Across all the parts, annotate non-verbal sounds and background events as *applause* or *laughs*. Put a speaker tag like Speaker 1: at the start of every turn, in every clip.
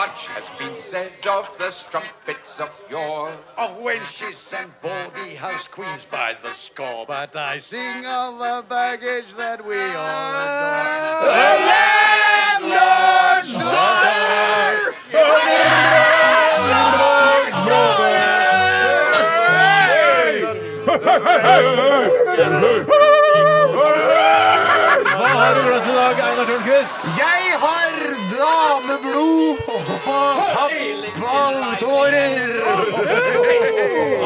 Speaker 1: Much has been said of the strumpets of yore, of wenches and baldy house queens by the score. But I sing of the baggage that we all adore. Jeg har dameblod og pappballtårer.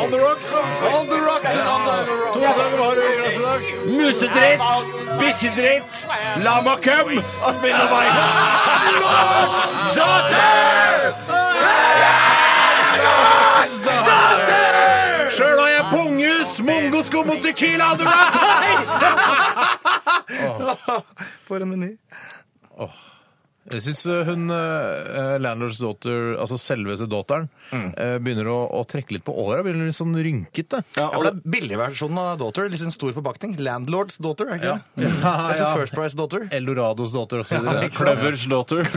Speaker 1: On the rocks. On the rocks.
Speaker 2: Musedritt, bikkjedritt, lamakøm og spinnerbein. Sjøl har jeg pungus, mongosko mot tequila, du
Speaker 1: *laughs* For en meny.
Speaker 3: Jeg syns hun eh, Landlords Daughter, altså selveste daughteren, eh, begynner å, å trekke litt på åra. Begynner litt sånn rynkete.
Speaker 2: Ja,
Speaker 1: Ja, for det er billigversjonen av daughter. Litt sånn stor forpakning. Landlords daughter, er ikke det?
Speaker 3: Ja,
Speaker 1: Det er sånn First Price daughter.
Speaker 3: Eldorados daughter og så videre.
Speaker 2: Kløvers daughter.
Speaker 1: *laughs*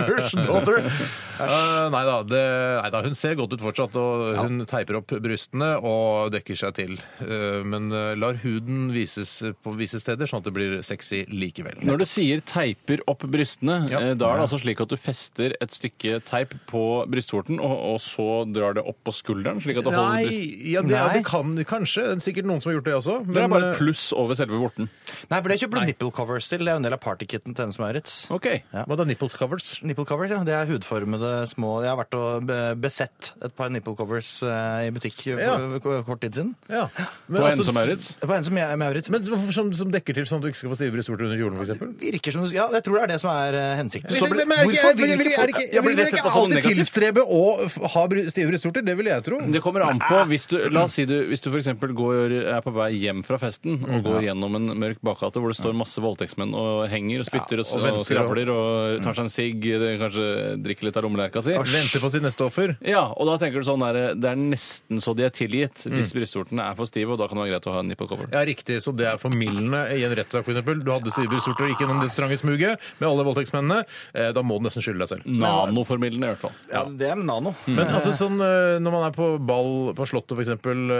Speaker 1: First daughter.
Speaker 3: Eh, nei, da, det, nei da, hun ser godt ut fortsatt, og hun teiper opp brystene og dekker seg til. Eh, men eh, lar huden vises på visse steder, sånn at det blir sexy likevel.
Speaker 2: *laughs* Når du sier teiper opp brystene,
Speaker 3: Ja.
Speaker 2: eh, da er det altså slik at du fester et stykke teip på brystvorten, og, og så drar det opp på skulderen, slik at det holder
Speaker 3: Nei,
Speaker 2: brystet.
Speaker 3: ja, det, ja,
Speaker 1: Nei.
Speaker 3: det kan kanskje. Det er sikkert noen som har gjort det også.
Speaker 2: Det er bare
Speaker 3: eh,
Speaker 2: et pluss over selve vorten.
Speaker 1: Nei, for det kjøper du nipple covers til. Det er jo en del av partykitten til Hennes Maurits.
Speaker 2: Ok.
Speaker 3: Hva da, nipples covers?
Speaker 1: Nipple covers, ja. Det er hudformede små Jeg har vært og be- besett et par nipple covers eh, i butikk for
Speaker 3: Ja.
Speaker 1: ko- kort tid siden.
Speaker 3: Ja. Men,
Speaker 2: På
Speaker 3: altså,
Speaker 2: Ensom Maurits.
Speaker 1: Det var en som jeg, Maurits.
Speaker 3: Men som, som, som dekker til sånn at du ikke skal få stive brystvorter under kjolen, f.eks.?
Speaker 1: virker som du Ja, jeg tror det er det som er eh, hensikten.
Speaker 3: Men- men- men er det ikke-
Speaker 1: Hvorfor vil
Speaker 3: vil-
Speaker 1: ikke
Speaker 3: vil- er
Speaker 1: folk
Speaker 3: det ikke-
Speaker 2: Ja,
Speaker 3: Vil
Speaker 2: blir
Speaker 3: dere
Speaker 2: det sett
Speaker 3: ikke
Speaker 2: på som
Speaker 3: alltid
Speaker 2: negativt?
Speaker 3: tilstrebe å f- ha bry- stive brystvorter? Det vil jeg tro.
Speaker 2: Det kommer an på. Hvis du, la oss si du, hvis du for eksempel går, er på vei hjem fra festen og går gjennom en mørk bakgate hvor det står masse voldtektsmenn og henger og spytter og,
Speaker 3: og
Speaker 2: og,
Speaker 3: venter og-
Speaker 2: skravler og tar seg en sigg, det- kanskje drikker litt av lommelerka si.
Speaker 3: Vente på sitt neste offer.
Speaker 2: Ja, og da tenker du sånn der, Det er nesten så de er tilgitt hvis brystvortene er for stive, og da kan det være greit å ha en nipple cover.
Speaker 3: Ja, riktig, så det er formildende i en rettssak, f.eks. Du hadde stive brystvorter og gikk gjennom det trange smuget med alle voldtektsmennene. Eh, Da må du nesten skylde deg selv.
Speaker 2: Nanoformildende, i hvert fall. *laughs*
Speaker 1: Ja, det er nano.
Speaker 3: Men altså sånn eh, når man er på ball på Slottet f.eks.,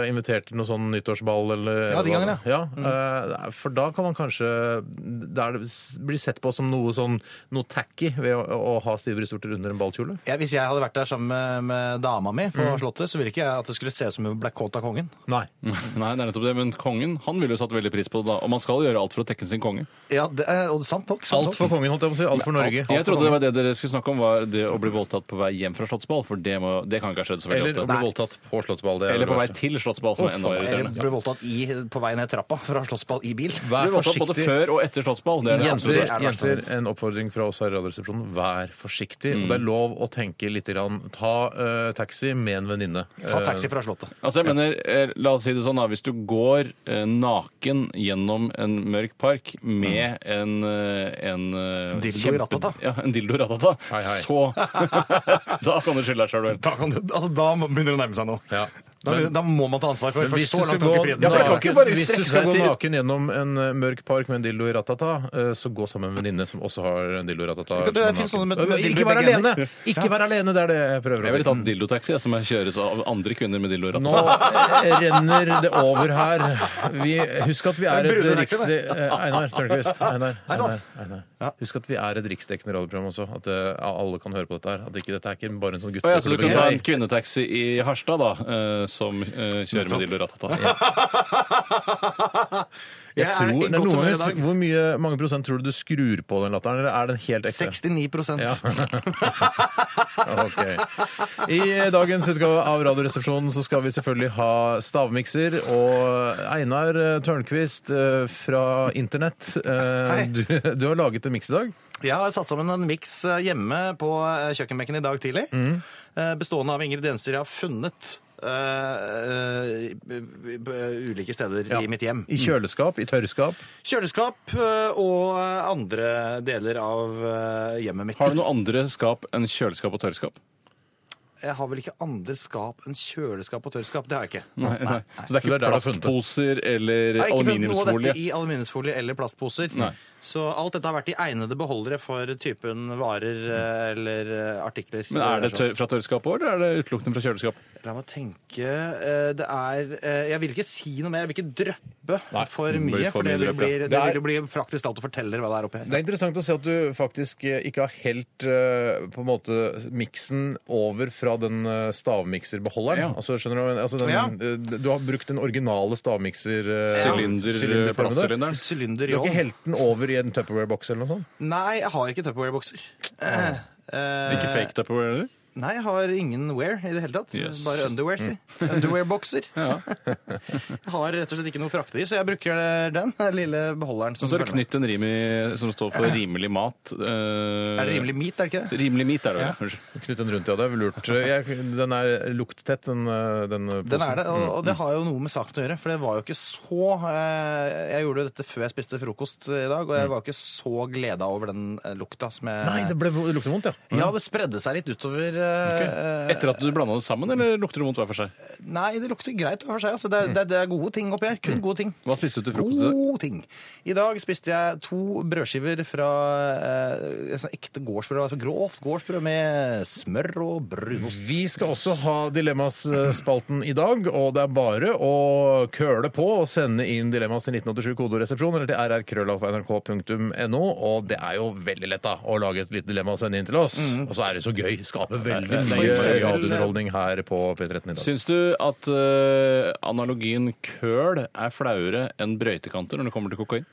Speaker 3: invitert til noe sånn nyttårsball eller
Speaker 1: Ja, de gangene,
Speaker 3: ja. eh, For da kan man kanskje da er det, bli sett på som noe sånn noe tacky ved å, å ha stive brystvorter under en ballkjole.
Speaker 1: Ja, hvis jeg hadde vært der sammen med, med dama mi på Slottet, så ville ikke jeg at det skulle se ut som hun ble kåt av kongen.
Speaker 3: Nei.
Speaker 2: Nei, det er nettopp det, men kongen han ville jo satt veldig pris på det da, og man skal gjøre alt for å tekke sin konge.
Speaker 1: Ja, det, er- og sant nok. Sant
Speaker 3: Alt for kongen, holdt jeg på å si. Alt for Norge.
Speaker 2: Jeg trodde det var det dere skulle snakke om, var det å bli voldtatt på vei hjem fra slottsball, for det, må, det kan ikke ha skjedd så veldig
Speaker 3: Eller å
Speaker 2: ofte.
Speaker 3: bli voldtatt på Slottsball. Det er
Speaker 2: Eller
Speaker 3: det
Speaker 2: på vei
Speaker 3: verste.
Speaker 2: til slottsball, som er enda mer
Speaker 1: Eller
Speaker 2: irriterende.
Speaker 1: ble voldtatt i, på vei ned trappa fra Slottsball i bil.
Speaker 2: Du
Speaker 3: Vær
Speaker 2: ble voldtatt både
Speaker 3: forsiktig.
Speaker 2: før og etter slottsball. Det er det
Speaker 3: Jenter,
Speaker 2: absolutt.
Speaker 1: det er det verste
Speaker 3: jenter,
Speaker 1: jeg vet.
Speaker 3: en oppfordring fra oss her i Radioresepsjonen. Vær forsiktig. Og
Speaker 2: Mm.
Speaker 3: det er lov å tenke litt. Grann. Ta eh, taxi med en venninne.
Speaker 1: Ta
Speaker 3: Eh,
Speaker 1: taxi fra Slottet.
Speaker 2: Altså, jeg mener, eh, La oss si det sånn, da. Hvis du går eh, naken gjennom en mørk park med en, eh, en eh,
Speaker 1: Dildo i
Speaker 2: kjempe-
Speaker 1: ratata.
Speaker 2: Ja, en dildo i ratata,
Speaker 3: Hei, hei.
Speaker 2: så *laughs* Da kan du skylde deg sjøl, vel.
Speaker 1: Da, kan du, altså, da begynner det å nærme seg noe.
Speaker 3: Ja.
Speaker 1: Da, da må man ta ansvar for. for
Speaker 3: Hvis
Speaker 1: så
Speaker 3: du,
Speaker 1: langt
Speaker 3: skal
Speaker 1: har
Speaker 3: gå,
Speaker 1: ikke friheten
Speaker 2: Ja, for
Speaker 1: seg. *laughs*
Speaker 2: det kan ikke bare
Speaker 3: hvis du
Speaker 2: strekke
Speaker 3: skal
Speaker 2: seg
Speaker 3: gå
Speaker 2: til-
Speaker 3: naken gjennom en eh, mørk park med en dildo i ratata, eh, så gå sammen med en venninne som også har en dildo i ratata.
Speaker 1: Det- det
Speaker 3: som er
Speaker 1: finnes
Speaker 3: naken.
Speaker 1: sånne med-
Speaker 3: Eh,
Speaker 1: med dildo i
Speaker 3: Ikke vær
Speaker 1: begge
Speaker 3: alene!
Speaker 1: hender.
Speaker 3: Ikke vær alene, det er det jeg prøver
Speaker 2: Jeg
Speaker 3: å
Speaker 2: ville
Speaker 3: si.
Speaker 2: tatt dildotaxi, jeg, som jeg kjøres av andre kvinner med dildo i
Speaker 3: Nå
Speaker 2: ratata.
Speaker 3: renner det over her. Vi, husk at vi
Speaker 1: Det
Speaker 3: er et
Speaker 1: er brune
Speaker 3: riks...
Speaker 1: nekter, det.
Speaker 3: eh, Einar Tørnquist. Einar,
Speaker 1: *laughs* Hei sann.
Speaker 3: Einar, Einar. Husk at vi er et riksdekkende radioprogram også. At eh, alle kan høre på dette her. At ikke, dette er ikke bare en sånn
Speaker 2: Å ja, så du kan ta en
Speaker 3: gutteproblem.
Speaker 2: kvinnetaxi i Harstad, da, eh, som eh, kjører med dildo i ratata.
Speaker 1: Jeg
Speaker 3: Tror,
Speaker 1: er i
Speaker 3: det er
Speaker 1: godt
Speaker 3: noen
Speaker 1: humør i
Speaker 3: ganger-
Speaker 1: dag.
Speaker 3: hvor mye, mange prosent tror du du skrur på den latteren, eller er den helt ekte?
Speaker 1: 69
Speaker 3: Ja. ok. I dagens utgave av Radioresepsjonen så skal vi selvfølgelig ha stavmikser. Og Einar eh, Tørnquist eh, fra Internett, eh,
Speaker 1: Hei.
Speaker 3: du, du har laget en miks i dag.
Speaker 1: Jeg har satt sammen en miks eh, hjemme på eh, kjøkkenbenken i dag tidlig. eh, Bestående av ingredienser jeg har funnet
Speaker 4: eh, eh, ulike steder i mitt hjem.
Speaker 3: I kjøleskap, i tørrskap.
Speaker 4: Kjøleskap eh, og andre deler av eh, hjemmet mitt.
Speaker 2: Har du noe andre skap enn kjøleskap og tørrskap?
Speaker 4: Jeg har vel ikke andre skap enn kjøleskap og tørrskap. Det har jeg ikke.
Speaker 2: Nei, nei. Så det er
Speaker 3: Det er
Speaker 2: ikke
Speaker 3: der du har funnet det.
Speaker 2: plastposer eller
Speaker 4: Jeg har ikke funnet noe av dette
Speaker 2: aluminiumsfolie?
Speaker 4: i aluminiumsfolie eller plastposer.
Speaker 2: Nei.
Speaker 4: Så alt dette har vært i egnede beholdere for typen varer eh, eller eh, artikler.
Speaker 2: Men er det tør fra tørrskapet òg, eller er det utelukkende fra kjøleskap?
Speaker 4: La meg tenke. eh, Det er eh, Jeg vil ikke si noe mer. Jeg vil ikke dryppe
Speaker 2: Nei,
Speaker 4: for
Speaker 2: det blir
Speaker 4: mye.
Speaker 2: for
Speaker 4: For det
Speaker 2: mye
Speaker 4: vil,
Speaker 2: drypp,
Speaker 4: bli,
Speaker 2: ja.
Speaker 4: det
Speaker 3: Det er-
Speaker 4: vil jo bli praktisk alt du forteller hva det er oppi her.
Speaker 3: Det er interessant å se at du faktisk eh, ikke har helt eh, på en måte miksen over fra den eh, stavmikserbeholderen.
Speaker 2: Ja.
Speaker 3: Altså, skjønner du? Altså, den,
Speaker 4: Ja.
Speaker 3: eh, du har brukt den originale stavmikser... eh,
Speaker 2: Sylinder,
Speaker 3: sylinderformen der.
Speaker 2: plastsylinder.
Speaker 4: Sylinder
Speaker 3: Du
Speaker 4: i
Speaker 3: har ikke
Speaker 4: ovn.
Speaker 3: helt den over i en Tupperware-boks eller noe sånt?
Speaker 4: Nei, jeg har ikke Tupperware-bokser. Eh, eh,
Speaker 2: Ikke fake Tupperware heller?
Speaker 4: Nei, jeg har ingen wear i det hele tatt.
Speaker 2: Yes. Mm.
Speaker 4: Bare underwear, si.
Speaker 2: *laughs*
Speaker 4: Underwear-bokser. jeg har rett og slett ikke noe å frakte i, så jeg bruker eh, den lille beholderen.
Speaker 2: Og
Speaker 4: som
Speaker 2: så er det
Speaker 4: følger med.
Speaker 2: knytt en rim i, som står for rimelig mat. eh,
Speaker 4: Er det rimelig meat, er det ikke det?
Speaker 2: Rimelig meat er det vel. Unnskyld.
Speaker 3: Knytt den rundt, ja. Det er vel lurt. Jeg, den er lukttett, den, eh, den posen.
Speaker 4: Den er det, og, og det har jo noe med saken å gjøre, for det var jo ikke så eh, Jeg gjorde jo dette før jeg spiste frokost i dag, og jeg var ikke så gleda over den eh, lukta som jeg Mm.
Speaker 3: Nei, det, ble, det lukter vondt, ja.
Speaker 4: Ja, det spredde seg litt utover eh,
Speaker 2: Etter at du blanda det sammen, eller lukter det vondt hver for seg?
Speaker 4: Nei, det lukter greit hver for seg. Altså, det, er- det, er- det er gode ting oppi her. Kun gode ting.
Speaker 2: Hva spiste du til frokost i dag?
Speaker 4: God ting. I dag spiste jeg to brødskiver fra eh, sånn ekte gårdsbrød. Altså grovt gårdsbrød med smør og brunost.
Speaker 3: Vi skal også ha Dilemmas-spalten i dag, og det er bare å køle på og sende inn Dilemmas til 1987 kodoresepsjon eller til rrkrøllalfa.nrk.no. Og det er jo veldig lett da, å lage et lite dilemma og sende inn til oss. Og så er det så gøy. Skaper veldig
Speaker 2: Mm. det er
Speaker 3: mye
Speaker 2: gøy.
Speaker 3: radiounderholdning her på P13 i dag.
Speaker 2: Syns du at eh, analogien køl er flauere enn brøytekanter når det kommer til kokain?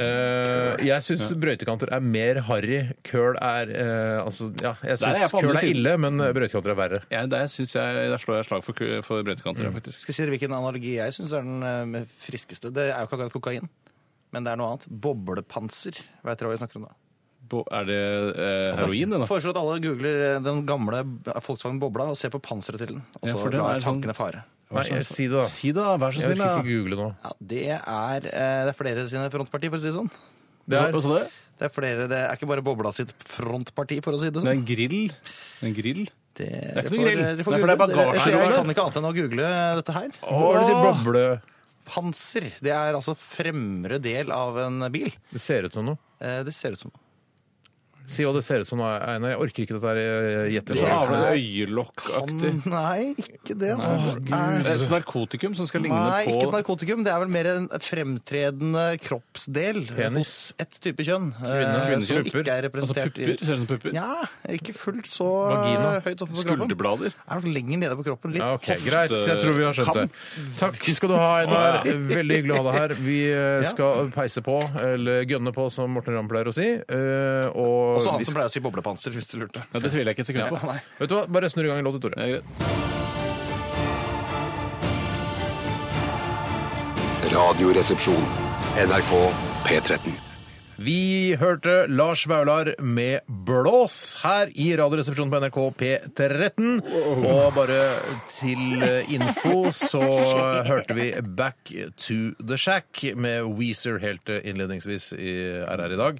Speaker 3: Eh, jeg syns brøytekanter er mer harry. Køl er eh, altså, ja, jeg
Speaker 2: Der er jeg
Speaker 3: syns
Speaker 2: på andre
Speaker 3: køl er
Speaker 2: siden.
Speaker 3: ille, men brøytekanter er verre.
Speaker 2: Ja, der, synes jeg, der slår jeg slag for, kø- for brøytekanter, ja, faktisk.
Speaker 4: Skal jeg si dere hvilken analogi jeg syns er den eh, friskeste? Det er jo ikke akkurat kokain, men det er noe annet. Boblepanser. Vet dere hva vi snakker om da?
Speaker 2: Bo- Er det eh, heroin, det, da?
Speaker 4: Foreslår at alle googler eh, den gamle Volkswagen Bobla og ser på panseret til den. Og
Speaker 2: Ja,
Speaker 4: så
Speaker 2: for den er
Speaker 4: lar
Speaker 2: sånn-
Speaker 4: tankene fare.
Speaker 3: Nei, jeg, si det, da.
Speaker 2: Si det, da. Vær så
Speaker 3: Jeg
Speaker 2: snill. da.
Speaker 3: orker ikke google nå.
Speaker 4: Ja, det er, eh, det er flere sine frontparti, for å si det sånn.
Speaker 2: Det er, Hva sa du?
Speaker 4: Det er, flere, det er ikke bare Bobla sitt frontparti, for å si det
Speaker 2: Det er
Speaker 4: sånn.
Speaker 2: en grill. En grill.
Speaker 4: Det, dere
Speaker 2: er ikke noe
Speaker 4: får-
Speaker 2: grill.
Speaker 4: dere får
Speaker 2: Nei, for det er
Speaker 4: google.
Speaker 2: bagasje.
Speaker 4: Dere- så
Speaker 2: Nei, det
Speaker 4: Jeg
Speaker 2: var
Speaker 4: kan ikke annet enn å google eh, dette her.
Speaker 3: Hva var det du sier? Boble?
Speaker 4: Panser. Det er altså fremre del av en bil.
Speaker 3: Det ser ut som noe.
Speaker 4: Eh, Det ser ut som
Speaker 3: Si hva det ser ut som, Einar. Jeg orker ikke dette her
Speaker 2: Så
Speaker 3: eh, gjettelåret.
Speaker 2: har du øyelokkaktig.
Speaker 4: Kan- Nei, ikke det, altså.
Speaker 2: Det
Speaker 4: Er-
Speaker 2: er Et narkotikum som skal ligne
Speaker 4: Nei, ikke
Speaker 2: på
Speaker 4: narkotikum. Det er vel mer en fremtredende kroppsdel
Speaker 3: Penis.
Speaker 4: hos et type kjønn.
Speaker 3: Kvinne,
Speaker 4: eh, som
Speaker 3: kvinnekjønn.
Speaker 4: ikke er
Speaker 2: Altså
Speaker 4: representert
Speaker 2: pupper? Ser det ut som pupper?
Speaker 4: i Ja, ikke fullt så
Speaker 3: Vagina.
Speaker 4: høyt oppe på kroppen.
Speaker 2: Skulderblader?
Speaker 4: Er nok lenger nede på kroppen. Litt
Speaker 3: Ja, ok, Greit, så jeg tror vi har skjønt det.
Speaker 2: Kan.
Speaker 3: Takk skal du ha, Einar. Veldig hyggelig å ha deg her. Vi eh, skal peise på, eller gønne på, som Morten Ramm pleier å si. Eh, Og
Speaker 4: Også han
Speaker 3: vi
Speaker 4: Sånn som
Speaker 3: skal-
Speaker 4: pleier å si boblepanser, hvis du lurte.
Speaker 2: Ja, det tviler jeg ikke et sekund på.
Speaker 4: Nei.
Speaker 3: Vet du hva, bare snurr i gang en låt, du, Tore.
Speaker 2: Det er greit.
Speaker 5: Radioresepsjon. NRK P13.
Speaker 3: Vi hørte Lars Vaular med 'Blås' her i Radioresepsjonen på NRK P13. Og bare til eh, info så hørte vi 'Back to the Shack' med Weezer helt eh, innledningsvis i RR i dag.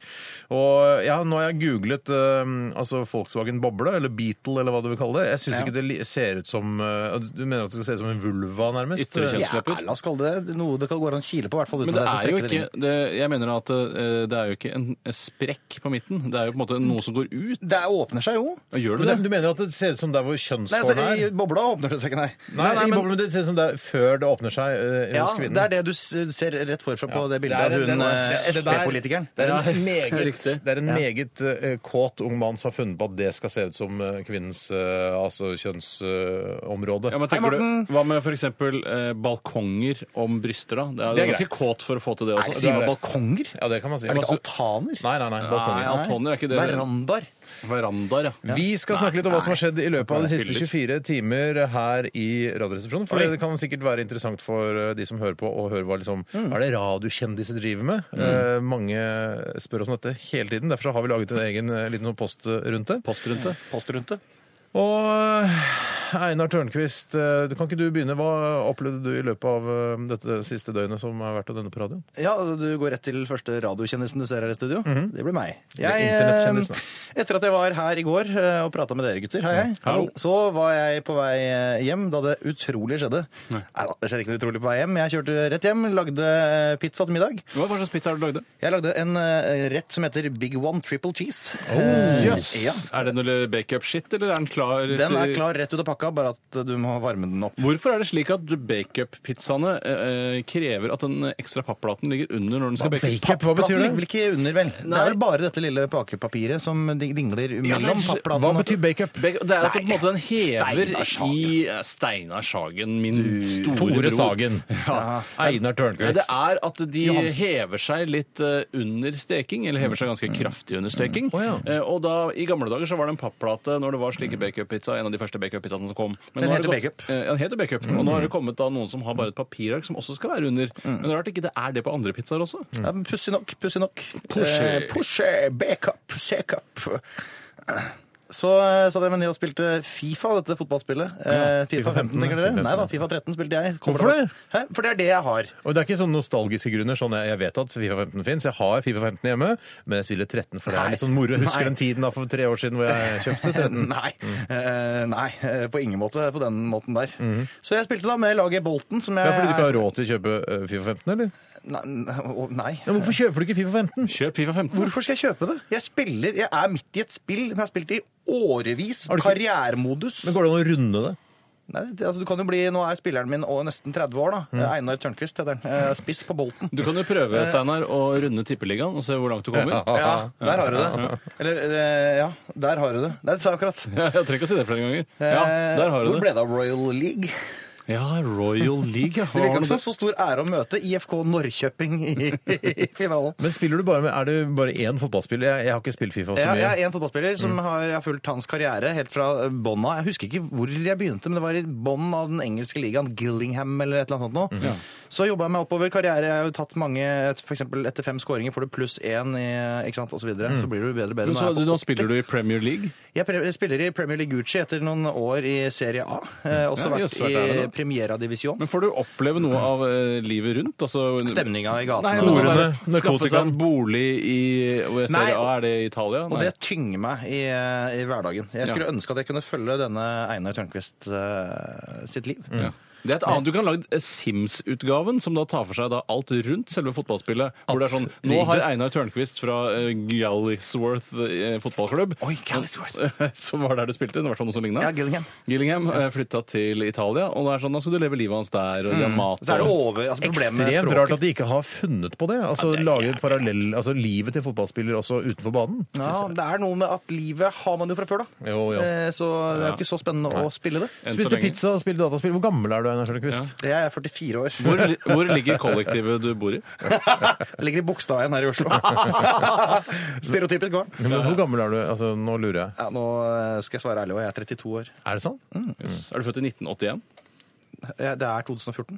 Speaker 3: Og ja, nå har jeg googlet eh, altså Volkswagen Boble, eller Beetle, eller hva du vil kalle det. Jeg syns ikke det li- ser ut som eh, Du mener at det skal se ut som en vulva, nærmest?
Speaker 2: Ytre kjønn.
Speaker 4: Ja, la oss kalle det noe det kan gå an å kile på, i hvert fall uten
Speaker 2: Men det
Speaker 4: at jeg
Speaker 2: er jo
Speaker 4: strekker
Speaker 2: ikke
Speaker 4: det inn.
Speaker 2: det, Jeg mener at eh, det er jo ikke en sprekk på midten. Det er jo på en måte noe som går ut.
Speaker 4: Det åpner seg jo.
Speaker 2: Og gjør du det?
Speaker 3: Men Du mener at det ser ut som der hvor
Speaker 4: Nei, altså,
Speaker 3: kjønnshårene er?
Speaker 4: I bobla åpner det seg ikke, nei.
Speaker 3: Nei,
Speaker 2: nei,
Speaker 3: i
Speaker 2: men-
Speaker 3: boblen, men det ser ut som det er før det åpner seg eh,
Speaker 4: Ja,
Speaker 3: hos kvinnen.
Speaker 4: Det er det du s- ser rett forfra på det bildet av hun eh, SP-politikeren.
Speaker 3: Det er en
Speaker 2: Ja,
Speaker 3: meget,
Speaker 2: riktig.
Speaker 3: det er en meget eh, kåt ung mann som har funnet på at det skal se ut som eh, kvinnens eh, altså kjønnsområde.
Speaker 2: Ja, men tenker du, Hva med f.eks. Eh, balkonger om bryster, da? Det er, det er
Speaker 3: greit.
Speaker 2: ganske kåt for å få til det
Speaker 4: Nei,
Speaker 2: også.
Speaker 4: Sier
Speaker 3: det
Speaker 4: man
Speaker 3: er det.
Speaker 4: balkonger?
Speaker 3: ja, det kan man si.
Speaker 4: Er det ikke
Speaker 3: Masse-
Speaker 4: altaner?
Speaker 3: Nei, nei, nei.
Speaker 2: Nei,
Speaker 3: balkonger.
Speaker 2: altoner er ikke det.
Speaker 4: Verandaer?
Speaker 2: Verandaer, ja.
Speaker 3: Vi skal snakke litt om hva som har skjedd i løpet av
Speaker 2: Nei,
Speaker 3: de siste
Speaker 2: hyller.
Speaker 3: 24 timer her i Radioresepsjonen. For det kan sikkert være interessant for eh, de som hører på, å høre hva liksom,
Speaker 2: Mm.
Speaker 3: er det radiokjendiser driver med. Eh, mange spør oss om dette hele tiden. Derfor så har vi laget en egen eh, liten sånn post rundt det.
Speaker 2: Postrunte.
Speaker 4: Postrunte?
Speaker 3: eh, Og eh, Einar Tørnquist, eh, du- kan ikke du begynne? Hva opplevde du i løpet av eh, dette siste døgnet som har vært av denne på radioen?
Speaker 4: Ja, altså, du går rett til første radiokjendisen du ser her i studio. Mhm. Det blir meg.
Speaker 3: Eller internettkjendisen,
Speaker 4: eh, etter at jeg var her i går eh, og prata med dere gutter, hei, hei.
Speaker 2: Hallo.
Speaker 4: så var jeg på vei eh, hjem da det utrolig skjedde. Nei. da, det skjedde ikke noe utrolig på vei hjem. Jeg kjørte rett hjem, lagde eh, pizza til middag.
Speaker 2: Hva hva slags pizza har du lagd?
Speaker 4: Jeg lagde en eh, rett som heter Big One Triple Cheese.
Speaker 2: Oh.
Speaker 4: Eh, ja.
Speaker 2: Er det noe bake-up-shit, eller er den klar?
Speaker 4: Den er klar rett ut av pakka, bare at du må varme den opp.
Speaker 2: Hvorfor er det slik at bake-up-pizzaene eh, eh, krever at den ekstra papplaten ligger under når den skal bakes?
Speaker 3: Bake-up, hva betyr det?
Speaker 4: Papplaten ligger vel ikke under, vel? Det er vel bare dette lille bakepapiret som ding- dingler mellom papplaten
Speaker 3: Hva
Speaker 4: og-
Speaker 3: betyr bake-up?
Speaker 2: Bake- Det er at den, på en måte, den hever
Speaker 4: Steinar Sagen.
Speaker 2: i eh, Steinar Sagen, min store bror.
Speaker 3: Tore Sagen. Einar
Speaker 2: Ja, det
Speaker 3: Tørnquist.
Speaker 2: er at de
Speaker 4: Johansen. Mm.
Speaker 2: hever seg litt eh, under steking, eller hever seg ganske kraftig under steking.
Speaker 3: Å, ja.
Speaker 2: Eh, og da, I gamle dager så var det en papplate når det var slike bake-up-pizza. En av de første bake-up-pizzaene som kom.
Speaker 4: Mm. Den
Speaker 2: Men nå har det
Speaker 4: heter Mm.
Speaker 2: kom- Eh, ja, den heter bake-up. Og nå har det kommet da noen som har bare et papirark som også skal være under. Men det er rart ikke det er det på andre pizzaer også.
Speaker 4: Ja, men Pussig nok, pussig nok.
Speaker 2: Pushy.
Speaker 4: Eh, pushy, backup, shakeup. Så eh, satt jeg med Neo og spilte Fifa, dette fotballspillet. Eh, Fifa 15, tenker dere? Nei da, Fifa 13 spilte jeg. Kommer
Speaker 3: Hvorfor
Speaker 4: Hæ? For det er det jeg
Speaker 3: *laughs*
Speaker 4: har.
Speaker 3: Og det er ikke sånn nostalgiske grunner. sånn Jeg, jeg vet at Fifa 15 fins. Jeg har Fifa 15 hjemme, men jeg spiller 13 for det
Speaker 4: Nei.
Speaker 3: er litt sånn moro. Jeg husker
Speaker 4: Nei.
Speaker 3: den tiden da for tre år siden hvor jeg kjøpte 13.
Speaker 4: Nei,
Speaker 3: Mm.
Speaker 4: eh, nei, eh, på ingen måte på den måten der. Så jeg spilte da med laget Bolten, som jeg
Speaker 3: Ja, fordi du ikke har råd til å kjøpe eh, Fifa 15, eller?
Speaker 4: Nei, nei, nei.
Speaker 3: Ja, hvorfor kjøper du ikke Fifa 15?
Speaker 2: Kjøp Fifa 15.
Speaker 4: Hvorfor skal jeg kjøpe det? Jeg spiller, jeg er midt i et spill som jeg har spilt i årevis.
Speaker 3: Har du ikke-
Speaker 4: Karrieremodus.
Speaker 3: Men Går det an å runde det?
Speaker 4: Nei, det, altså, du kan jo bli, Nå er spilleren min og nesten 30 år, da. Eh, Einar Tørnquist heter han. Eh, Spiss på bolten.
Speaker 2: Du kan jo prøve, Steinar, å runde tippeligaen og se hvor langt du kommer.
Speaker 3: Ja.
Speaker 4: Eh. Ja, der har du det. Eller eh, ja, der har du det. Nei, Det sa jeg akkurat.
Speaker 2: *laughs* Jeg trenger ikke å si det flere ganger. Ja, der har
Speaker 4: Eh,
Speaker 2: du
Speaker 4: Hvor
Speaker 2: det.
Speaker 4: ble det av Royal League?
Speaker 2: Ja, Royal League, ja. Hva
Speaker 4: *laughs* Det
Speaker 2: var
Speaker 4: virka
Speaker 2: nå
Speaker 4: ikke som så stor ære å møte IFK Norrköping i, i *laughs* finalen.
Speaker 3: Men spiller du bare med, Er det bare én fotballspiller? Jeg, jeg har ikke spilt Fifa så
Speaker 4: Ja,
Speaker 3: mye.
Speaker 4: jeg er en fotballspiller som
Speaker 2: Mm.
Speaker 4: har, jeg har fulgt hans karriere helt fra eh, bånn av. Jeg husker ikke hvor jeg begynte, men det var i bånn av den engelske ligaen, Gillingham eller et eller annet
Speaker 2: Mm.
Speaker 4: sånt nå. Så jobba jeg meg oppover karriere. Jeg har jo tatt mange, for eksempel etter fem skåringer får du pluss én, i- ikke sant, og så videre. Så blir du bedre og bedre.
Speaker 2: Mm. Men
Speaker 4: Nå
Speaker 2: så,
Speaker 4: er jeg på
Speaker 2: nå spiller du i Premier League.
Speaker 4: jeg pre- spiller i Premier League Gucci etter noen år i Serie A. Eh, også
Speaker 2: Mm. Ja,
Speaker 4: vært
Speaker 2: jøss, vært der,
Speaker 4: i
Speaker 2: da.
Speaker 4: Premiera Divisjon.
Speaker 2: Men får du oppleve noe av eh, livet rundt? Altså,
Speaker 4: Stemninga i
Speaker 2: Nei,
Speaker 4: gatene.
Speaker 2: men så
Speaker 4: og-
Speaker 2: bare
Speaker 3: Horene,
Speaker 2: Skaffe seg en
Speaker 3: narkotikaen.
Speaker 2: bolig i hvor jeg ser,
Speaker 4: altså, Nei,
Speaker 2: ja, Er det i Italia?
Speaker 4: Og
Speaker 2: Nei.
Speaker 4: det tynger meg i, i hverdagen. Jeg skulle ønske at jeg kunne følge denne Einar Tørnquist eh, sitt liv.
Speaker 2: Ja. det er et annet. Du kan lage eh, Sims-utgaven, som da tar for seg da alt rundt selve fotballspillet. Hvor det er sånn Nå har Einar Tørnquist fra uh, Gallisworth eh, fotballklubb *laughs*
Speaker 4: Oi, Gallisworth.
Speaker 2: Som var der du spilte. Det var sånn noe som lignet.
Speaker 4: Ja, Gillingham.
Speaker 2: Gillingham eh, flytta til Italia, og det er sånn, da skulle du leve livet hans der. og de har mat.
Speaker 4: Mm. Så er det
Speaker 2: og-
Speaker 4: over, altså problemet med
Speaker 3: Ekstremt
Speaker 4: språket.
Speaker 3: rart at de ikke har funnet på det.
Speaker 2: Ja,
Speaker 3: Altså
Speaker 2: det er
Speaker 3: Lage
Speaker 2: jævlig.
Speaker 3: parallell, altså livet til fotballspiller også utenfor banen.
Speaker 4: ja, det er noe med at livet har man jo fra før, da.
Speaker 3: Jo, jo.
Speaker 4: Eh, Så det er jo ikke så spennende å spille det.
Speaker 2: Enn så
Speaker 3: Spiste
Speaker 2: lenge.
Speaker 3: pizza og spilte dataspill. Hvor gammel er du, Einar Sjølkvist?
Speaker 4: Jeg er 44 år.
Speaker 2: Hvor, hvor ligger kollektivet du bor i?
Speaker 4: Jeg ligger i Bogstadveien her i
Speaker 3: *laughs*
Speaker 4: Oslo. Stereotypisk gård.
Speaker 3: Hvor gammel er du? Altså, nå lurer jeg.
Speaker 4: Ja, nå eh, skal jeg svare ærlig, og jeg er 32 år.
Speaker 3: Er det sånn?
Speaker 2: Jøss. Er du født i 1981?
Speaker 4: Eh, Det er 2014.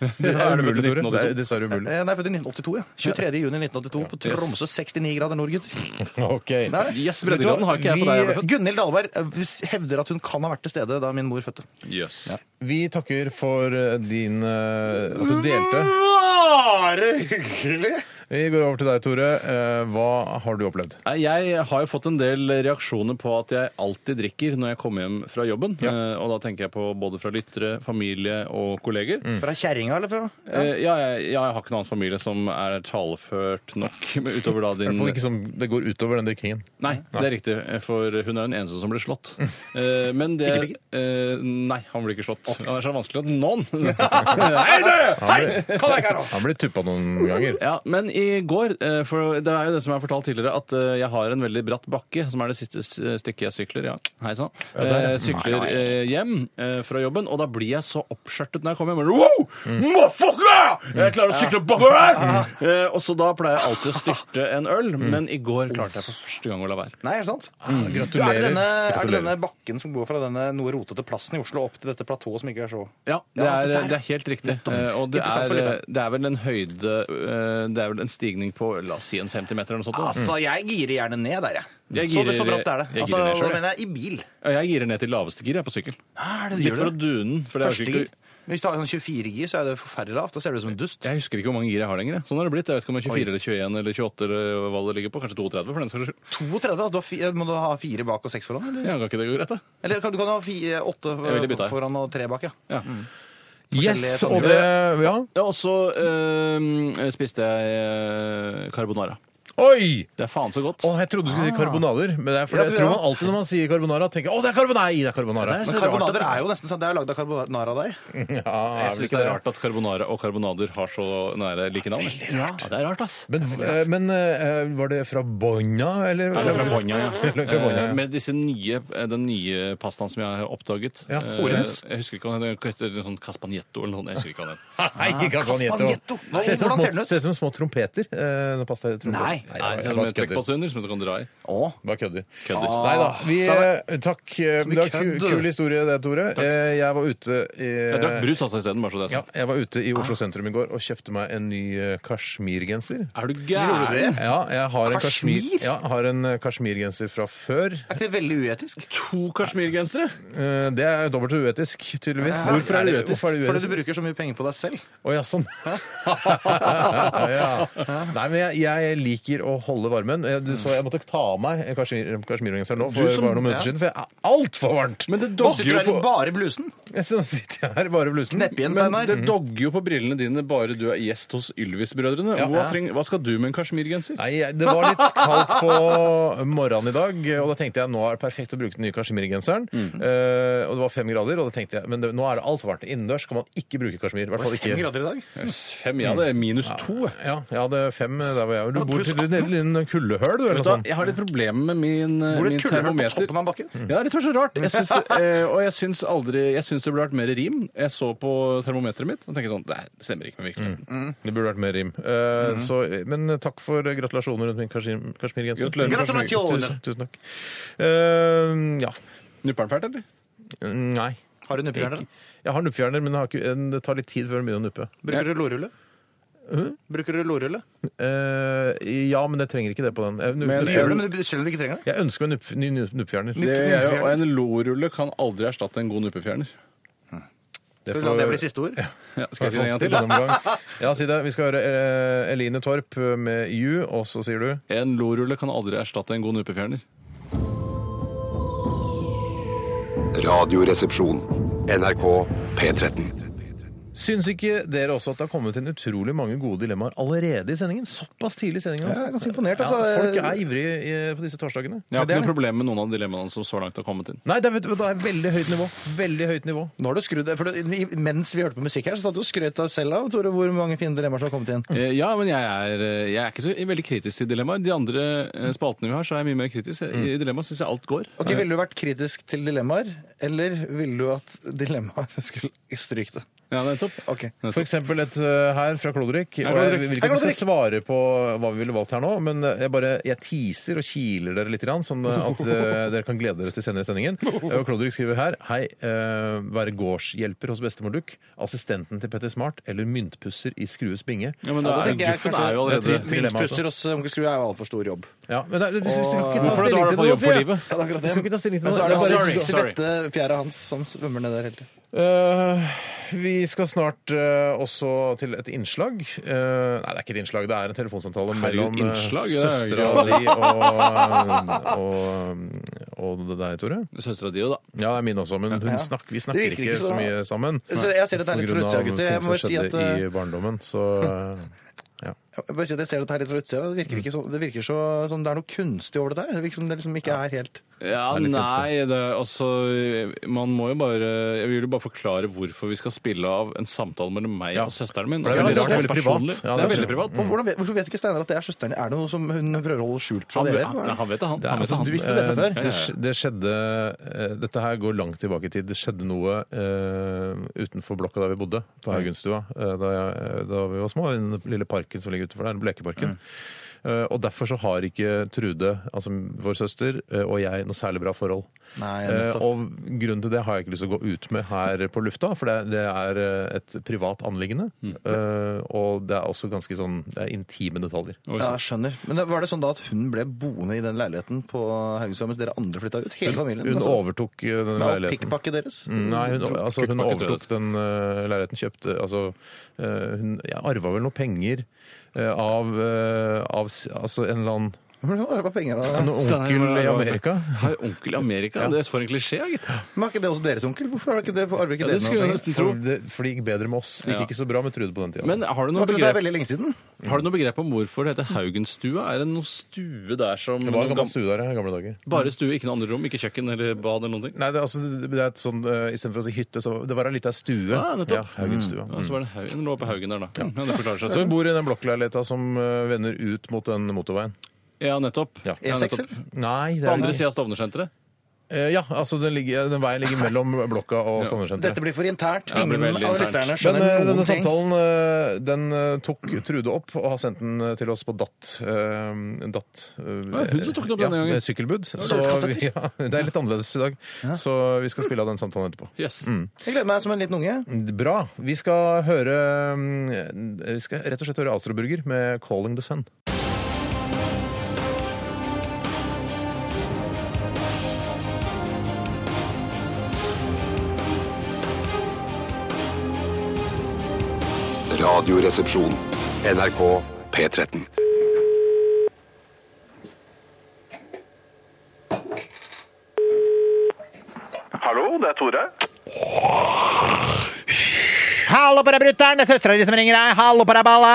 Speaker 3: Det
Speaker 2: Er
Speaker 3: er
Speaker 2: du
Speaker 3: umulig,
Speaker 2: født i
Speaker 3: Tore. Det er
Speaker 2: 1982?
Speaker 3: dessverre
Speaker 4: Eh,
Speaker 3: umulig.
Speaker 4: Nei, jeg er født i 1982, ja. 23. juni 1982 på Tromsø. 69 grader nord, gutter.
Speaker 3: *laughs* Ok.
Speaker 4: Det er det.
Speaker 2: Yes, breddegraden har ikke jeg på deg. jeg ble født.
Speaker 4: Gunhild Dahlberg eh, hevder at hun kan ha vært til stede da min mor fødte.
Speaker 2: Jøss.
Speaker 3: Vi takker for eh, din eh, At du delte.
Speaker 4: Bare hyggelig!
Speaker 3: Vi går over til deg, Tore. Eh, Hva har du opplevd?
Speaker 2: Nei, Jeg har jo fått en del reaksjoner på at jeg alltid drikker når jeg kommer hjem fra jobben. Eh, Og da tenker jeg på både fra lyttere, familie og kolleger.
Speaker 3: Mm.
Speaker 4: Fra kjerringa, eller? Fra?
Speaker 2: Eh, Ja, jeg, ja, jeg har ikke noen annen familie som er taleført nok men utover da
Speaker 3: I
Speaker 2: din
Speaker 3: hvert fall ikke som det går utover den drikkingen.
Speaker 2: Nei, det er riktig, Eh, for hun er jo den eneste som blir slått.
Speaker 3: Mm.
Speaker 2: Eh, Men det
Speaker 4: Ikke
Speaker 2: eh, Nei, han blir ikke slått. Han er så vanskelig at noen
Speaker 3: *laughs*
Speaker 2: Hei, du!
Speaker 3: Han blir,
Speaker 4: Kom deg her, da!
Speaker 3: han blir tuppa noen ganger.
Speaker 2: Ja, men i går, eh, for det er jo det som jeg har fortalt tidligere, at eh, jeg har en veldig bratt bakke, som er det siste s- eh, stykket jeg sykler, ja, hei sann, eh, sykler eh, hjem eh, fra jobben, og da blir jeg så oppskjørtet når jeg kommer hjem, og wow, motherfucker! Jeg klarer å sykle bakover her! Eh, Og så da pleier jeg *laughs* alltid å styrte en øl, men i går klarte jeg for første gang å la være.
Speaker 4: Nei, er det sant? Er det,
Speaker 3: Mm, Gratulerer.
Speaker 4: denne, er det
Speaker 3: Gratulerer.
Speaker 4: denne bakken som går fra denne noe rotete plassen i Oslo opp til dette platået som ikke er så
Speaker 2: Ja, det
Speaker 4: Ja,
Speaker 2: er,
Speaker 4: det der.
Speaker 2: det er helt riktig.
Speaker 4: Nettopp.
Speaker 2: Eh, Og det
Speaker 4: Interessant for
Speaker 2: er,
Speaker 4: lytteren.
Speaker 2: det er vel vel en høyde eh, Det er vel en stigning på la oss si en 50 meter eller noe sånt. da.
Speaker 4: Altså, jeg girer gjerne ned der, jeg.
Speaker 2: Jeg
Speaker 4: så,
Speaker 2: girer-
Speaker 4: så bratt er det.
Speaker 2: jeg
Speaker 4: altså,
Speaker 2: girer ned selv,
Speaker 4: da
Speaker 2: jeg.
Speaker 4: mener jeg i bil.
Speaker 2: Ja, Jeg girer ned til laveste gir jeg på sykkel.
Speaker 4: Er
Speaker 2: Litt for å dune den. For det er jo
Speaker 4: Første
Speaker 2: ikke,
Speaker 4: gir. Hvis du har sånn 24 gir, så er det forferdelig lavt. Da ser du ut som en dust.
Speaker 2: jeg husker ikke hvor mange gir jeg har lenger. jeg. Sånn har det blitt. Jeg vet ikke om det er 24 eller 21 eller 28 eller hva det ligger på. Kanskje 32 for den saks skyld.
Speaker 4: 32, altså, du har fi- må du ha fire bak og seks foran? Eller,
Speaker 2: Ja, kan ikke det gå greit, da?
Speaker 4: eller kan, du kan ha fi- eh, åtte
Speaker 2: ville bytte her.
Speaker 4: foran og tre bak, ja.
Speaker 2: Ja.
Speaker 3: Yes, og
Speaker 4: sanger.
Speaker 3: det Ja.
Speaker 2: Ja, og så eh, spiste jeg eh, carbonara.
Speaker 3: Oi!
Speaker 2: Det er faen så godt.
Speaker 3: Å, jeg trodde du skulle si karbonader. Men det er fordi
Speaker 4: Ja,
Speaker 3: jeg
Speaker 4: tror
Speaker 3: tror
Speaker 4: jeg.
Speaker 3: man alltid når man sier carbonara, tenker 'Å, det er carbonara'. Nei, det er carbonara.
Speaker 2: Det er
Speaker 4: Men
Speaker 2: så rart
Speaker 4: karbonader
Speaker 2: at-
Speaker 4: er jo nesten sånn. Det er jo lagd av carbonaradeig.
Speaker 2: Jeg
Speaker 3: Ja, vel
Speaker 2: syns
Speaker 3: ikke
Speaker 2: det er rart at carbonara og karbonader har så nære like navn. Ja, det er rart, ass.
Speaker 3: Men, eh, men eh, var det fra Bogna, eller?
Speaker 2: Ja, det er fra Bologna, ja.
Speaker 3: Eller Eh, fra Bologna,
Speaker 2: Eh,
Speaker 3: ja.
Speaker 2: Med disse nye, eh, den nye pastaen som jeg har oppdaget.
Speaker 3: Ja,
Speaker 2: Eh,
Speaker 3: Orens.
Speaker 2: Jeg husker ikke hva den heter. Sånn Caspagnetto eller noe sånt. Jeg husker ikke hva den heter.
Speaker 3: Nei, ikke
Speaker 4: Castagnetto.
Speaker 3: Castagnetto.
Speaker 4: Nei,
Speaker 3: Ser ut som
Speaker 4: hvordan
Speaker 3: små-
Speaker 4: ser den ut?
Speaker 3: Ser ut som små trompeter. eh, når pasta trompeter.
Speaker 4: Nei.
Speaker 2: Nei,
Speaker 3: jeg
Speaker 2: det er som
Speaker 3: bare
Speaker 2: en
Speaker 3: kødder.
Speaker 2: trekkpose under som du kan dra i.
Speaker 4: Å.
Speaker 3: Bare kødder.
Speaker 2: Kødder.
Speaker 4: Ah.
Speaker 3: Nei da. Vi, eh, takk. eh,
Speaker 4: mye
Speaker 3: Det var ku-
Speaker 4: kødd.
Speaker 3: kul historie, det, Tore. Eh, Jeg var ute i
Speaker 2: Jeg drakk brus altså isteden, bare så det er
Speaker 3: Ja,
Speaker 2: sagt.
Speaker 3: jeg var ute i Oslo sentrum i går og kjøpte meg en ny eh, kasjmirgenser.
Speaker 2: Er du gæren?
Speaker 3: Ja, jeg har en kasjmir,
Speaker 4: Kasjmir?
Speaker 3: ja, jeg har en eh, kasjmirgenser fra før.
Speaker 4: Er ikke det veldig uetisk?
Speaker 2: To kasjmirgensere?
Speaker 3: Eh, Det er dobbelt uetisk, tydeligvis.
Speaker 4: Ja.
Speaker 3: Hvorfor er det uetisk? Hvorfor er det
Speaker 4: Fordi
Speaker 3: uetisk?
Speaker 4: du bruker så mye penger på deg selv.
Speaker 3: Å ja,
Speaker 2: *laughs*
Speaker 3: sånn. ja. Nei, men jeg, jeg liker å holde varmen. Eh, Du så jeg måtte ta av meg kasjmir- kasjmirgenseren nå for
Speaker 2: Du som-
Speaker 3: bare noen minutter siden, for jeg er altfor varmt! *laughs*
Speaker 2: Men det
Speaker 4: Nå
Speaker 2: dogger
Speaker 4: sitter
Speaker 2: jo
Speaker 4: du her i
Speaker 2: på
Speaker 4: bare blusen.
Speaker 3: Jeg sitter- sitter jeg her bare i blusen.
Speaker 4: Knepp igjen,
Speaker 2: men
Speaker 4: Steinar.
Speaker 2: det dogger jo på brillene dine bare du er gjest hos Ylvis-brødrene.
Speaker 3: Ja.
Speaker 2: Hva, treng- hva skal du med en kasjmirgenser?
Speaker 3: Nei, jeg- det var litt kaldt
Speaker 2: *laughs*
Speaker 3: på morgenen i dag, og da tenkte jeg nå er det perfekt å bruke den nye kasjmirgenseren.
Speaker 2: Mm.
Speaker 3: Eh, og det var fem grader, og da tenkte jeg men det, nå er det altfor varmt. Innendørs kan man ikke bruke kasjmir. I hvert fall
Speaker 4: Fem
Speaker 3: ikke
Speaker 4: grader i dag.
Speaker 2: Fem, ja, det er minus to. jeg.
Speaker 3: ja, jeg hadde fem eh, der hvor jeg var. Du bor til et liten kuldehøl, du,
Speaker 2: Vet
Speaker 3: eller noe
Speaker 2: du hva,
Speaker 3: sånt.
Speaker 2: jeg har litt problemer med min, eh,
Speaker 4: Bor det
Speaker 2: min
Speaker 4: et kullehøl på
Speaker 2: termometer.
Speaker 4: toppen av en bakke?
Speaker 2: Ja, det er litt for så rart. Jeg syns, eh, og jeg syns aldri Jeg syns det burde vært mer rim. Jeg så på termometeret mitt og tenker sånn Nei, det stemmer ikke med virkeligheten.
Speaker 3: Det burde vært mer rim.
Speaker 4: Mhm.
Speaker 3: Eh, så, men takk for gratulasjoner rundt min kasjmir- kasjmirgenser.
Speaker 2: Gratulerer
Speaker 4: med Gratulerer. kasjmir.
Speaker 3: Tusen, tusen takk. Eh, ja.
Speaker 2: Nupper den fælt, eller?
Speaker 3: Nei.
Speaker 4: Har du nuppehjerne?
Speaker 3: Jeg har nuppfjerner, men jeg har ikke, det tar litt tid før den begynner å nuppe.
Speaker 4: Bruker du lårrulle? Bruker du lårrulle?
Speaker 3: Eh, ja, men jeg trenger ikke det på den. Jeg,
Speaker 2: Men-
Speaker 4: Du gjør det, men du selv om du ikke trenger det.
Speaker 3: jeg ønsker meg nupp, ny nupp- nuppfjerner.
Speaker 2: Det
Speaker 3: Det,
Speaker 2: er jo, og en lorulle kan aldri erstatte en god nuppefjerner.
Speaker 4: Skal vi la det bli siste ord?
Speaker 2: Ja, skal jeg si det en gang til? da?
Speaker 3: Ja, si det. Vi skal høre eh, Eline Torp med You, og så sier du
Speaker 2: En lorulle kan aldri erstatte en god nuppefjerner.
Speaker 5: Radioresepsjon. NRK P13.
Speaker 3: Syns ikke dere også at det har kommet inn utrolig mange gode dilemmaer allerede i sendingen? Såpass tidlig i sendingen, altså.
Speaker 4: Jeg er ganske imponert, altså.
Speaker 3: Ja, folk er ivrige eh, på disse torsdagene.
Speaker 2: Jeg har
Speaker 4: det er
Speaker 2: ikke noe problem med noen av dilemmaene som så langt har kommet inn.
Speaker 3: Nei, det er, vet du hva, det er veldig høyt nivå. Veldig høyt nivå.
Speaker 4: Nå har du skrudd, for du, i- Mens vi hørte på musikk her, så satt du og skrøt deg selv av Tore, hvor mange fine dilemmaer som har kommet inn.
Speaker 2: Eh, Ja, men jeg er, eh, jeg er ikke så veldig kritisk til dilemmaer. De andre eh, spaltene vi har, så er jeg mye mer kritisk. I dilemma syns jeg alt går.
Speaker 4: Ok, Ville du vært kritisk til dilemmaer, eller ville du at dilemmaer *laughs* skulle stryke det?
Speaker 2: Ja, nettopp.
Speaker 4: Ok.
Speaker 3: For eksempel et eh, her fra Klodrik. Og jeg vil
Speaker 4: Hei,
Speaker 3: ikke at vi skal
Speaker 4: Klodrik!
Speaker 3: svare på hva vi ville valgt her nå, men eh, jeg bare jeg teaser og kiler dere litt, grann, sånn at eh, dere kan glede dere til senere
Speaker 4: *laughs*
Speaker 3: i sendingen. Og Klodrik skriver her Hei, eh, være gårdshjelper hos bestemor Duck, assistenten til Petter Smart eller myntpusser i Skrues binge.
Speaker 2: Ja, men da
Speaker 4: Ja, det
Speaker 2: er,
Speaker 4: tenker jeg
Speaker 2: guffen
Speaker 4: kanskje-
Speaker 2: er jo
Speaker 3: Det er
Speaker 2: allerede
Speaker 3: et dilemma, altså.
Speaker 4: Myntpusser hos eh, onkel Skrue er jo altfor stor jobb.
Speaker 3: Ja, men det, er- vi, vi, vi skal ikke ta
Speaker 2: Hvorfor er det dårlig for
Speaker 3: stilling til det nå,
Speaker 2: jobb for
Speaker 3: sier jeg.
Speaker 2: livet?
Speaker 4: Ja, det er akkurat
Speaker 3: Vi
Speaker 4: det.
Speaker 3: skal ikke ta stilling til
Speaker 4: Men
Speaker 3: det.
Speaker 4: så er
Speaker 3: det
Speaker 4: det
Speaker 3: er bare-
Speaker 4: bare
Speaker 2: Sorry, sorry.
Speaker 4: svette fjæra hans som svømmer ned der hele tiden.
Speaker 3: Eh, vi skal snart eh, også til et innslag. Eh, nei, det er ikke et innslag, det er en telefonsamtale
Speaker 2: Herregud,
Speaker 3: mellom
Speaker 2: innslag,
Speaker 3: uh,
Speaker 2: det er
Speaker 3: søstera
Speaker 2: jo
Speaker 3: di og, eh, og, og deg, Tore.
Speaker 2: Søstera di, jo, da.
Speaker 3: Ja, det er min også, men hun snak, vi snakker
Speaker 4: Det virker
Speaker 3: ikke,
Speaker 4: ikke
Speaker 3: så
Speaker 4: så-
Speaker 3: mye sammen.
Speaker 4: Så jeg ser dette her
Speaker 3: På
Speaker 4: litt fra
Speaker 3: grunn
Speaker 4: utsida,
Speaker 3: av
Speaker 4: gutter. Jeg må
Speaker 3: ting som
Speaker 4: bare si at,
Speaker 3: skjedde
Speaker 4: eh,
Speaker 3: i barndommen, så eh,
Speaker 4: jeg bare si at jeg ser dette her litt fra utsida. og Det virker, ikke så, det virker så, som det er noe kunstig over det der. Det virker som det liksom ikke er helt
Speaker 2: Ja,
Speaker 3: Det er litt
Speaker 2: nei, det, er- altså Man må jo bare Jeg vil jo bare forklare hvorfor vi skal spille av en samtale mellom meg
Speaker 3: Ja.
Speaker 2: og søsteren min.
Speaker 3: For det er
Speaker 2: Altså,
Speaker 3: veldig rart,
Speaker 2: helt
Speaker 3: veldig privat.
Speaker 2: personlig.
Speaker 3: Ja,
Speaker 2: det er
Speaker 3: det er
Speaker 2: veldig privat.
Speaker 4: Og Hvordan vet, hvorfor vet ikke Steinar at det er søsteren? Er det noe som hun prøver å holde skjult fra
Speaker 2: Han,
Speaker 4: dere?
Speaker 2: han, han vet det, han.
Speaker 3: Det er- altså,
Speaker 2: han, vet det, han.
Speaker 4: Du visste det fra før?
Speaker 2: Ja,
Speaker 3: Eh, Det,
Speaker 2: ja, ja.
Speaker 3: det skjedde eh, Dette her går langt tilbake i tid. Det skjedde noe eh, utenfor blokka der vi bodde,
Speaker 4: Mm.
Speaker 3: på Haugenstua, eh, da, jeg, da vi var små. I den lille parken som ligger utenfor der, Blekeparken. Eh, Og derfor så har ikke Trude, altså vår søster, eh, og jeg noe særlig bra forhold.
Speaker 4: Nei,
Speaker 3: Eh,
Speaker 4: nettopp.
Speaker 3: og grunnen til det har jeg ikke lyst til å gå ut med her på lufta, for det, det er eh, et privat anliggende.
Speaker 4: Mm.
Speaker 3: Eh, og det er også ganske sånn det er intime detaljer.
Speaker 4: Ja, jeg skjønner. Men det- var det sånn da at hun ble boende i den leiligheten på Haugesund mens dere andre flytta ut? Hele familien?
Speaker 3: Hun
Speaker 4: altså,
Speaker 3: overtok eh, den
Speaker 4: med all
Speaker 3: leiligheten.
Speaker 4: pikkpakket deres?
Speaker 3: Nei, hun,
Speaker 2: Kukkpakke,
Speaker 3: altså, hun
Speaker 2: tror jeg
Speaker 3: overtok den eh, leiligheten, kjøpte Altså, eh, hun jeg arva vel noe penger eh, av, eh, av s- Altså en eller annen
Speaker 4: Hun arva penger av
Speaker 3: en onkel i Amerika.
Speaker 2: Har onkel i Amerika? Det får en klisjé, ja, gitt.
Speaker 4: Men er ikke det også deres onkel? Hvorfor har ikke det, arver ikke
Speaker 2: Ja, det
Speaker 4: dere
Speaker 2: skulle
Speaker 4: noe penger?
Speaker 2: jeg nesten
Speaker 3: For
Speaker 2: tro.
Speaker 3: det, for det gikk bedre med oss. Det
Speaker 2: Ja.
Speaker 3: gikk ikke så bra med Trude på den tida.
Speaker 2: Men har du noe
Speaker 4: Men Det er
Speaker 2: begrep,
Speaker 4: veldig lenge siden.
Speaker 2: har du noe begrep om hvorfor det heter Haugenstua? Er det noe stue der som
Speaker 3: det var en
Speaker 2: noen
Speaker 3: gammel
Speaker 2: gam-
Speaker 3: stue der ja, i gamle dager.
Speaker 2: Bare stue, ikke noe andre rom? Ikke kjøkken eller bad eller noen ting?
Speaker 3: Nei, det, er altså, det er et sånn, uh, Istedenfor å si hytte, så det var ei lita stue.
Speaker 2: Ja, Ah, nettopp.
Speaker 3: ja, Haugenstua.
Speaker 2: Ja, så var det Haugen, den lå på Haugen der, da. Ja, det forklarer seg
Speaker 3: Så hun
Speaker 2: selv.
Speaker 3: bor i den blokkleiligheta som uh, vender ut mot den motorveien.
Speaker 2: Ja, nettopp.
Speaker 3: Ja.
Speaker 2: Ja,
Speaker 4: E6,
Speaker 2: nettopp.
Speaker 4: eller?
Speaker 3: Nei, det
Speaker 2: På
Speaker 3: er
Speaker 2: andre
Speaker 3: det
Speaker 2: sida
Speaker 3: ikke.
Speaker 2: av Stovner-senteret.
Speaker 3: Eh, ja, altså den, ligger, den veien ligger mellom blokka og
Speaker 4: Dette
Speaker 3: Stovner-senteret.
Speaker 4: blir for internt.
Speaker 2: det blir
Speaker 4: Ingen
Speaker 2: veldig
Speaker 4: av
Speaker 2: internt.
Speaker 4: lytterne
Speaker 3: Men
Speaker 4: skjønner
Speaker 3: eh,
Speaker 4: noen
Speaker 3: denne
Speaker 4: ting.
Speaker 3: samtalen eh, den eh, tok Trude opp og har sendt den eh, til oss på DAT. eh, DAT eh,
Speaker 2: det hun som tok den opp denne gangen.
Speaker 3: Ja, sykkelbud. Så,
Speaker 4: kassetter.
Speaker 3: *laughs* ja, det er litt annerledes i dag, så vi skal spille av den samtalen etterpå.
Speaker 2: Yes.
Speaker 4: Jeg gleder meg som en liten unge.
Speaker 3: Bra. Vi skal høre mm, Vi skal rett og slett høre Astroburger med 'Calling the Sun'.
Speaker 5: Radioresepsjon. NRK P13.
Speaker 6: Hallo, det er Tore.
Speaker 3: Hallo på deg, brutter'n! Det er søstera di som ringer deg. Hallo på deg, balla!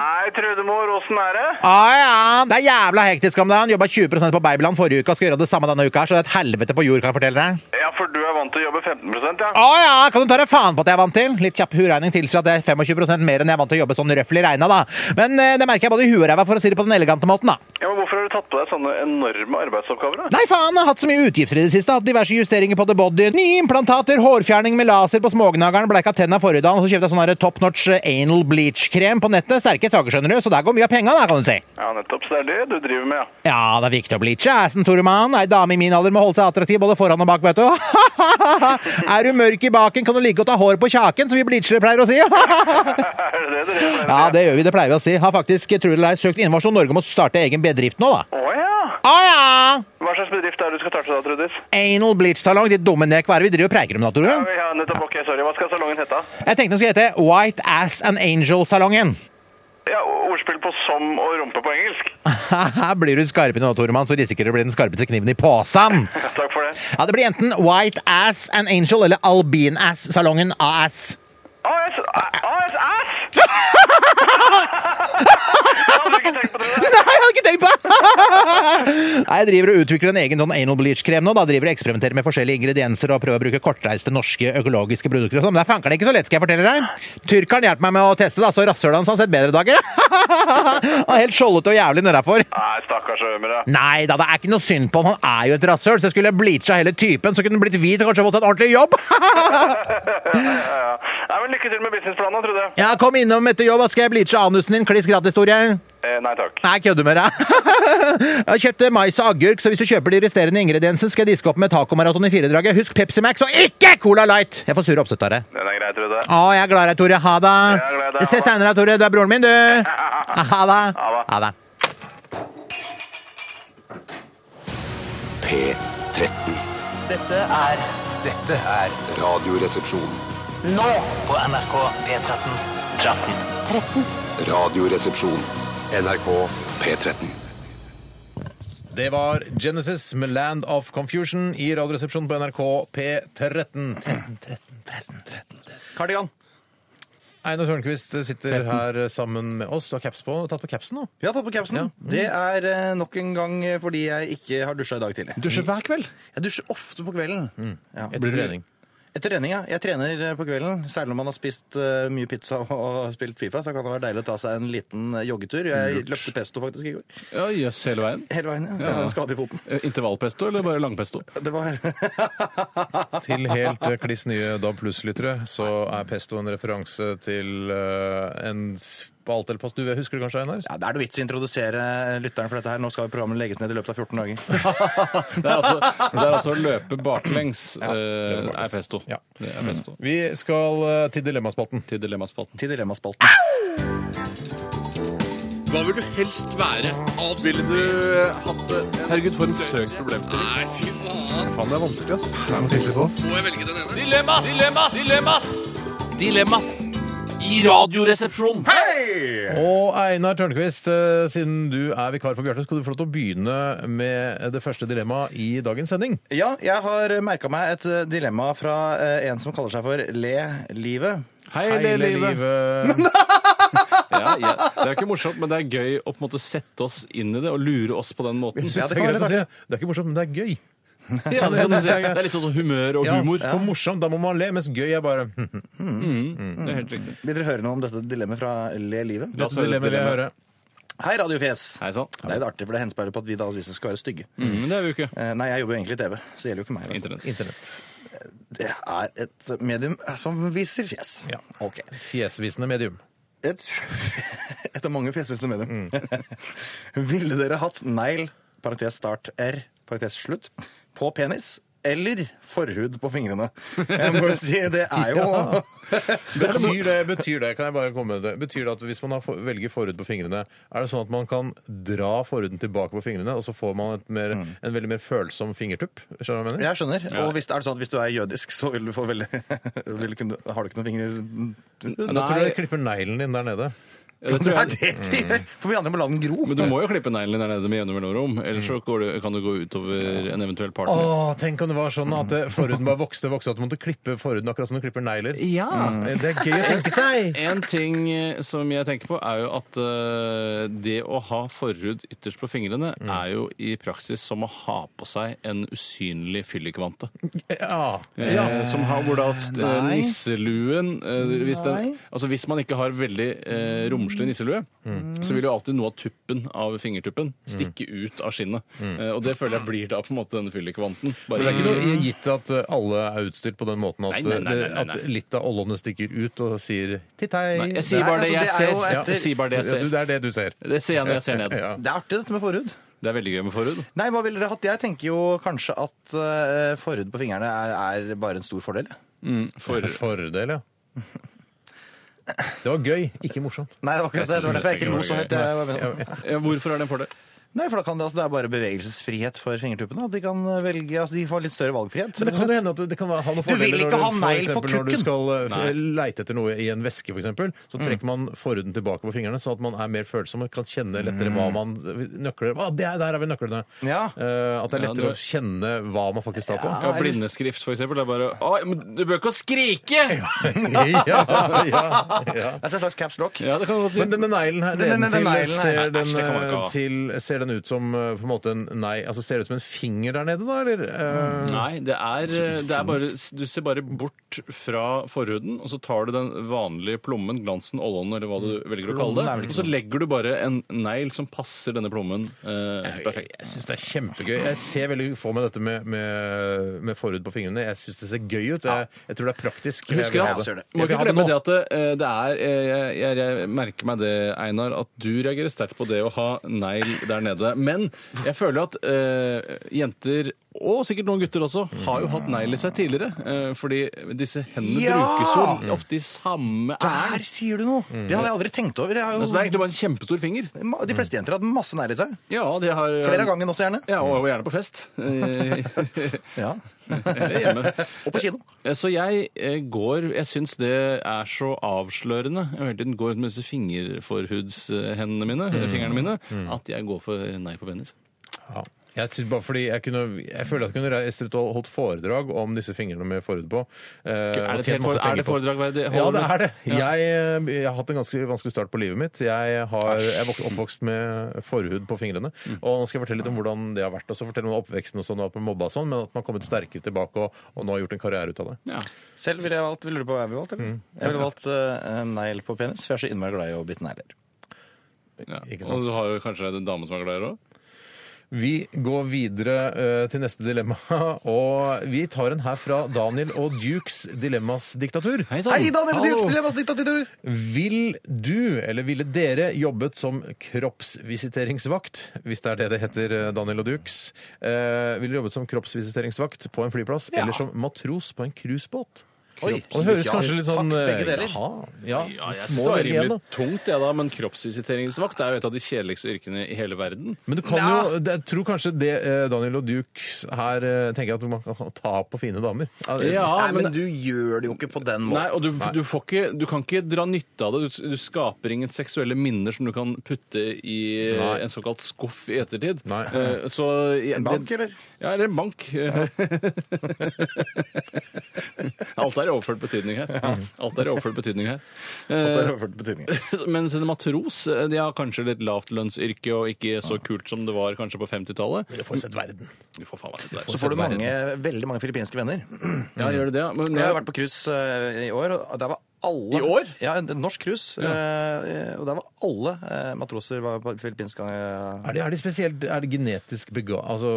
Speaker 6: Hei, Trudemor, åssen er det?
Speaker 3: Ah, ja. Det er jævla hektisk om dagen. Jobba 20 på Babyland forrige uke og skal gjøre det samme denne uka, så det er et helvete på jord, kan jeg fortelle deg.
Speaker 6: Ja, for du er vant til å jobbe 15 ja?
Speaker 3: Å Ah, ja, kan du ta deg faen på at jeg er vant til? Litt kjapp huregning tilsier at det er 25 mer enn jeg er vant til å jobbe sånn røffelig regna, da. Men eh, det merker jeg både i huet og ræva, for å si det på den elegante måten, da.
Speaker 6: ja? Men hvorfor har du tatt på deg sånne enorme arbeidsoppgaver, da?
Speaker 3: Nei, faen, jeg har hatt så mye utgifter i det siste. Hatt diverse justeringer på the body, nye implantater, hårfjerning med laser på smågnageren, bleika tenna forrige dag, og så kjøpte jeg sånn her top notch anal bleach-krem på nettet. Sterke saker, skjønner du, så der går mye av penga, da, kan du si.
Speaker 6: Ja, nettopp. Så det er det du driver med, ja.
Speaker 3: Ja, det er viktig å bleache assen, Toremann. Ei dame i min alder må holde seg attraktiv både foran og bak, vet du. *laughs* er du mørk i baken, kan du like godt ha hår på kjaken, som vi bleachere pleier å si. *laughs*
Speaker 6: Er det det du driver med?
Speaker 3: ja, det gjør vi, det pleier vi å si. Har faktisk, tror du det er, søkt Innovasjon Norge om å starte egen bedrift nå, da.
Speaker 6: Å ja!
Speaker 3: Å ja!
Speaker 6: Hva slags bedrift er det du skal starte da, Trudis?
Speaker 3: Anal bleach-salong, ditt dumme nek. Hva er det vi driver og preiker om da, tror
Speaker 6: Ja,
Speaker 3: du?
Speaker 6: ja, nettopp. Ok, sorry. Hva skal salongen hete? da?
Speaker 3: Jeg tenkte den skulle hete White Ass and Angel-salongen.
Speaker 6: Ja, ordspill på som og rumpe på engelsk.
Speaker 3: *laughs* Haha, Blir du skarp nå, Toremann, så risikerer du å bli den skarpeste kniven i posen.
Speaker 6: Takk for det.
Speaker 3: Ja, det blir enten White Ass and Angel eller Albin Ass-salongen AS.
Speaker 6: AS AS!
Speaker 3: *laughs*
Speaker 6: AS! Jeg hadde ikke tenkt på det.
Speaker 3: Nei, jeg hadde ikke tenkt på det! Nei, jeg driver og utvikler en egen sånn anal bleach-krem nå. Da driver og eksperimenterer med forskjellige ingredienser og prøver å bruke kortreiste norske økologiske produkter og sånn. Men det er fanker'n ikke så lett, skal jeg fortelle deg. Tyrkeren hjelper meg med å teste, da, så rasshøla hans har sett bedre dager. *laughs* Han er helt skjoldete og jævlig nedafor.
Speaker 6: Nei, stakkars ømer, ja.
Speaker 3: Nei da, det er ikke noe synd på han. Han er jo et rasshøl, så jeg skulle bleacha hele typen, så kunne han blitt hvit og kanskje fått seg en ordentlig jobb. *laughs*
Speaker 6: ja. Nei, men lykke til med businessplanen, Trude.
Speaker 3: ja, kom innom etter jobb, så skal jeg bleache anusen din. Kliss gratis, Tore.
Speaker 6: Eh, nei takk.
Speaker 3: Nei, jeg kødder med deg. *laughs* jeg har kjøpt mais og agurk, så hvis du kjøper de resterende ingrediensene, skal jeg diske opp med tacomaraton i firedraget. Husk Pepsi Max og ikke Cola Light! Jeg får sur oppstøtt av det.
Speaker 6: Den er grei, Trude.
Speaker 3: Å, jeg er glad i deg, Tore. Ha det.
Speaker 6: Jeg er glad i deg. Ha
Speaker 3: Ses
Speaker 6: det.
Speaker 3: seinere, Tore. Du er
Speaker 6: *laughs*
Speaker 3: broren min, du. Ha det.
Speaker 6: Ha det.
Speaker 3: Ha det.
Speaker 5: P13.
Speaker 7: Dette er
Speaker 5: Dette er Radioresepsjon.
Speaker 7: nå på NRK P13.
Speaker 5: Radioresepsjon. NRK P13.
Speaker 3: Det var Genesis med 'Land of Confusion' i Radioresepsjonen på NRK P13. 13, 13, 13, 13.
Speaker 4: Kardigan.
Speaker 3: Einar Tørnquist sitter her sammen med oss. Du har caps på. Du har tatt på capsen nå.
Speaker 4: Jeg har tatt på capsen. Det er eh, nok en gang eh, fordi jeg ikke har dusja i dag tidlig.
Speaker 2: Dusjer hver kveld.
Speaker 4: Jeg dusjer ofte på kvelden. Ja.
Speaker 3: Etter trening.
Speaker 4: Etter trening, ja. Jeg trener eh, på kvelden. Særlig når man har spist eh, mye pizza *laughs* og, og spilt Fifa, så kan det være deilig å ta seg en liten eh, joggetur. Jeg løpte pesto faktisk i går.
Speaker 2: Ja, Jøss, hele veien.
Speaker 4: Hele veien, ja. Jeg hadde en skade i foten.
Speaker 2: Eh, Intervallpesto eller bare langpesto?
Speaker 4: Det var
Speaker 3: Til helt eh, kliss nye DAB Pluss-lyttere så er pesto en referanse til eh, en s- på alt eller pass. Du husker det kanskje, Einar?
Speaker 4: Ja, Det er det vits i å introdusere eh, lytteren for dette her. Nå skal jo programmet legges ned i løpet av 14 dager.
Speaker 2: Det er altså, det er altså å løpe baklengs eh,
Speaker 3: baklengs.
Speaker 2: er festo.
Speaker 3: Ja. Mm.
Speaker 2: Det er festo.
Speaker 3: Vi skal eh, til dilemmaspalten.
Speaker 2: Til
Speaker 4: *laughs*
Speaker 2: Dilemmaspalten.
Speaker 4: Til Dilemmaspalten.
Speaker 8: Hva vil du helst være? Ville du hatt det? Herregud, for en søk problemstilling. Nei, fy faen. det er vanskelig, ass. Det er noe tydelig på oss. Må jeg velge den ene?
Speaker 7: Dilemmas! Dilemmas! Dilemmas! Dilemmas! I radioresepsjonen.
Speaker 3: Og Einar Tørnquist, eh, siden du er vikar for Bjarte, skal du få lov til å begynne med det første dilemmaet i dagens sending.
Speaker 4: Ja, jeg har merka meg et eh, dilemma fra eh, en som kaller seg for Le livet.
Speaker 2: Hei,
Speaker 3: Hele *laughs* livet.
Speaker 2: Ja, ja. Det er jo ikke morsomt, men det er gøy å på en måte sette oss inn i det og lure oss på den måten.
Speaker 3: Jeg
Speaker 2: Ja, *laughs*
Speaker 3: synes
Speaker 4: det
Speaker 3: det, er
Speaker 4: kan
Speaker 3: greit
Speaker 4: være
Speaker 3: å si. det er ikke morsomt, men det er gøy.
Speaker 2: det, kan du si. det er litt sånn som humør og humor.
Speaker 3: For morsomt, da må man le, mens gøy er bare hm,
Speaker 2: Det er helt riktig.
Speaker 4: Vil dere høre noe om dette dilemmaet fra Le livet?
Speaker 2: La oss høre
Speaker 3: Dilemma vil jeg høre.
Speaker 4: Hei, Radiofjes!
Speaker 2: Hei sann.
Speaker 4: Det er jo litt artig, for det henspeiler på at vi da visstnok skal være stygge.
Speaker 2: Mm, Men det er vi jo ikke.
Speaker 4: Eh, Nei, jeg jobber jo egentlig i TV, så det gjelder jo ikke meg. da.
Speaker 2: Internett.
Speaker 3: Internett.
Speaker 4: Det er et medium eh, som viser fjes.
Speaker 3: Ja.
Speaker 4: Ok.
Speaker 3: Fjesvisende medium.
Speaker 4: Et, *laughs* et av mange fjesvisende medium.
Speaker 2: Mm.
Speaker 4: *laughs* Ville dere hatt negl, parentes start, R, parentes slutt, på penis? Eller forhud på fingrene. Jeg må jo
Speaker 2: *laughs*
Speaker 4: si, det er jo
Speaker 3: Betyr det, betyr det, kan jeg bare komme med det, betyr det at hvis man har for, velger forhud på fingrene, er det sånn at man kan dra forhuden tilbake på fingrene, og så får man et mer, en veldig mer følsom fingertupp? Skjønner du hva jeg mener?
Speaker 4: *laughs* Jeg skjønner. Og hvis, er det sånn at hvis du er jødisk, så vil du få veldig *laughs* vil du kunne, Har du ikke noen fingre
Speaker 3: Da tror jeg
Speaker 2: Nei.
Speaker 3: jeg klipper neglen din der nede.
Speaker 2: Det
Speaker 4: Det
Speaker 2: tror
Speaker 4: er
Speaker 2: jeg.
Speaker 4: det de gjør! For vi andre må la den gro.
Speaker 2: Men du må jo klippe neglen din der nede med jevne mellomrom, ellers så går det, kan det gå utover en eventuell partner.
Speaker 3: Åh, tenk om det var sånn at eh, forhuden bare vokste og vokste, at du måtte klippe forhuden akkurat som du klipper negler. Mm. Det er gøy å tenke seg!
Speaker 2: En ting eh, som jeg tenker på, er jo at eh, det å ha forhud ytterst på fingrene
Speaker 3: Mm.
Speaker 2: er jo i praksis som å ha på seg en usynlig fyllikvante.
Speaker 3: *laughs* Ja.
Speaker 2: Eh, Som har hvor da st- eh,
Speaker 4: nei.
Speaker 2: nisseluen eh, hvis, den,
Speaker 4: Nei.
Speaker 2: altså hvis man ikke har veldig eh, romslig nisselue,
Speaker 3: Mm.
Speaker 2: så vil jo alltid noe av tuppen av fingertuppen stikke ut av skinnet. Eh, og det føler jeg blir da på en måte denne fyllikvanten.
Speaker 3: Mm. Men
Speaker 2: Bare
Speaker 3: det er ikke noe gitt at eh, alle er utstyrt på den måten at, eh,
Speaker 2: Nei, nei, nei, nei, nei, nei.
Speaker 3: at litt av ollene stikker ut og sier titt
Speaker 2: Nei,
Speaker 3: hei.
Speaker 2: jeg sier bare det
Speaker 4: Nei, altså,
Speaker 2: jeg
Speaker 4: det er
Speaker 2: ser.
Speaker 4: jo etter-
Speaker 2: Jeg sier bare det
Speaker 3: Ja, du,
Speaker 2: jeg ser.
Speaker 3: det er det du ser.
Speaker 2: Det ser jeg når jeg ser ned.
Speaker 3: *laughs* Ja.
Speaker 4: Det er artig, dette med forhud.
Speaker 2: Det er veldig gøy med
Speaker 3: *laughs*
Speaker 2: forhud.
Speaker 4: Nei, hva ville dere hatt? Jeg tenker jo kanskje at eh, forhud på fingrene er, er bare en stor fordel.
Speaker 2: For,
Speaker 3: Fordel, ja. Det var gøy, ikke morsomt.
Speaker 4: Nei, det var akkurat det. Det var derfor jeg ikke lo så høyt. Jeg var med sånn.
Speaker 2: Ja, Eh, Hvorfor er det en fordel?
Speaker 4: Nei, for da kan det, altså, det er bare bevegelsesfrihet for fingertuppene. og De kan velge, altså, de får litt større valgfrihet.
Speaker 3: Men det kan jo hende at det kan ha noen
Speaker 4: vil ikke
Speaker 3: fordeler når du-
Speaker 4: ha
Speaker 3: for
Speaker 4: negl på
Speaker 3: eksempel Når du
Speaker 4: kukken. Mm.
Speaker 3: skal eh,
Speaker 2: Nei.
Speaker 3: leite etter noe i en veske, for eksempel, så trekker man forhuden tilbake på fingrene, sånn at man er mer følsom og kan kjenne lettere hva man nøkler ah, det er, Der er vi nøklene!
Speaker 4: Mm. Ja.
Speaker 3: Eh, at det er
Speaker 2: Ja,
Speaker 3: lettere
Speaker 2: det-
Speaker 3: å kjenne hva man faktisk tar på.
Speaker 2: Ja, blindeskrift, for eksempel. Det er bare Å, men du bør ikke å skrike!
Speaker 3: ja, ja,
Speaker 4: *laughs*
Speaker 3: ja.
Speaker 4: Det er en slags caps lock.
Speaker 2: Ja, det kan du godt si.
Speaker 3: Men denne neglen her,
Speaker 4: Den-
Speaker 3: den,
Speaker 4: den- den
Speaker 3: til,
Speaker 4: neglen her.
Speaker 3: ser,
Speaker 2: Nei, æsj,
Speaker 3: den,
Speaker 2: det kan man ikke ha.
Speaker 3: eh, til, ser den ut som eh, på en måte en nei, altså ser det ut som en finger der nede, da, eller?
Speaker 4: Mm.
Speaker 3: Eh,
Speaker 2: Nei, det er, eh, det er bare Du ser bare bort fra forhuden, og så tar du den vanlige plommen, glansen, oljen, eller hva du velger å kalle det, og så legger du bare en negl som passer denne plommen eh, perfekt. Ah.
Speaker 3: Jeg syns det er kjempegøy. Jeg ser veldig for meg dette med, med, med forhud på fingrene. Jeg syns det ser gøy ut. Jeg, jeg tror det er praktisk. Jeg vil
Speaker 2: Husker
Speaker 3: ha
Speaker 2: at,
Speaker 3: det.
Speaker 2: må
Speaker 3: Jeg vil
Speaker 2: ikke
Speaker 3: ha
Speaker 2: glemme det
Speaker 3: nå.
Speaker 2: at det, eh, det er eh, jeg, jeg, jeg merker meg det, Einar, at du reagerer sterkt på det å ha negl der nede. Men jeg føler at eh, jenter og sikkert noen gutter også har jo hatt negl i seg tidligere. eh, fordi disse hendene
Speaker 4: Ja!
Speaker 2: brukes
Speaker 3: Mm.
Speaker 2: jo ofte i samme ærend.
Speaker 4: Der sier du noe! Det hadde jeg aldri tenkt over. Jeg har
Speaker 2: Altså, det er
Speaker 4: jo,
Speaker 2: egentlig bare en kjempestor finger.
Speaker 4: ma- de fleste jenter har hatt masse negler i seg.
Speaker 2: Ja, de har
Speaker 4: Flere av gangen også, gjerne.
Speaker 2: Ja, og og gjerne på fest. *laughs* Eh,
Speaker 4: Ja.
Speaker 2: Eller hjemme.
Speaker 4: Og på kino.
Speaker 2: Eh, Så jeg eh, går Jeg syns det er så avslørende jeg hele tiden går ut med disse fingerforhudshendene mine, eh, fingrene mine, at jeg går for nei på penis.
Speaker 3: Ja. Jeg, synes bare fordi jeg, kunne, jeg føler at jeg kunne reist ut og holdt foredrag om disse fingrene med forhud på. eh,
Speaker 2: Er
Speaker 3: og
Speaker 2: det,
Speaker 3: tjent
Speaker 2: helt
Speaker 3: masse
Speaker 2: for,
Speaker 3: penger
Speaker 2: er det
Speaker 3: på det.
Speaker 2: foredrag verdig?
Speaker 3: Ja, det er det.
Speaker 2: Ja.
Speaker 3: Jeg, eh, jeg har hatt en ganske vanskelig start på livet mitt. Jeg, har, jeg er vok- oppvokst med forhud på fingrene.
Speaker 2: Mm.
Speaker 3: Og nå skal jeg fortelle litt om hvordan det har vært. Og så fortelle om oppveksten og sånn, og at man mobba og sånn, men at man har kommet sterkere tilbake og, og nå har gjort en karriere ut av det.
Speaker 2: Ja.
Speaker 4: Selv ville jeg valgt Vil du på hva jeg ville valgt? Eller? Jeg ville valgt eh, negl på penis, for jeg er så innmari glad i å bite negler.
Speaker 2: Ja.
Speaker 3: Ikke sant?
Speaker 2: Og du har jo kanskje en dame som er glad i det òg?
Speaker 3: Vi går videre eh, til neste dilemma, *laughs* og vi tar en her fra Daniel og Dukes Dilemmas diktatur.
Speaker 4: Hei, Daniel
Speaker 3: Hallo.
Speaker 4: Dukes dilemmas diktatur!
Speaker 3: Vil du, eller ville dere, jobbet som kroppsvisiteringsvakt, hvis det er det det heter, eh, Daniel og Dukes? Eh, ville dere jobbet som kroppsvisiteringsvakt på en flyplass, eller som matros på en cruisebåt?
Speaker 4: Oi,
Speaker 3: Og det høres kanskje litt sånn
Speaker 4: Fuck, begge
Speaker 3: eh,
Speaker 4: deler.
Speaker 3: jaha, ja,
Speaker 2: Ja, jeg
Speaker 3: må
Speaker 2: synes det var
Speaker 3: velge en, da.
Speaker 2: rimelig tungt, jeg da, men kroppsvisiteringsvakt er jo et av de kjedeligste yrkene i hele verden.
Speaker 3: Men du kan jo, det- jeg tror kanskje det eh, Daniel og Dukes her eh, tenker at man kan ta på fine damer.
Speaker 4: Nei, men du gjør det jo ikke på den
Speaker 2: Nei,
Speaker 4: måten.
Speaker 2: og du, du, får ikke, du kan ikke dra nytte av det. Du, du skaper ingen seksuelle minner som du kan putte i
Speaker 3: Nei.
Speaker 2: en såkalt skuff i ettertid.
Speaker 3: Nei.
Speaker 2: Eh, Så, en
Speaker 4: bank, eller?
Speaker 2: Ja, eller en bank. *laughs* Alt er i overført betydning her. Alt er i overført betydning her.
Speaker 4: Det har overført betydning.
Speaker 2: Mens en matros eh, de har kanskje litt lavtlønnsyrke og ikke så kult som det var kanskje på 50-tallet.
Speaker 3: Du får sett verden.
Speaker 2: Du får faen meg sitte
Speaker 4: Så
Speaker 2: der.
Speaker 4: får du mange, veldig mange filippinske venner.
Speaker 2: Ja, gjør du det? ja? Men,
Speaker 4: Jeg har vært på cruise eh, i år, og der var alle
Speaker 2: I år?
Speaker 4: Ja, en norsk cruise. eh, Og der var alle eh, matroser var på filippinsk eh,
Speaker 3: Er det, er de spesielt er det genetisk bega... Altså,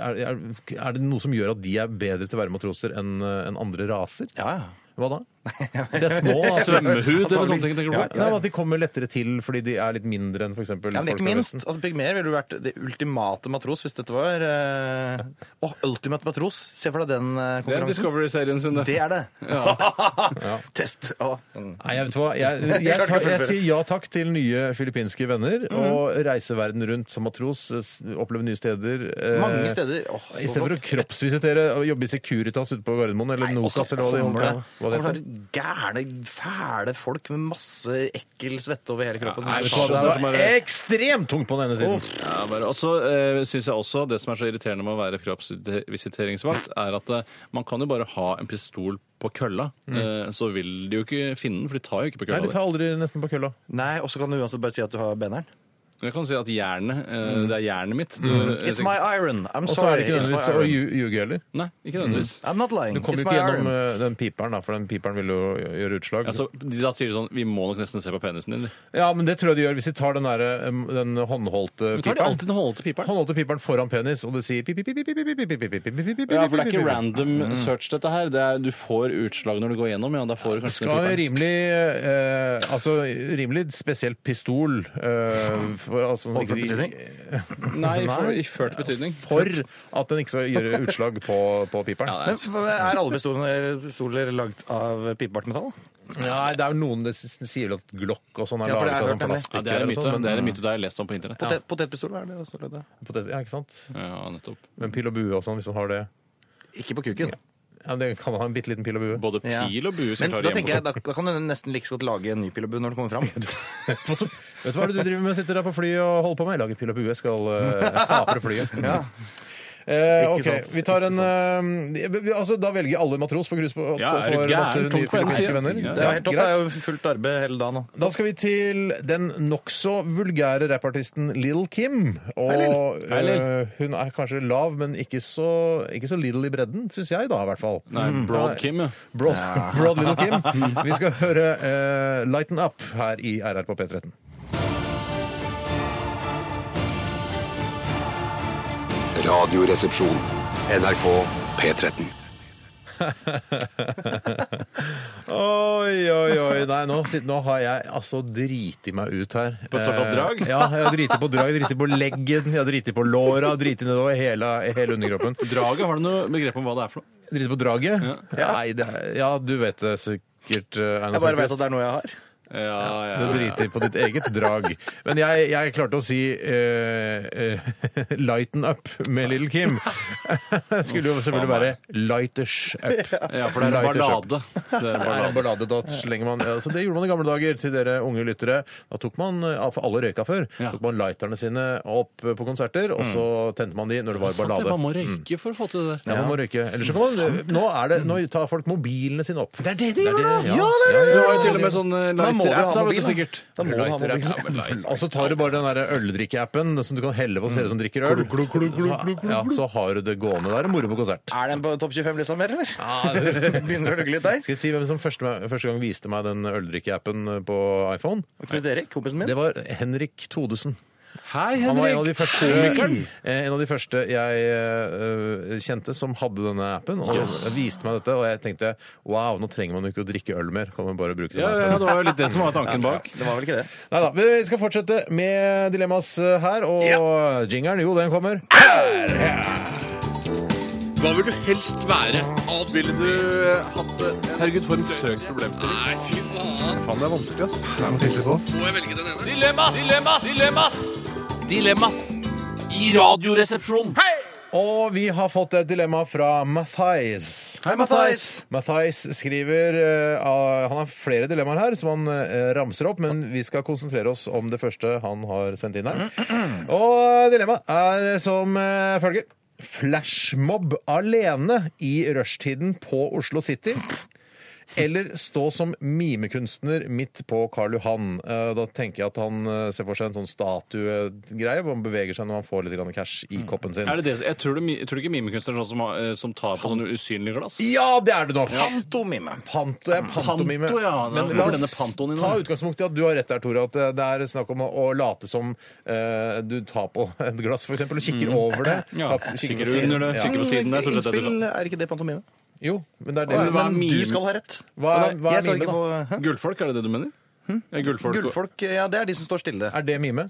Speaker 3: er, er, er det noe som gjør at de er bedre til å være matroser enn enn andre raser?
Speaker 4: Ja, ja.
Speaker 3: Hva da? De er små. Altså,
Speaker 2: Svømmehud eller sånne ting, tenker du
Speaker 3: ja,
Speaker 2: på?
Speaker 3: ja, at de kommer lettere til fordi de er litt mindre enn f.eks.
Speaker 4: Ja, men ikke minst. altså Pygmeer ville jo vært det ultimate matros hvis dette var eh, Åh, Ultimate matros! Se for deg den eh,
Speaker 2: Det er
Speaker 4: konkurransen.
Speaker 2: Discovery-serien sin,
Speaker 4: Det
Speaker 2: det.
Speaker 4: er det! *laughs* Test! Ja. Mm.
Speaker 3: Nei, jeg vet hva.
Speaker 4: *laughs*
Speaker 3: Jeg, jeg, jeg, tar, jeg sier ja takk til nye filippinske venner.
Speaker 4: Mhm.
Speaker 3: Og reise verden rundt som matros, s- oppleve nye steder. eh,
Speaker 4: Mange steder. Åh, så
Speaker 3: I stedet for å
Speaker 4: flott.
Speaker 3: kroppsvisitere og jobbe i Securitas ute på Gardermoen eller
Speaker 4: Nei, og så
Speaker 3: Nokas eller hva det
Speaker 4: kommer det
Speaker 3: hva det
Speaker 4: kommer
Speaker 3: heter.
Speaker 4: sånne gærne, fæle folk med masse ekkel svette over hele kroppen.
Speaker 2: Ja, nei, altså.
Speaker 3: Vet du hva, Det
Speaker 2: Som
Speaker 3: var
Speaker 2: er-
Speaker 3: ekstremt tungt på den ene siden.
Speaker 2: Ja, bare, og så eh, synes jeg også Det som er så irriterende med å være kroppsvisiteringsvakt, er at eh, man kan jo bare ha en pistol på kølla. Eh, så vil de jo ikke finne den, for de tar jo ikke på
Speaker 3: Mm. Nei,
Speaker 2: kølla.
Speaker 3: de tar aldri nesten på kølla.
Speaker 4: Nei, og så kan du uansett bare si at du har beneren.
Speaker 2: di. Jeg kan si at jernet, eh,
Speaker 3: Mm.
Speaker 2: det er jernet mitt. Du, jeg
Speaker 4: It's
Speaker 2: tenker-
Speaker 4: my iron. I'm
Speaker 3: Og så er
Speaker 4: sorry.
Speaker 3: det ikke
Speaker 4: It's my
Speaker 3: nødvendigvis å
Speaker 4: iron.
Speaker 3: lju- ljuge heller.
Speaker 2: Nei, ikke nødvendigvis.
Speaker 3: Mm.
Speaker 4: I'm not lying.
Speaker 3: Du kommer
Speaker 4: It's
Speaker 3: jo
Speaker 4: my
Speaker 3: ikke
Speaker 4: iron.
Speaker 3: gjennom eh, den piperen, da, for den piperen vil jo gjøre utslag.
Speaker 2: Altså, de da sier de sånn Vi må nok nesten se på penisen din. eller?
Speaker 3: Ja, men det tror jeg de gjør hvis de tar den, der, eh, den håndholdte
Speaker 2: Men tar de
Speaker 3: piperen.
Speaker 2: alltid den holdete piperen?
Speaker 3: Håndholdte piperen foran penis, og det sier pip, pip, pip, pip, pip, pip, pip, pip, pip, pip, pip,
Speaker 2: Ja, for det er ikke
Speaker 3: pip, pip, pip.
Speaker 2: random
Speaker 3: Mm.
Speaker 2: search, dette her. Det er, du får utslag når du går gjennom, ja. Da får du
Speaker 3: Det
Speaker 2: kanskje den
Speaker 3: skal være
Speaker 2: piperen.
Speaker 3: rimelig eh, Altså rimelig spesielt pistol eh, for, altså, sånn at
Speaker 4: Overført
Speaker 3: ikke de-
Speaker 2: Nei, for,
Speaker 3: Nei.
Speaker 2: i ført betydning.
Speaker 3: for at den ikke skal gjøre utslag på, på piperen.
Speaker 2: Ja, det
Speaker 4: Men hva- Er alle pistoler, pistoler lagd av pipebart metall?
Speaker 3: Nei, det er jo noen det s- sier vel at Glock og sånn er
Speaker 4: Ja, for det
Speaker 3: laget
Speaker 4: har
Speaker 3: av
Speaker 4: jeg
Speaker 3: sånn
Speaker 4: hørt,
Speaker 3: plastikk.
Speaker 2: Ja, det er en
Speaker 3: eller
Speaker 2: myte.
Speaker 3: sånn, men-
Speaker 2: Det er en myte det har jeg lest om på internett.
Speaker 4: Potet, Potetpistol, hva er det? også lagd av?
Speaker 3: Potet- Ja, ikke sant?
Speaker 2: Ja, ja nettopp.
Speaker 3: Men pil og bue og sånn, hvis man har det.
Speaker 4: Ikke på kuken.
Speaker 3: Ja, men det kan ha en bitte liten pil og bue.
Speaker 2: Både
Speaker 4: Ja.
Speaker 2: pil og bue skal
Speaker 4: Men
Speaker 2: klare
Speaker 4: da tenker jeg,
Speaker 2: hjemme.
Speaker 4: da, da kan du nesten like så godt lage en ny pil og bue når du kommer
Speaker 3: *laughs*
Speaker 4: fram.
Speaker 3: Vet du *laughs* hva er det du driver med? Sitter der på fly og holder på med? Lager pil og bue, skal *laughs* uh, kapre flyet. Eh,
Speaker 4: Ikke
Speaker 3: ok,
Speaker 4: sant,
Speaker 3: vi tar
Speaker 4: ikke
Speaker 3: en eh, vi- vi- altså, Da velger alle matros på cruisebåt
Speaker 2: Ja,
Speaker 3: og
Speaker 2: er du
Speaker 3: får
Speaker 2: gæren?
Speaker 3: masse
Speaker 2: Tungt
Speaker 3: nye
Speaker 2: på ene
Speaker 3: filippinske
Speaker 2: siden.
Speaker 3: venner.
Speaker 2: Ja,
Speaker 3: Det er helt
Speaker 4: topp. Det
Speaker 3: greit.
Speaker 4: er jo fullt arbeid hele dagen nå.
Speaker 3: Da skal vi til den nokså vulgære rappartisten Lil Kim. Og
Speaker 2: Hei, Lil.
Speaker 3: eh, hun er kanskje lav, men ikke så, ikke så little i bredden, syns jeg da, i hvert fall.
Speaker 2: Nei, Broad Kim, ja.
Speaker 3: Broad, *laughs* broad Little Kim. Vi skal høre eh, Lighten Up her i RR på P13.
Speaker 5: Radioresepsjon. NRK P13.
Speaker 3: Oi, oi, oi. Nei, nå, sitt- nå har jeg altså driti meg ut her.
Speaker 2: På et såkalt drag?
Speaker 3: Eh, Ja, jeg har driti på drag, driti på leggen, jeg har driti på låra, driti nedover hele, hele underkroppen.
Speaker 2: Draget, har du noe begrep om hva det er for noe?
Speaker 3: Driti på draget?
Speaker 2: Ja.
Speaker 3: Nei, det, er- ja, du vet det sikkert, eh, Einar.
Speaker 4: Jeg bare vet at det er noe jeg har.
Speaker 2: Ja, ja,
Speaker 3: Du driter på ditt eget drag. Men jeg, jeg klarte å si eh, eh, *laughs* 'lighten up' med Lille Kim. *laughs* Skulle jo selvfølgelig være 'lighters
Speaker 4: *laughs*
Speaker 3: up'.
Speaker 2: ja, for det er
Speaker 3: Lighters up.
Speaker 2: ballade. Det er
Speaker 3: Nei,
Speaker 2: ballade.
Speaker 3: ballade, da slenger man ja, Så Det gjorde man i gamle dager til dere unge lyttere. Da tok man ja, for alle røyka før.
Speaker 2: Ja.
Speaker 3: tok man lighterne sine opp på konserter, og så tente man de når det var
Speaker 2: Sant det,
Speaker 3: ballade.
Speaker 2: man må røyke for å få til det der.
Speaker 3: Ja, man må røyke. Ellers så kan man, nå, er det, nå tar folk mobilene sine opp. Det er det de gjør,
Speaker 2: da! Ja,
Speaker 3: det
Speaker 2: Du har jo til og med sånn eh,
Speaker 4: Da må du
Speaker 2: lighter-app,
Speaker 4: ha
Speaker 2: da,
Speaker 4: mobil,
Speaker 2: vet du
Speaker 4: da.
Speaker 2: sikkert.
Speaker 4: Da må du ha mobil.
Speaker 3: Og så tar du bare den der øldrikkeappen som du kan helle på og se ut som drikker øl. Så, ja, så har du det gående. Da er det moro på konsert.
Speaker 4: Er den på topp 25-lista mer, eller?
Speaker 3: Ja, det-
Speaker 4: Begynner å lugge litt der.
Speaker 3: Skal jeg si hvem som første, første gang viste meg den øldrikkeappen på iPhone?
Speaker 4: Og Knut Erik, kompisen min.
Speaker 3: Det var Henrik Todesen.
Speaker 2: Hei,
Speaker 3: Han var en av
Speaker 2: Henrik!
Speaker 3: de første, eh, en av de første jeg eh, kjente som hadde denne appen. Og viste meg dette, og jeg tenkte wow, nå trenger man jo ikke å drikke øl mer. Kan man bare bruke den
Speaker 2: Ja, ja,
Speaker 3: appen.
Speaker 2: ja, det var jo litt det som var tanken bak.
Speaker 4: Det var vel ikke det.
Speaker 3: Neida, vi skal fortsette med dilemmas eh, her, og jingeren, jo, den kommer.
Speaker 8: Hva vil du helst være? Ville du eh, hatt det? Herregud, for en søk problemstilling. Nei, fy faen. Faen, det er vanskelig, ass. Må jeg velge den ene?
Speaker 7: Dilemmas, dilemmas, dilemmas. Dilemmas i Radioresepsjonen.
Speaker 3: Og vi har fått et dilemma fra Mathais.
Speaker 4: Hei, Mathais!
Speaker 3: Mathais skriver eh, av- Han har flere dilemmaer her som han eh, ramser opp, men vi skal konsentrere oss om det første han har sendt inn her. Og dilemmaet er som eh, følger. Flashmob alene i rushtiden på Oslo City. Eller stå som mimekunstner midt på Karl Johan. Eh, Da tenker jeg at han eh, ser for seg en sånn statuegreie hvor han beveger seg når han får litt grann cash i koppen sin.
Speaker 2: Er det det? Jeg tror, det, mi- jeg tror ikke mimekunstnere er sånn som, har- eh, som tar på sånne usynlige glass.
Speaker 3: Ja, det er det nok!
Speaker 4: Pantomime.
Speaker 3: Panto, ja, pantomime.
Speaker 2: Panto, ja. Da
Speaker 3: Men
Speaker 2: kommer
Speaker 3: la
Speaker 2: denne
Speaker 3: oss
Speaker 2: pantoen inn,
Speaker 3: ta
Speaker 2: da.
Speaker 3: utgangspunkt i at du har rett der, Tore. At eh, det er snakk om å, å late som eh, du tar på *laughs* et glass, f.eks., og kikker over det.
Speaker 2: Mm. Ja,
Speaker 3: Ta-
Speaker 2: kikker
Speaker 3: på siden.
Speaker 2: under det,
Speaker 3: Ja.
Speaker 2: kikker på siden der. så slett er det
Speaker 4: Innspill er ikke det pantomime?
Speaker 3: Jo, men det er det.
Speaker 2: Men hva er
Speaker 4: Men du
Speaker 2: mime?
Speaker 4: skal ha rett.
Speaker 3: Hva er, hva
Speaker 4: Jeg
Speaker 3: er
Speaker 4: skal
Speaker 3: mime,
Speaker 4: ikke
Speaker 3: da?
Speaker 4: få Hæ?
Speaker 2: sånn. Gullfolk, er det det du mener? Ja, gullfolk.
Speaker 4: Gullfolk, ja, det er de som står stille.
Speaker 3: Er det mime?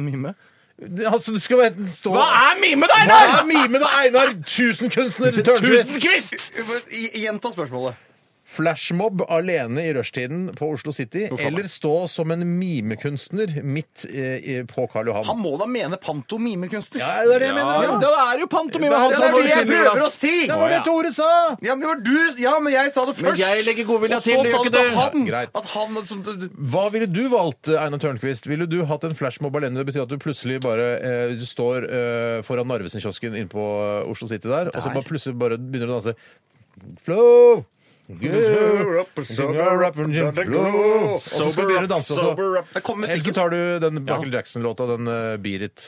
Speaker 4: Mime.
Speaker 3: Det- Altså, du skal enten stå
Speaker 2: Hva er mime, da,
Speaker 3: Hva
Speaker 2: Einar?!
Speaker 3: er mime, da, Einar? Tusenkunstner Tørnquist!
Speaker 2: Tusenkvist!
Speaker 4: Gjenta spørsmålet.
Speaker 3: Flashmob alene i rushtiden på Oslo City,
Speaker 2: Hvorfor?
Speaker 3: eller stå som en mimekunstner midt eh, i- på Karl Johan?
Speaker 4: Han må da mene pantomimekunstner.
Speaker 3: Ja, det er det jeg mener.
Speaker 2: Ja, det er jo pantomime.
Speaker 3: Det er-
Speaker 2: han
Speaker 3: det
Speaker 2: som
Speaker 3: er
Speaker 2: har
Speaker 3: det jeg
Speaker 2: usynlige
Speaker 4: prøver å
Speaker 2: glass.
Speaker 4: si!
Speaker 3: Det var det Tore sa!
Speaker 4: Ja, men, det var du, ja, men jeg sa det først!
Speaker 2: jeg legger godvilja til,
Speaker 4: Og så sa
Speaker 2: det gjør ikke
Speaker 4: du til
Speaker 2: det.
Speaker 4: han
Speaker 3: Ja, greit.
Speaker 4: at han liksom- som, du, du,
Speaker 3: Hva ville du valgt, eh, Einar Tørnquist? Ville du hatt en flashmob alene? Det betyr at du plutselig bare eh, du står eh, foran Narvesen-kiosken inne på eh, Oslo City der, og så bare plutselig bare begynner du å danse. Flow! Sober up, sober up, flow. Og så skal du begynne å danse
Speaker 2: sober
Speaker 3: også.
Speaker 2: up.
Speaker 4: Det kommer
Speaker 3: Eller så
Speaker 4: musikken,
Speaker 3: tar du den Michael Jackson-låta, den eh, Beat It.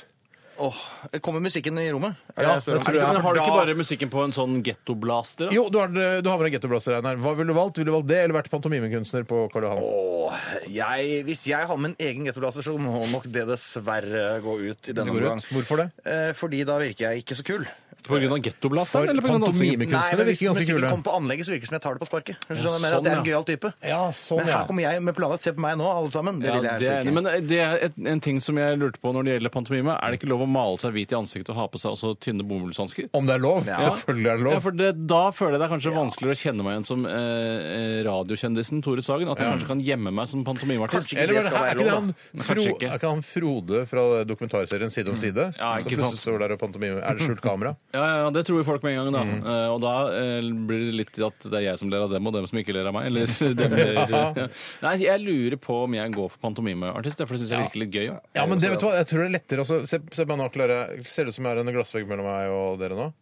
Speaker 4: Åh, det kommer musikken i rommet? Er det
Speaker 3: Ja,
Speaker 4: jeg spør om?
Speaker 3: det tror jeg.
Speaker 2: Men har du ikke
Speaker 4: Da-
Speaker 2: bare musikken på en sånn gettoblaster? da?
Speaker 3: Jo, du har, eh, du har med deg gettoblaster, Einar. Hva ville du valgt? Ville du valgt det, eller vært pantomimekunstner på Karl Johan?
Speaker 4: Åh, jeg, hvis jeg har min egen gettoblaster, så må nok det dessverre gå ut i denne
Speaker 3: Går
Speaker 4: omgang.
Speaker 3: ut. Hvorfor det?
Speaker 4: Eh, fordi da virker jeg ikke så kul.
Speaker 2: På grunn av gettoblasteren?
Speaker 3: For
Speaker 2: eller på grunn av dansingen?
Speaker 3: pantomime- Kunstnere
Speaker 4: men hvis
Speaker 3: virker ganske
Speaker 4: musikken
Speaker 3: kule.
Speaker 4: kommer på anlegget, så virker det som jeg tar det på sparket. Skjønner du hva jeg mener?
Speaker 2: sånn,
Speaker 4: at jeg er en
Speaker 2: ja.
Speaker 4: gøyal type.
Speaker 3: Ja, sånn,
Speaker 4: men
Speaker 3: ja.
Speaker 4: her kommer jeg med planer. Se på meg nå, alle sammen. Det
Speaker 2: Ja,
Speaker 4: vil jeg
Speaker 2: det,
Speaker 4: helst
Speaker 2: er-
Speaker 4: ikke.
Speaker 2: men eh, det er et, en ting som jeg lurte på når det gjelder pantomime. Er det ikke lov å male seg hvit i ansiktet og ha på seg også tynne bomullshansker?
Speaker 3: Om det er lov?
Speaker 4: Ja.
Speaker 3: Selvfølgelig er det lov.
Speaker 2: Ja, for det, Da føler jeg det er kanskje vanskeligere å kjenne meg igjen som eh, eh, radiokjendisen Tore Sagen. At jeg kanskje kan gjemme meg som pantomimeartist.
Speaker 4: Kanskje ikke
Speaker 3: Eller
Speaker 4: det
Speaker 3: var det,
Speaker 4: skal
Speaker 3: her- er,
Speaker 4: være
Speaker 3: ikke det
Speaker 4: lov,
Speaker 3: han,
Speaker 2: da.
Speaker 3: Fro,
Speaker 2: Kanskje ikke.
Speaker 3: er ikke han Frode fra dokumentarserien Side om side?
Speaker 2: Ja,
Speaker 3: som
Speaker 2: ikke sant.
Speaker 3: plutselig står der og pantomimer. Er det skjult kamera?
Speaker 2: Ja, ja, Det tror jo folk med en gang, da. Eh, og da eh, blir det litt at det er jeg som ler av dem, og dem som ikke ler av meg. Eller dem ler. Nei, jeg lurer på om jeg går for pantomimeartist, for det syns jeg virker litt gøy. Ja.
Speaker 3: Ja, men det vet du hva, jeg tror det er lettere også. Se, se på meg nå, Klare. Ser det ut som jeg har en glassvegg mellom meg og dere nå?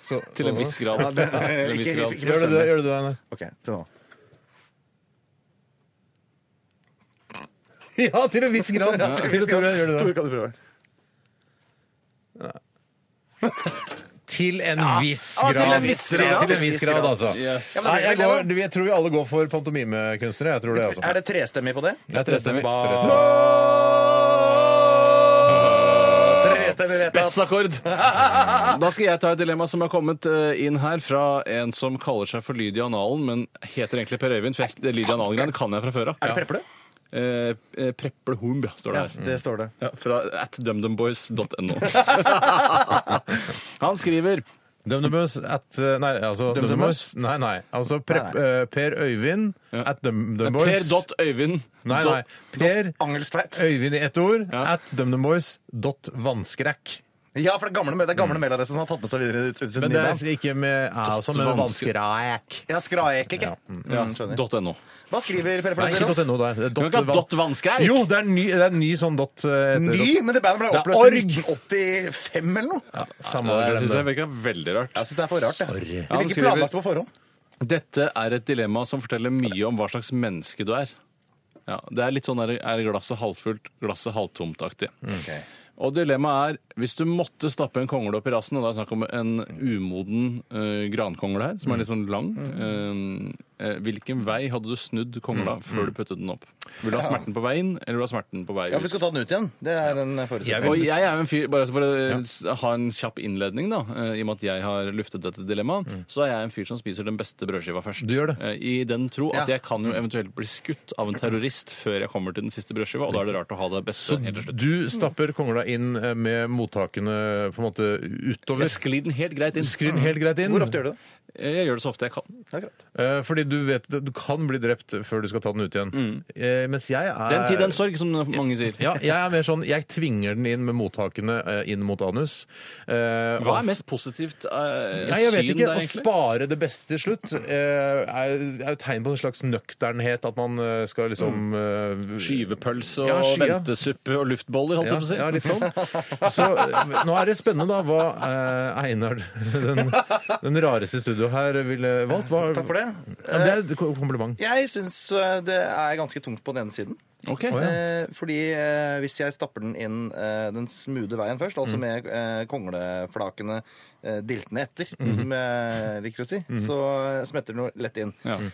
Speaker 3: Så,
Speaker 2: Til en
Speaker 3: sånn,
Speaker 2: viss grad. til en viss
Speaker 4: ikke-
Speaker 2: grad.
Speaker 3: da. Gjør det du, gjør det du, Einar? *laughs*
Speaker 4: Ok, se nå.
Speaker 3: Ja, til en viss grad. Tore, gjør du det?
Speaker 4: kan du prøve.
Speaker 3: Til en viss
Speaker 4: Ja,
Speaker 3: grad.
Speaker 4: til en viss grad.
Speaker 3: Til en viss grad, altså.
Speaker 2: Yes.
Speaker 3: Nei, jeg, går, jeg tror vi alle går for pantomimekunstnere. Jeg tror det, altså.
Speaker 4: Er det trestemmig på det?
Speaker 3: Det er trestemmig.
Speaker 2: Ba-
Speaker 3: Trestemmig.
Speaker 4: Trestemmig vedtatt.
Speaker 2: Spessakkord! Da skal jeg ta et dilemma som er kommet eh, inn her fra en som kaller seg for Lydia Analen, men heter egentlig Per Øyvind. For jeg- det Lydia Analen-greiene kan jeg fra før av.
Speaker 4: Er det preple?
Speaker 2: Eh, eh, Preple Humb, ja, står det her.
Speaker 4: Det står det.
Speaker 2: Ja, fra at dumdumboys.no. Han skriver
Speaker 3: DumDumBus at eh, Nei, altså DumDumBus. Nei, nei. Altså prep, eh, Per Øyvind at DumDumBoys.
Speaker 2: Per.Øyvind.
Speaker 3: Nei, nei. Per
Speaker 4: Angelstveit.
Speaker 3: Øyvind i ett ord
Speaker 2: Ja.
Speaker 3: at DumDumBoys dot vanskrekk.
Speaker 4: Ja, for det er gamle, det er gamle medlemmer som har tatt med seg videre ut, ut sin
Speaker 3: Mm. Men det
Speaker 4: middag.
Speaker 3: er ikke med æ også, men
Speaker 2: vanskrekk.
Speaker 3: vanskrekk.
Speaker 4: Ja, skraek, ikke?
Speaker 2: Ja,
Speaker 4: Mm, skjønner.
Speaker 2: dot .no.
Speaker 4: Hva skriver
Speaker 3: Nei,
Speaker 4: preple
Speaker 3: ikke
Speaker 4: til
Speaker 3: dot
Speaker 4: oss?
Speaker 3: .no der. Det er
Speaker 2: Du kan ikke ha
Speaker 3: van-
Speaker 2: dot vanskreik.
Speaker 3: Jo, det er ny, det er ny sånn dot. eh, etter
Speaker 4: Ny,
Speaker 3: dot.
Speaker 4: men det bandet ble
Speaker 3: Det
Speaker 4: oppløst
Speaker 3: er
Speaker 4: i
Speaker 3: org.
Speaker 4: 1985 eller noe.
Speaker 3: Ja, samme
Speaker 2: Det
Speaker 3: glem
Speaker 2: syns jeg
Speaker 3: det.
Speaker 2: virka veldig rart.
Speaker 4: Jeg syns det er for rart, det.
Speaker 3: Sorry.
Speaker 4: Det
Speaker 2: Ja, han
Speaker 4: blir ikke
Speaker 2: skriver-
Speaker 4: planlagt på forhånd.
Speaker 2: Dette er et dilemma som forteller mye om hva slags menneske du er. Ja, det er litt sånn der, er glasset halvfullt, glasset halvtomt-aktig. Og dilemmaet er hvis du måtte stappe en kongle opp i rassen, og det er snakk om en umoden eh, grankongle her, som er litt sånn lang, eh, eh, hvilken vei hadde du snudd kongla før du puttet den opp? Vil du ha smerten på vei inn, eller vil du ha smerten på vei
Speaker 4: Ja, for du
Speaker 2: ut?
Speaker 4: skal ta den ut igjen. Det er en forutsetning.
Speaker 2: Og jeg er jo en fyr, bare for å eh, s- ha en kjapp innledning, da, eh, i og med at jeg har luftet dette dilemmaet, så er jeg en fyr som spiser den beste brødskiva først.
Speaker 3: Du gjør det.
Speaker 2: Eh, I den tro at
Speaker 4: Ja.
Speaker 2: jeg kan jo eventuelt bli skutt av en terrorist før jeg kommer til den siste brødskiva, og da er det rart å ha det beste helt til slutt.
Speaker 3: Du stapper kongla inn eh, med mottakene på en måte utover.
Speaker 2: Jeg sklir den helt greit inn.
Speaker 3: Sklir den helt greit inn.
Speaker 4: Hvor ofte gjør du det?
Speaker 2: Eh, Jeg gjør det så ofte jeg kan.
Speaker 3: Eh, Fordi du vet at du kan bli drept før du skal ta den ut igjen. Eh, Mens jeg er
Speaker 2: Mm. Den tid, den sorg, som mange sier.
Speaker 3: Ja, jeg er mer sånn Jeg tvinger den inn med mottakene eh, inn mot anus. Eh,
Speaker 2: Hva
Speaker 3: og-
Speaker 2: er mest positivt eh,
Speaker 3: Nei, jeg vet
Speaker 2: syn
Speaker 3: ikke.
Speaker 2: der,
Speaker 3: Å
Speaker 2: egentlig?
Speaker 3: spare det beste til slutt eh, er er jo tegn på en slags nøkternhet. At man eh, skal liksom eh,
Speaker 2: Skyvepølse og
Speaker 3: Ja, sky, ja.
Speaker 2: ventesuppe og luftboller, Mm. holdt jeg på
Speaker 3: ja,
Speaker 2: å si.
Speaker 3: ja, litt sånn. Så eh, nå er det spennende, da, hva eh, Einar, *laughs* den, den rareste i studio her, ville valgt. Hva,
Speaker 4: Takk for det.
Speaker 3: Ja, det er et kompliment.
Speaker 4: Jeg syns det er ganske tungt på den ene siden.
Speaker 2: Ok.
Speaker 4: Eh, fordi eh, hvis jeg stapper den inn eh, den smoothe veien først, altså med eh, kongleflakene eh, diltende etter, som jeg liker å si, så smetter den jo lett inn.
Speaker 2: Mm.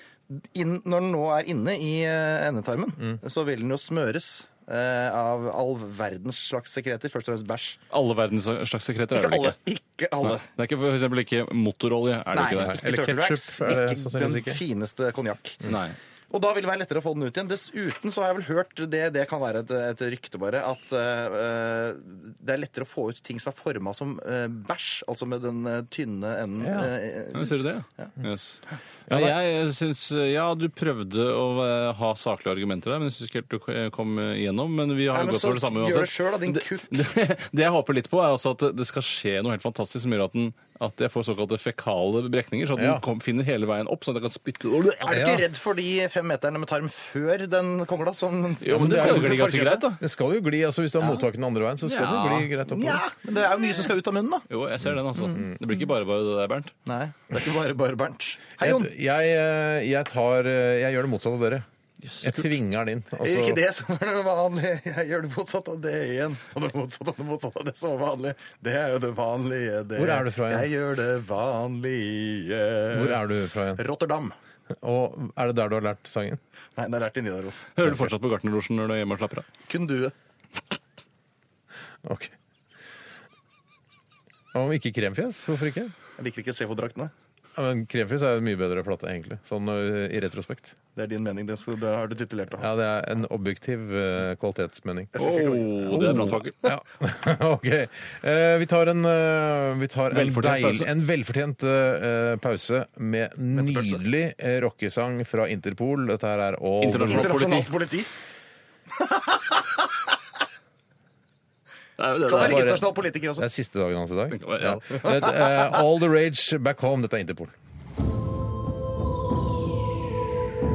Speaker 4: inn. Når den nå er inne i eh, endetarmen,
Speaker 2: Mm.
Speaker 4: så vil den jo smøres. eh, Av all verdens slags sekreter. Først og fremst bæsj.
Speaker 2: Alle verdens slags sekreter er
Speaker 4: Ikke
Speaker 2: det vel
Speaker 4: alle.
Speaker 2: ikke?
Speaker 4: Ikke alle.
Speaker 2: Det er ikke for eksempel ikke motorolje, er det
Speaker 4: Nei,
Speaker 2: ikke det? Mm.
Speaker 4: ikke
Speaker 3: Eller
Speaker 4: turtle
Speaker 3: ketchup
Speaker 4: wax.
Speaker 3: er det
Speaker 4: Ikke den
Speaker 3: sannsynligvis ikke.
Speaker 4: fineste konjakk.
Speaker 2: Nei.
Speaker 4: Og da vil det være lettere å få den ut igjen. Dessuten så har jeg vel hørt, det, det kan være et, et rykte bare, at eh, det er lettere å få ut ting som er forma som eh, bæsj, altså med den eh, tynne enden. eh,
Speaker 2: Ja, Ser du det? Yes. Ja, jeg syns Ja, du prøvde å eh, ha saklige argumenter der, men jeg syns ikke helt du eh, kom igjennom. Men vi har
Speaker 4: Nei, men
Speaker 2: jo gått
Speaker 4: så
Speaker 2: for det samme
Speaker 4: gjør det
Speaker 2: uansett.
Speaker 4: sjøl, da, din kukk.
Speaker 2: Det, det jeg håper litt på, er også at det skal skje noe helt fantastisk som gjør at, den, at jeg får såkalte fekale brekninger, sånn at
Speaker 3: Ja.
Speaker 2: den kom, finner hele veien opp, sånn at jeg kan spytte
Speaker 4: Er du ikke redd for de fem meterne med tarm før den kongla? Som,
Speaker 2: Jo, men det skal jo gli ganske greit, da.
Speaker 3: Det skal jo gli, altså Hvis du har mottakene andre veien, så skal det jo
Speaker 2: Ja.
Speaker 3: gli greit oppover.
Speaker 4: Ja, men det er jo mye som skal ut av munnen, da.
Speaker 2: Jo, jeg ser den, altså.
Speaker 3: Mm.
Speaker 2: Det blir ikke bare bare det der, Bernt.
Speaker 4: Nei, det er ikke bare bare Bernt. Hei,
Speaker 3: Jeg,
Speaker 4: Jon.
Speaker 3: jeg, eh, jeg, tar, eh, jeg gjør det motsatte av dere. Jeg tvinger den inn.
Speaker 4: Gjør
Speaker 3: altså-
Speaker 4: Ikke det som er det vanlige. Jeg gjør det motsatte av det igjen. Og det motsatte av det motsatte av det som var vanlig. Det er jo det vanlige. Det.
Speaker 3: Hvor er du fra igjen?
Speaker 4: Jeg gjør det vanlige.
Speaker 3: Hvor er du fra igjen?
Speaker 4: Rotterdam.
Speaker 3: Og er det der du har lært sangen?
Speaker 4: Nei, det er lært i Nidaros.
Speaker 2: Hører du fortsatt på Gartnerlosjen når du er hjemme og slapper av?
Speaker 4: Kun du.
Speaker 3: Ok. Om ikke Kremfjes, hvorfor ikke?
Speaker 4: Jeg liker ikke CH-draktene.
Speaker 3: Ja, men Kremfjes er jo en mye bedre plate, egentlig. Sånn ø, i retrospekt.
Speaker 4: Det er din mening. Det, skal, det har du titulert det.
Speaker 3: Ja, det er en objektiv ø, kvalitetsmening.
Speaker 4: Jeg skal ikke klage.
Speaker 2: Oh, det er brannfakkel.
Speaker 3: Ja, *laughs* ok. Eh, vi tar en, eh, vi tar en,
Speaker 2: Velfortjent
Speaker 3: deil,
Speaker 2: pause.
Speaker 3: en velfortjent eh, pause med nydelig eh, rockesang fra Interpol. Dette her er All
Speaker 2: Internasjonal
Speaker 3: the-
Speaker 4: Internasjonalt politi.
Speaker 2: Det er jo det
Speaker 4: Kan
Speaker 2: der.
Speaker 4: være internasjonal politiker
Speaker 3: Det
Speaker 4: også.
Speaker 3: er siste dagen hans i dag.
Speaker 2: Ja.
Speaker 3: *laughs* Det heter, eh, All the Rage Back Home. Dette er Interpol.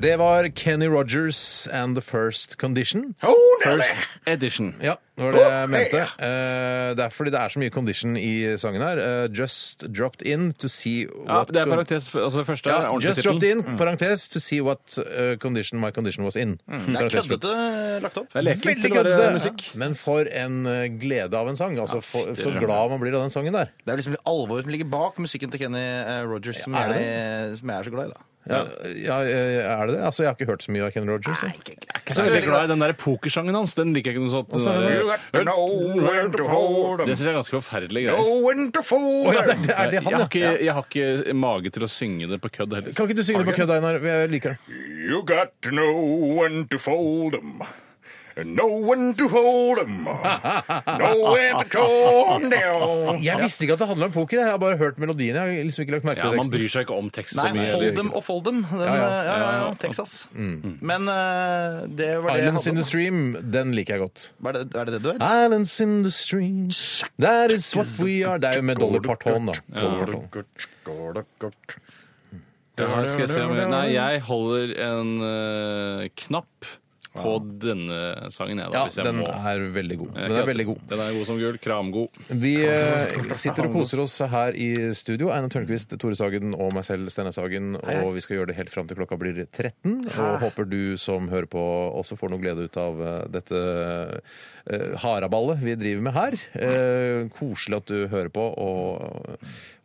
Speaker 3: Det var Kenny Rogers and The First Condition.
Speaker 2: First edition.
Speaker 3: Ja, det var det jeg mente. Eh, det er fordi det er så mye condition i sangen her. Eh, just dropped in to see
Speaker 2: Ja,
Speaker 3: what
Speaker 2: det er
Speaker 3: con-
Speaker 2: parentes, altså det første er
Speaker 3: Ja,
Speaker 2: ordentlig
Speaker 3: just dropped
Speaker 2: tittel.
Speaker 3: in, parentes, to see what eh, condition my condition was in.
Speaker 4: Mm. Det er
Speaker 3: Parentes slutt.
Speaker 4: køddete lagt opp.
Speaker 2: Det er lekent
Speaker 3: Veldig
Speaker 2: til å være
Speaker 3: køddete.
Speaker 2: musikk.
Speaker 3: Men for en eh, glede av en sang. Altså, for, så glad man blir av den sangen der.
Speaker 4: Det er liksom alvoret som ligger bak musikken til Kenny eh, Rogers, som,
Speaker 3: Ja, er det
Speaker 4: jeg, som jeg er så glad i. da.
Speaker 3: Ja, ja, eh, er det det? Altså, jeg har ikke hørt så mye av Ken Rogers. jeg.
Speaker 2: Jeg er ikke så veldig glad i den der pokersangen hans. Den liker jeg ikke noe sånt. Den
Speaker 3: er det-
Speaker 2: der-
Speaker 3: You
Speaker 2: Det syns jeg er ganske forferdelige greier.
Speaker 3: Å, ja,
Speaker 4: Greier.
Speaker 3: det er, det er det
Speaker 2: Jeg
Speaker 3: han,
Speaker 2: har,
Speaker 3: ja.
Speaker 2: ikke, jeg har ikke mage til å synge det på kødd heller.
Speaker 3: Kan ikke du synge det på kødd, Einar? Jeg liker det.
Speaker 1: You got to know when to fold 'em, and know when to hold 'em, know when to calm down.
Speaker 3: Jeg visste ikke at det handla om poker. Jeg Jeg har bare hørt melodien. Jeg har liksom ikke lagt merke
Speaker 2: Ja,
Speaker 3: til
Speaker 2: man
Speaker 3: teksten.
Speaker 2: bryr seg ikke om tekst så
Speaker 4: Nei,
Speaker 2: mye.
Speaker 4: hold
Speaker 2: eller-
Speaker 4: dem og fold dem. Den, ja,
Speaker 3: ja.
Speaker 4: ja, ja, Texas. Men eh, det var det jeg
Speaker 3: Islands in the
Speaker 4: hadde.
Speaker 3: Stream, den liker jeg godt.
Speaker 4: Er det, er det det du er?
Speaker 3: Islands in the stream, that is what we are Det er jo med Dolly Parton, da. Dolly Parton.
Speaker 2: Ja, skal jeg se om jeg... Nei, jeg holder en eh, knapp på denne sangen, jeg, da,
Speaker 3: Ja,
Speaker 2: hvis jeg
Speaker 3: den
Speaker 2: må.
Speaker 3: er veldig
Speaker 2: Jeg
Speaker 3: god. Den er
Speaker 2: kødder.
Speaker 3: veldig god.
Speaker 2: Den er god som gull. Kramgod.
Speaker 3: Vi eh, sitter og koser oss her i studio. Einar Tørnquist, Tore Sagen og meg selv, Steinar Sagen. Og vi skal gjøre det helt fram til klokka blir 13. Og håper du som hører på også får noe glede ut av eh, dette eh, haraballet vi driver med her. Eh, Koselig at du hører på, og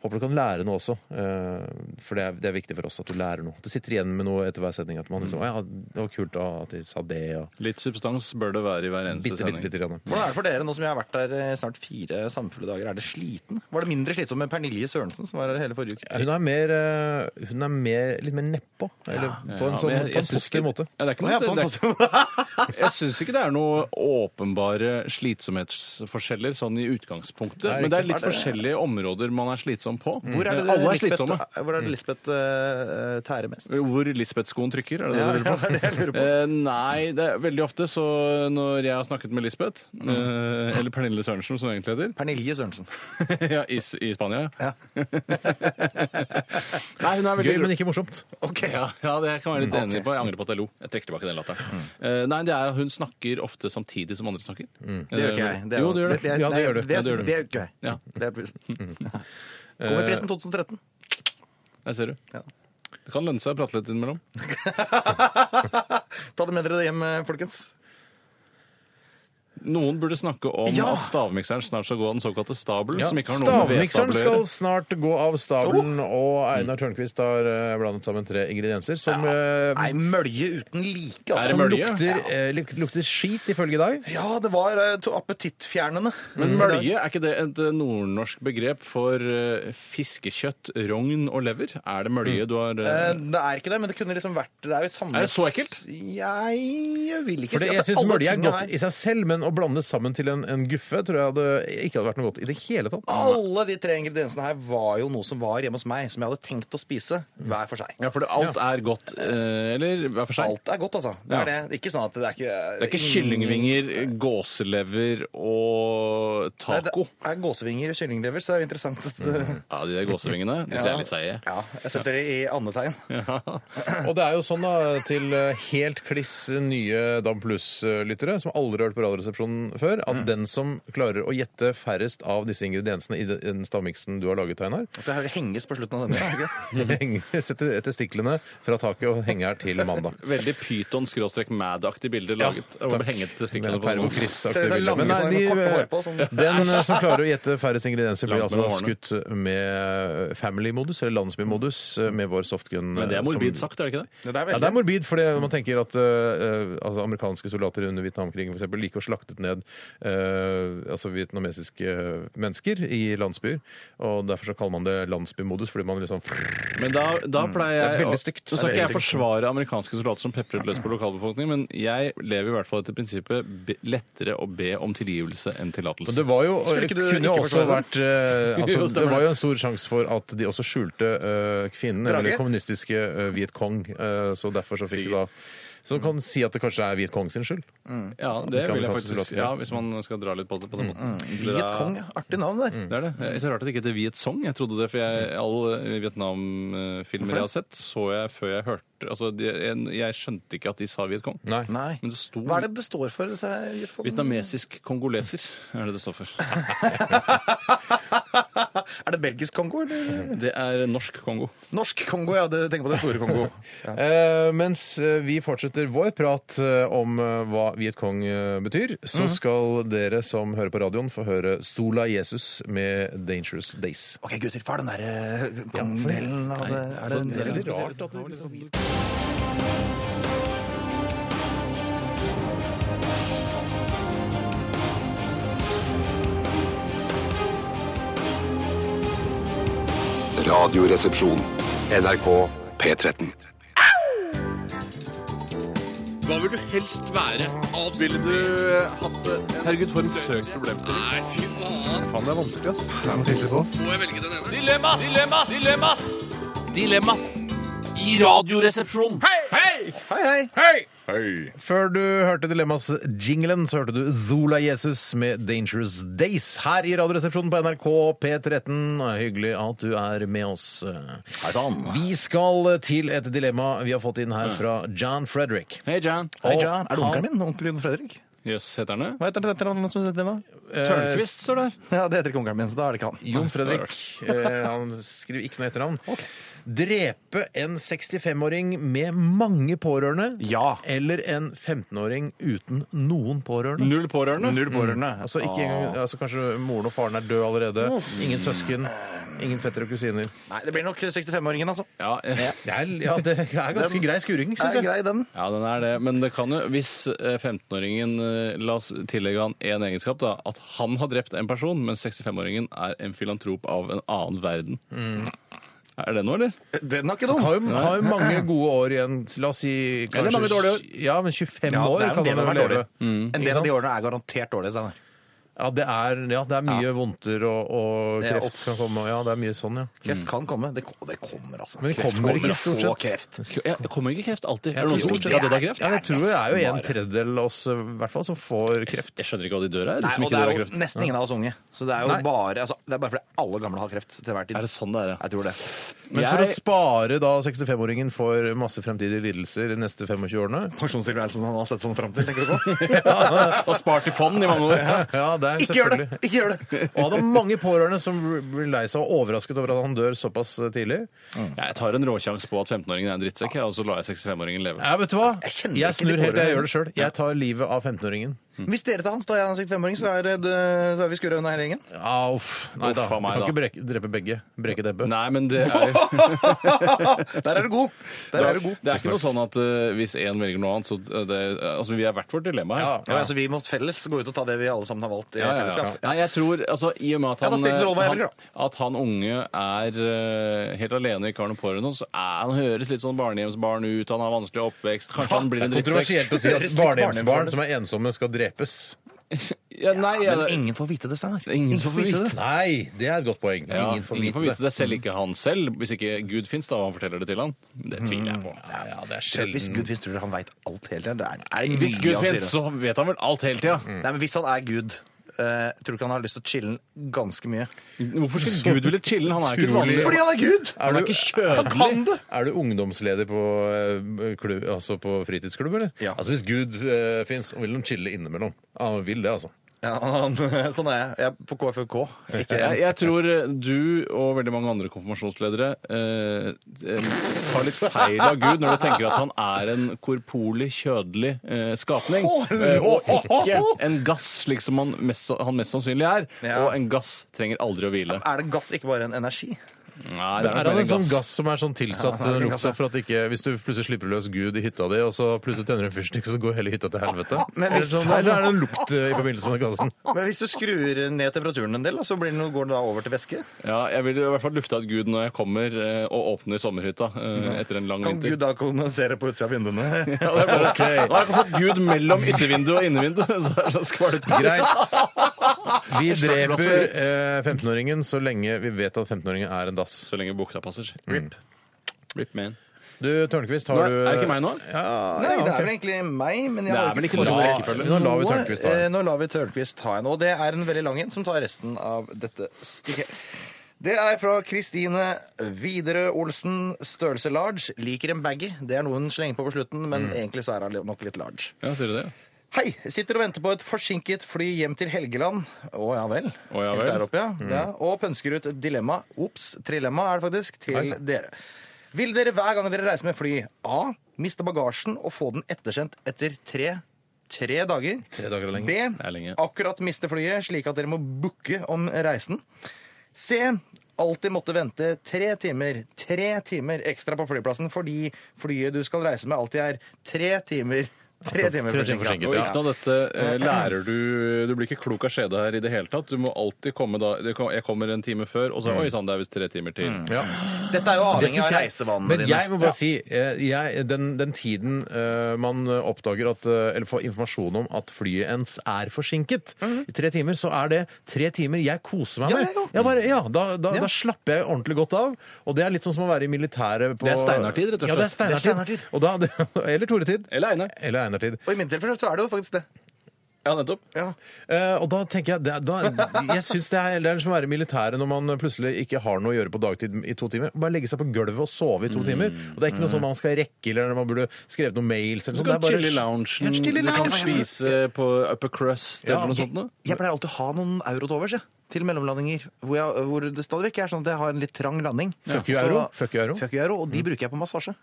Speaker 3: håper du kan lære noe også. Eh, For det er, det er viktig for oss at du lærer noe. At du sitter igjen med noe etter hver sending. At man liksom «Å Ja, det var kult da, at de sa det, og
Speaker 2: Litt substans bør det være i hver eneste
Speaker 3: bitte, bitte,
Speaker 2: sending.
Speaker 3: bitte grann.
Speaker 4: Hvordan er det for dere nå som jeg har vært der i snart fire samfulle dager? Er det sliten? Var det mindre slitsomt med Pernille Sørensen, som var her hele forrige uke?
Speaker 3: Hun er mer, eh, hun er mer litt mer nedpå. Eller på en
Speaker 2: Ja,
Speaker 3: sånn
Speaker 2: men jeg-
Speaker 3: på
Speaker 2: jeg
Speaker 3: en
Speaker 2: syns ikke-
Speaker 3: positiv måte.
Speaker 2: Ja, det er ikke
Speaker 4: Å,
Speaker 2: noe,
Speaker 4: ja, på en
Speaker 2: det, det,
Speaker 4: måte.
Speaker 2: jeg syns ikke det er noe åpenbare slitsomhetsforskjeller sånn i utgangspunktet.
Speaker 3: Nei,
Speaker 2: Men det er
Speaker 4: riktig.
Speaker 2: litt
Speaker 4: Er det-
Speaker 2: forskjellige områder man er slitsom på.
Speaker 4: *laughs* Hvor er det
Speaker 2: Alle er
Speaker 4: Lisbeth-
Speaker 2: slitsomme. Mm.
Speaker 4: Hvor er det Lisbeth eh, tærer mest?
Speaker 2: Hvor Lisbeth-skoen trykker, er det det
Speaker 4: Ja,
Speaker 2: du lurer på?
Speaker 4: ja, *laughs* det er det jeg lurer på.
Speaker 2: Eh, nei, det er veldig ofte så når jeg har snakket med Lisbeth,
Speaker 4: Mm.
Speaker 2: eh, eller Pernille Sørensen som hun egentlig heter,
Speaker 4: Pernille Sørensen.
Speaker 2: *laughs* ja, i, S- i Spania
Speaker 4: Ja.
Speaker 2: Nei, hun er veldig
Speaker 3: Gøy, men ikke morsomt.
Speaker 4: Ok.
Speaker 2: ja, ja, det kan jeg være
Speaker 4: Mm,
Speaker 2: litt enig på. Jeg angrer på at jeg lo. Jeg trekker tilbake den latteren. Eh, nei, det er at hun snakker ofte samtidig som andre snakker.
Speaker 4: Det gjør ikke jeg. Det er
Speaker 2: jo, det gjør det.
Speaker 4: er-
Speaker 3: Ja, det gjør du.
Speaker 4: Det,
Speaker 2: Ja, det gjør
Speaker 4: er-
Speaker 2: du.
Speaker 4: det Eh, gjør ikke jeg.
Speaker 2: Ja,
Speaker 4: Det er prisen. Kommer prisen 2013.
Speaker 2: jeg ser du.
Speaker 4: Ja.
Speaker 2: Det kan lønne seg å prate litt innimellom.
Speaker 4: Ta det med dere hjem, eh, folkens.
Speaker 2: Noen burde snakke om
Speaker 4: Ja!
Speaker 2: at stavmikseren snart skal gå av den såkalte stabelen, som ikke har noe med
Speaker 3: Stavmikseren
Speaker 2: vedstabel å gjøre.
Speaker 3: skal snart gå av stabelen, og Einar Tørnquist har eh, blandet sammen tre ingredienser som eh,
Speaker 4: Nei, mølje uten like,
Speaker 2: Er det
Speaker 4: altså.
Speaker 2: mølje?
Speaker 3: lukter, eh, luk- lukter skit, ifølge deg.
Speaker 4: Ja, det var eh, to appetittfjernende. Mm.
Speaker 2: Men mølje, er ikke det et eh, nordnorsk begrep for eh, fiskekjøtt, rogn og lever? Er det mølje du har eh,
Speaker 4: Eh, Det er ikke det, men det kunne liksom vært Det er jo samme
Speaker 2: Er det så ekkelt?
Speaker 4: Jeg vil ikke
Speaker 3: For det,
Speaker 4: si altså,
Speaker 3: jeg syns
Speaker 4: alle
Speaker 3: mølje er
Speaker 4: tingene
Speaker 3: godt
Speaker 4: her-
Speaker 3: i seg selv, men å blande sammen til en, en guffe tror jeg hadde, ikke hadde vært noe godt i det hele tatt.
Speaker 4: Alle de tre ingrediensene her var jo noe som var hjemme hos meg, som jeg hadde tenkt å spise hver for seg.
Speaker 2: Ja, for det, alt er godt, eh, eller hver for seg.
Speaker 4: Alt er godt, altså. Det
Speaker 2: Ja.
Speaker 4: er det. Ikke sånn at det er ikke
Speaker 2: Det er ikke kyllingvinger, gåselever og
Speaker 4: Mm. Nei, det
Speaker 2: taco.
Speaker 4: er gåsevinger og kyllinglever, så det er jo interessant at
Speaker 2: Ja, de der gåsevingene, de ser litt seige.
Speaker 4: Ja, jeg setter det i andetegn.
Speaker 3: Og det er jo sånn da, til eh, helt kliss nye DAB Pluss-lyttere som aldri har hørt på Radioresepsjonen før, at
Speaker 2: Mm.
Speaker 3: den som klarer å gjette færrest av disse ingrediensene i den- i den stavmiksen du har laget, Einar,
Speaker 4: Så jeg hører henges på slutten av denne. er det ikke?
Speaker 2: Mm.
Speaker 3: *laughs* henge- sette testiklene fra taket og henge her til mandag.
Speaker 2: Veldig pyton-mad-aktig bilder laget. hvor det henget testiklene
Speaker 3: Med
Speaker 2: på
Speaker 3: Pervo
Speaker 2: noen.
Speaker 3: Chris-aktig
Speaker 4: Ser ut som
Speaker 3: bilde.
Speaker 4: lange
Speaker 3: Men nei,
Speaker 4: sånne
Speaker 3: de,
Speaker 4: med korte hår på, sånn.
Speaker 3: *laughs* den eh, som klarer å gjette færrest ingredienser, blir
Speaker 2: Langt
Speaker 3: altså
Speaker 2: mellom
Speaker 3: skutt med family-modus, eller landsby-modus, eh, med vår softgun. eh,
Speaker 2: Men det er morbid sagt, er det ikke det?
Speaker 4: Det er
Speaker 3: Ja,
Speaker 4: veldig-
Speaker 3: det er morbid, for det- man tenker at eh, eh, altså, amerikanske soldater under Vietnamkrigen for eksempel, liker å slaktet ned eh, altså, vietnamesiske eh, mennesker i landsbyer. og Derfor så kaller man det landsbymodus, fordi man liksom
Speaker 2: Men da, da pleier jeg
Speaker 3: Mm. Det er veldig
Speaker 2: å-
Speaker 3: stygt.
Speaker 2: Nå skal
Speaker 3: Det er
Speaker 2: ikke jeg
Speaker 3: veldig stygt.
Speaker 2: forsvare amerikanske soldater som pepret løs på lokalbefolkningen, men jeg lever i hvert fall etter prinsippet be- lettere å be om tilgivelse enn tillatelse.
Speaker 3: Det var jo, eh,
Speaker 4: Skulle ikke du
Speaker 3: kunne jo
Speaker 4: ikke
Speaker 3: også
Speaker 4: forsvare
Speaker 3: vært eh, altså,
Speaker 2: Jo,
Speaker 3: Det
Speaker 2: stemmer
Speaker 3: var
Speaker 2: det.
Speaker 3: jo en stor sjanse for at de også skjulte eh, kvinnen, eller
Speaker 4: Draget.
Speaker 3: det kommunistiske eh, Viet Cong. eh, så derfor så fikk de da Så man kan si at det kanskje er Viet Cong sin skyld.
Speaker 2: Ja, det
Speaker 3: Ikke
Speaker 2: vil jeg faktisk
Speaker 3: amerikanske soldater. Mm,
Speaker 2: Ja, hvis man skal dra litt på det på den måten. Det
Speaker 4: Viet
Speaker 2: er-
Speaker 4: Kong, ja. artig navn der.
Speaker 2: Det er det. Det er så rart at det ikke heter Viet Song. Jeg trodde det, for jeg,
Speaker 3: Mm.
Speaker 2: alle Vietnam-filmer jeg har sett, så jeg før jeg hørte Altså, de, jeg, jeg skjønte ikke at de sa Viet Cong.
Speaker 3: Nei.
Speaker 4: Nei.
Speaker 2: Men det sto
Speaker 4: Hva er det det står for? dette her, Viet Cong?
Speaker 2: Vietnamesisk kongoleser er det det står for.
Speaker 4: *laughs*
Speaker 3: *laughs*
Speaker 4: Er det belgisk Kongo, eller?
Speaker 2: Det er norsk Kongo.
Speaker 4: Norsk Kongo, ja. det- Tenk på det store Kongo.
Speaker 3: Eh, mens eh, vi fortsetter vår prat eh, om eh, hva Viet Cong eh, betyr, så skal dere som hører på radioen, få høre Sola Jesus med Dangerous Days.
Speaker 4: Ok, gutter, hva er den derre kongdelen av det? Er det,
Speaker 3: Det er
Speaker 4: eller-
Speaker 3: litt rart at du
Speaker 5: Radioresepsjon. NRK P13.
Speaker 8: Hva vil du helst være? Ville du eh, hatt det? Herregud, for en søkt problemstilling. Nei, fy faen. Faen, det er vanskelig, ass. Det er noe tydelig på oss. Må jeg velge den ene?
Speaker 7: Dilemmas! Dilemmas! Dilemmas! Dilemmas! I radioresepsjonen. Hei!
Speaker 8: Hei!
Speaker 4: Hei, hei!
Speaker 8: Hei!
Speaker 3: Før du hørte Dilemmas-jinglen, så hørte du Zola Jesus med Dangerous Days her i Radioresepsjonen på NRK P13. Hyggelig at du er med oss. Vi skal til et dilemma vi har fått inn her fra John Frederick.
Speaker 2: Hei, John.
Speaker 4: Hei, John. Er det onkelen min? Onkel Jon Fredrik?
Speaker 2: Jøss, heter han det?
Speaker 4: Hva heter det til han som sitter nå?
Speaker 2: Tørnquist står der.
Speaker 4: Ja, det heter ikke onkelen min, så da er det ikke han.
Speaker 3: Jon Fredrik. Eh, han skriver ikke noe etternavn. Drepe en 65-åring med mange pårørende
Speaker 4: Ja.
Speaker 3: eller en 15-åring uten noen pårørende?
Speaker 2: Null pårørende.
Speaker 4: Null pårørende.
Speaker 3: Altså, ikke
Speaker 4: Ah.
Speaker 3: engang, altså Kanskje moren og faren er død allerede. Ingen søsken. Ingen fettere og kusiner.
Speaker 4: Nei, det blir nok 65-åringen, altså.
Speaker 2: Ja, eh,
Speaker 3: Det er, ja,
Speaker 4: *laughs*
Speaker 3: det er ganske grei skuring, syns
Speaker 4: Er
Speaker 3: jeg.
Speaker 4: grei, den.
Speaker 2: ja, den er det. Men det kan jo, hvis eh, 15-åringen eh, La oss tillegge han én egenskap, da. At han har drept en person, men 65-åringen er en filantrop av en annen verden. Er det noe, eller?
Speaker 4: Den er ikke dum.
Speaker 3: Har jo, har jo mange gode år igjen. La oss si kanskje,
Speaker 2: Eller mange dårlige år.
Speaker 3: Ja, men 25
Speaker 4: Ja,
Speaker 3: år
Speaker 4: det er en
Speaker 3: kan
Speaker 4: del
Speaker 3: man
Speaker 4: av
Speaker 3: jo
Speaker 4: hver
Speaker 3: leve.
Speaker 4: dårlig.
Speaker 2: Mm.
Speaker 4: En del av de årene er garantert dårlige. Steinar.
Speaker 3: Ja, det er, ja, det er mye vondter og, og
Speaker 4: Det er
Speaker 3: kreft kan komme. Ja, det er mye sånn, ja.
Speaker 2: Mm.
Speaker 4: Kreft kan komme. Det, ko- det kommer, altså.
Speaker 3: Men det
Speaker 4: Kreft
Speaker 3: kommer ikke, stort
Speaker 4: Få
Speaker 3: sett.
Speaker 4: kreft.
Speaker 2: Ja, kommer ikke kreft alltid? Er
Speaker 3: tror
Speaker 2: det noen som
Speaker 3: det
Speaker 2: fortsatt har dødd av kreft?
Speaker 3: Ja, jeg tror det er jo en
Speaker 4: Nesten bare.
Speaker 3: tredjedel av oss eh, i hvert fall som får kreft.
Speaker 2: Jeg skjønner ikke hva de dør av. de
Speaker 4: Nei,
Speaker 2: som
Speaker 4: og
Speaker 2: ikke
Speaker 4: det
Speaker 2: dør av
Speaker 4: er jo
Speaker 2: kreft.
Speaker 4: nesten ingen av oss unge. Så det er jo
Speaker 3: Nei.
Speaker 4: bare altså, Det er bare fordi alle gamle har kreft til hver tid.
Speaker 2: Er det sånn det er, ja?
Speaker 4: Jeg tror det.
Speaker 3: Men for å
Speaker 2: Jeg-
Speaker 3: spare da 65-åringen for masse fremtidige lidelser de neste 25 årene
Speaker 4: Pensjonstilværelsen han har sett sånn fram til,
Speaker 2: *laughs*
Speaker 4: tenker du på?
Speaker 2: Og spart i fond i mange *laughs* år.
Speaker 3: *laughs* ja, det er
Speaker 4: Ikke gjør det!
Speaker 3: selvfølgelig-
Speaker 4: Ikke gjør det!
Speaker 3: Og han har mange pårørende som blir lei seg og overrasket over at han dør såpass eh, tidlig.
Speaker 2: Jeg tar en råsjanse på at 15-åringen er en drittsekk, jeg, og så lar jeg 65-åringen leve.
Speaker 3: Ja, vet du hva?
Speaker 4: Jeg kjenner
Speaker 3: Jeg
Speaker 4: ikke de
Speaker 3: snur helt, jeg
Speaker 4: pårørende.
Speaker 3: gjør det sjøl. Jeg tar livet av 15-åringen.
Speaker 2: Mm.
Speaker 4: Hvis dere tar hans, da jeg er 65-åring, så, er det- det- så er vi skurra unna hele
Speaker 2: *laughs*
Speaker 4: gjengen.
Speaker 3: Ja, uff. Nei da.
Speaker 2: Uff, faen
Speaker 3: Du
Speaker 2: meg,
Speaker 3: kan
Speaker 2: da.
Speaker 3: ikke breke, drepe begge. Breke debbet.
Speaker 2: Nei, men det er,
Speaker 4: Der er du god! Der er du god.
Speaker 2: det er ikke noe sånn at eh, hvis én velger noe annet, så det, Altså, vi er hvert vårt dilemma her.
Speaker 3: Ja,
Speaker 4: Ja, altså, vi må felles gå ut og ta det vi alle sammen har valgt i
Speaker 2: Ja, ja, ja.
Speaker 4: fellesskap.
Speaker 2: Nei, jeg tror, altså, I og med at
Speaker 4: Ja, da
Speaker 2: han,
Speaker 4: spiller det ingen rolle hva jeg
Speaker 2: han,
Speaker 4: velger,
Speaker 2: at han unge er eh, helt alene i karen og pårørende, så er han høres litt sånn barnehjemsbarn ut, han har vanskelig oppvekst, kanskje han blir en drittsekk.
Speaker 3: Kontroversielt å si at
Speaker 4: Høres litt
Speaker 3: barnehjemsbarn
Speaker 4: barnehjemsbarn
Speaker 3: som er ensomme, skal drepes.
Speaker 2: Ja, nei, jeg-
Speaker 4: Men ingen får vite det, Steinar.
Speaker 2: Ingen får vite det.
Speaker 3: Nei, det er et godt poeng.
Speaker 2: ja,
Speaker 3: Ingen får vite det.
Speaker 2: det. Selv ikke han selv, hvis ikke Gud fins, da, og han forteller det til han. Det tviler jeg på.
Speaker 3: Ja, ja, det er
Speaker 4: Hvis
Speaker 3: sjelden.
Speaker 4: Gud finnes, tror dere han veit alt hele tiden? Det er, er mye
Speaker 2: Hvis Gud
Speaker 4: han sier.
Speaker 2: fins, så vet han vel alt hele tida.
Speaker 4: Nei, men Hvis han er Gud, eh, tror du ikke han har lyst til å chille ganske mye?
Speaker 2: Hvorfor skulle Gud ville chille? Han er jo ikke et
Speaker 3: Utrolig.
Speaker 2: vanlig
Speaker 4: Fordi han er Gud!
Speaker 2: Han
Speaker 3: du-
Speaker 2: er ikke
Speaker 4: Han
Speaker 2: kjødelig.
Speaker 4: kan det!
Speaker 3: Er du ungdomsleder på, eh, klubb, altså på fritidsklubb, eller?
Speaker 4: Ja.
Speaker 3: Altså Hvis Gud uh, fins, vil de chille innimellom. Ja, han vil det, altså.
Speaker 4: Ja, han, *laughs* sånn er jeg. Jeg er på KFUK. Ikke
Speaker 2: Jeg, jeg tror eh, du og veldig mange andre konfirmasjonsledere eh, eh, tar litt feil av Gud når du tenker at han er en korporlig, kjødelig eh, skapning. Eh, og ikke en gass, slik som han mest, han mest sannsynlig er.
Speaker 4: Ja.
Speaker 2: Og en gass trenger aldri å hvile.
Speaker 4: Er det gass, ikke bare en energi?
Speaker 2: Nei, det
Speaker 3: Er
Speaker 2: er nok
Speaker 3: han en
Speaker 2: mer
Speaker 3: sånn
Speaker 2: en gass.
Speaker 3: gass som er sånn tilsatt
Speaker 4: Ja, han er en
Speaker 3: lukt
Speaker 4: gass, ja.
Speaker 3: for at ikke Hvis du plutselig slipper løs Gud i hytta di, og så plutselig tenner du en fyrstikk, så går hele hytta til helvete?
Speaker 2: *laughs*
Speaker 4: Men
Speaker 3: Eller,
Speaker 4: hvis-
Speaker 3: sånn, eller er det en lukt eh, i forbindelse med gassen?
Speaker 4: Men hvis du skrur ned temperaturen en del, da, så blir den, går den da over til væske?
Speaker 2: Ja, jeg vil i hvert fall lufte ut Gud når jeg kommer eh, og åpner sommerhytta eh, etter en lang
Speaker 4: Kan Gud
Speaker 2: *laughs*
Speaker 4: da
Speaker 2: vinter.
Speaker 4: kondensere på utsida av vinduene?
Speaker 2: Ja, det er bare,
Speaker 3: Ok.
Speaker 2: Da har jeg ikke fått Gud mellom yttervindu og innevindu. *laughs* Så er det skvalp.
Speaker 3: Greit. Vi dreper eh, 15-åringen så lenge vi vet at 15-åringen er en dass. Mm.
Speaker 2: Så lenge buksa passer. Rip. Rip man.
Speaker 3: Du, Tørnquist, har
Speaker 2: Nå,
Speaker 3: du
Speaker 2: er det ikke meg nå?
Speaker 4: Nei, det er vel egentlig meg, men jeg
Speaker 2: Det er
Speaker 4: har
Speaker 2: vel ikke
Speaker 4: fått-
Speaker 2: noe
Speaker 4: Ja,
Speaker 2: rekkefølge.
Speaker 3: Nå lar vi Tørnquist ta en.
Speaker 4: Eh, Nå lar vi Tørnquist ta en. Og det er en veldig lang en som tar resten av dette stikket. Det er fra Kristine Widerøe Olsen, størrelse large. Liker en baggy. Det er noe hun slenger på på slutten, men
Speaker 3: Mm.
Speaker 4: egentlig så er han nok litt large.
Speaker 2: Ja, sier du det?
Speaker 4: Hei! Sitter og venter på et forsinket fly hjem til Helgeland. Å ja vel.
Speaker 2: Å, ja
Speaker 4: Helt
Speaker 2: vel.
Speaker 4: Der oppe, ja.
Speaker 3: Mm.
Speaker 4: ja. Og pønsker ut et dilemma, ops, trilemma er det faktisk, til dere. Vil dere hver gang dere reiser med fly, A. Miste bagasjen og få den ettersendt etter tre Tre dager.
Speaker 3: Tre dager er lenge.
Speaker 4: B.
Speaker 2: er lenge.
Speaker 4: Akkurat miste flyet, slik at dere må booke om reisen. C. Alltid måtte vente tre timer, tre timer ekstra på flyplassen fordi flyet du skal reise med, alltid er tre timer Tre timer
Speaker 3: Altså, tre timer
Speaker 4: forsinket.
Speaker 3: forsinket.
Speaker 2: Og
Speaker 3: Ja.
Speaker 2: ikke noe av dette eh, lærer du Du blir ikke klok av skjede her i det hele tatt. Du må alltid komme da det kom- Jeg kommer en time før, og
Speaker 3: Mm.
Speaker 2: så Oi sann, det er visst tre timer til.
Speaker 4: Dette er jo
Speaker 3: Det
Speaker 4: avhengig
Speaker 3: synes
Speaker 4: av
Speaker 3: jeg-
Speaker 4: reisevanene
Speaker 3: Men
Speaker 4: dine.
Speaker 3: jeg må bare si, eh, jeg, den, den tiden eh, man oppdager at, eh, eller får informasjon om at flyet ens er forsinket, i tre timer, så er det tre timer jeg koser meg
Speaker 4: Mhm. Ja, ja, ja.
Speaker 3: med. Jeg bare, ja, da, da,
Speaker 4: Ja.
Speaker 3: da slapper jeg ordentlig godt av, og det er litt sånn som å være i militæret på...
Speaker 2: Det er steinartid, rett og slett.
Speaker 3: Ja, det er
Speaker 4: Det er
Speaker 3: steinartid.
Speaker 4: steinartid.
Speaker 3: Og da, *laughs* eller toretid.
Speaker 2: Eller Einar.
Speaker 3: Eller einartid.
Speaker 4: Og i min tilfelle så er det jo faktisk det.
Speaker 2: Ja, nettopp.
Speaker 3: Eh, og da tenker jeg det, er- da, Jeg syns det er, det er som å være i militæret når man plutselig ikke har noe å gjøre på dagtid i to timer. Bare legge seg på gulvet og sove i
Speaker 2: Mm.
Speaker 3: to timer. Og Det er ikke noe sånn man skal rekke, eller man burde skrevet noen mails. Eller
Speaker 2: Du
Speaker 3: sånn. det
Speaker 2: kan
Speaker 3: er bare,
Speaker 2: chille i loungen.
Speaker 3: Ja, chille i
Speaker 2: Du kan
Speaker 3: loungen.
Speaker 2: spise på upper crust
Speaker 3: Ja,
Speaker 2: eller noe
Speaker 4: Jeg,
Speaker 2: sånt noe.
Speaker 4: jeg pleier alltid å ha noen euro til overs jeg, til mellomlandinger. Hvor, jeg, hvor det stadig vekk er sånn at jeg har en litt trang landing.
Speaker 3: Fuck you
Speaker 4: Så-
Speaker 3: euro, fuck you euro. Mm. Ah.
Speaker 4: Fuck you euro, Og de bruker jeg på massasje.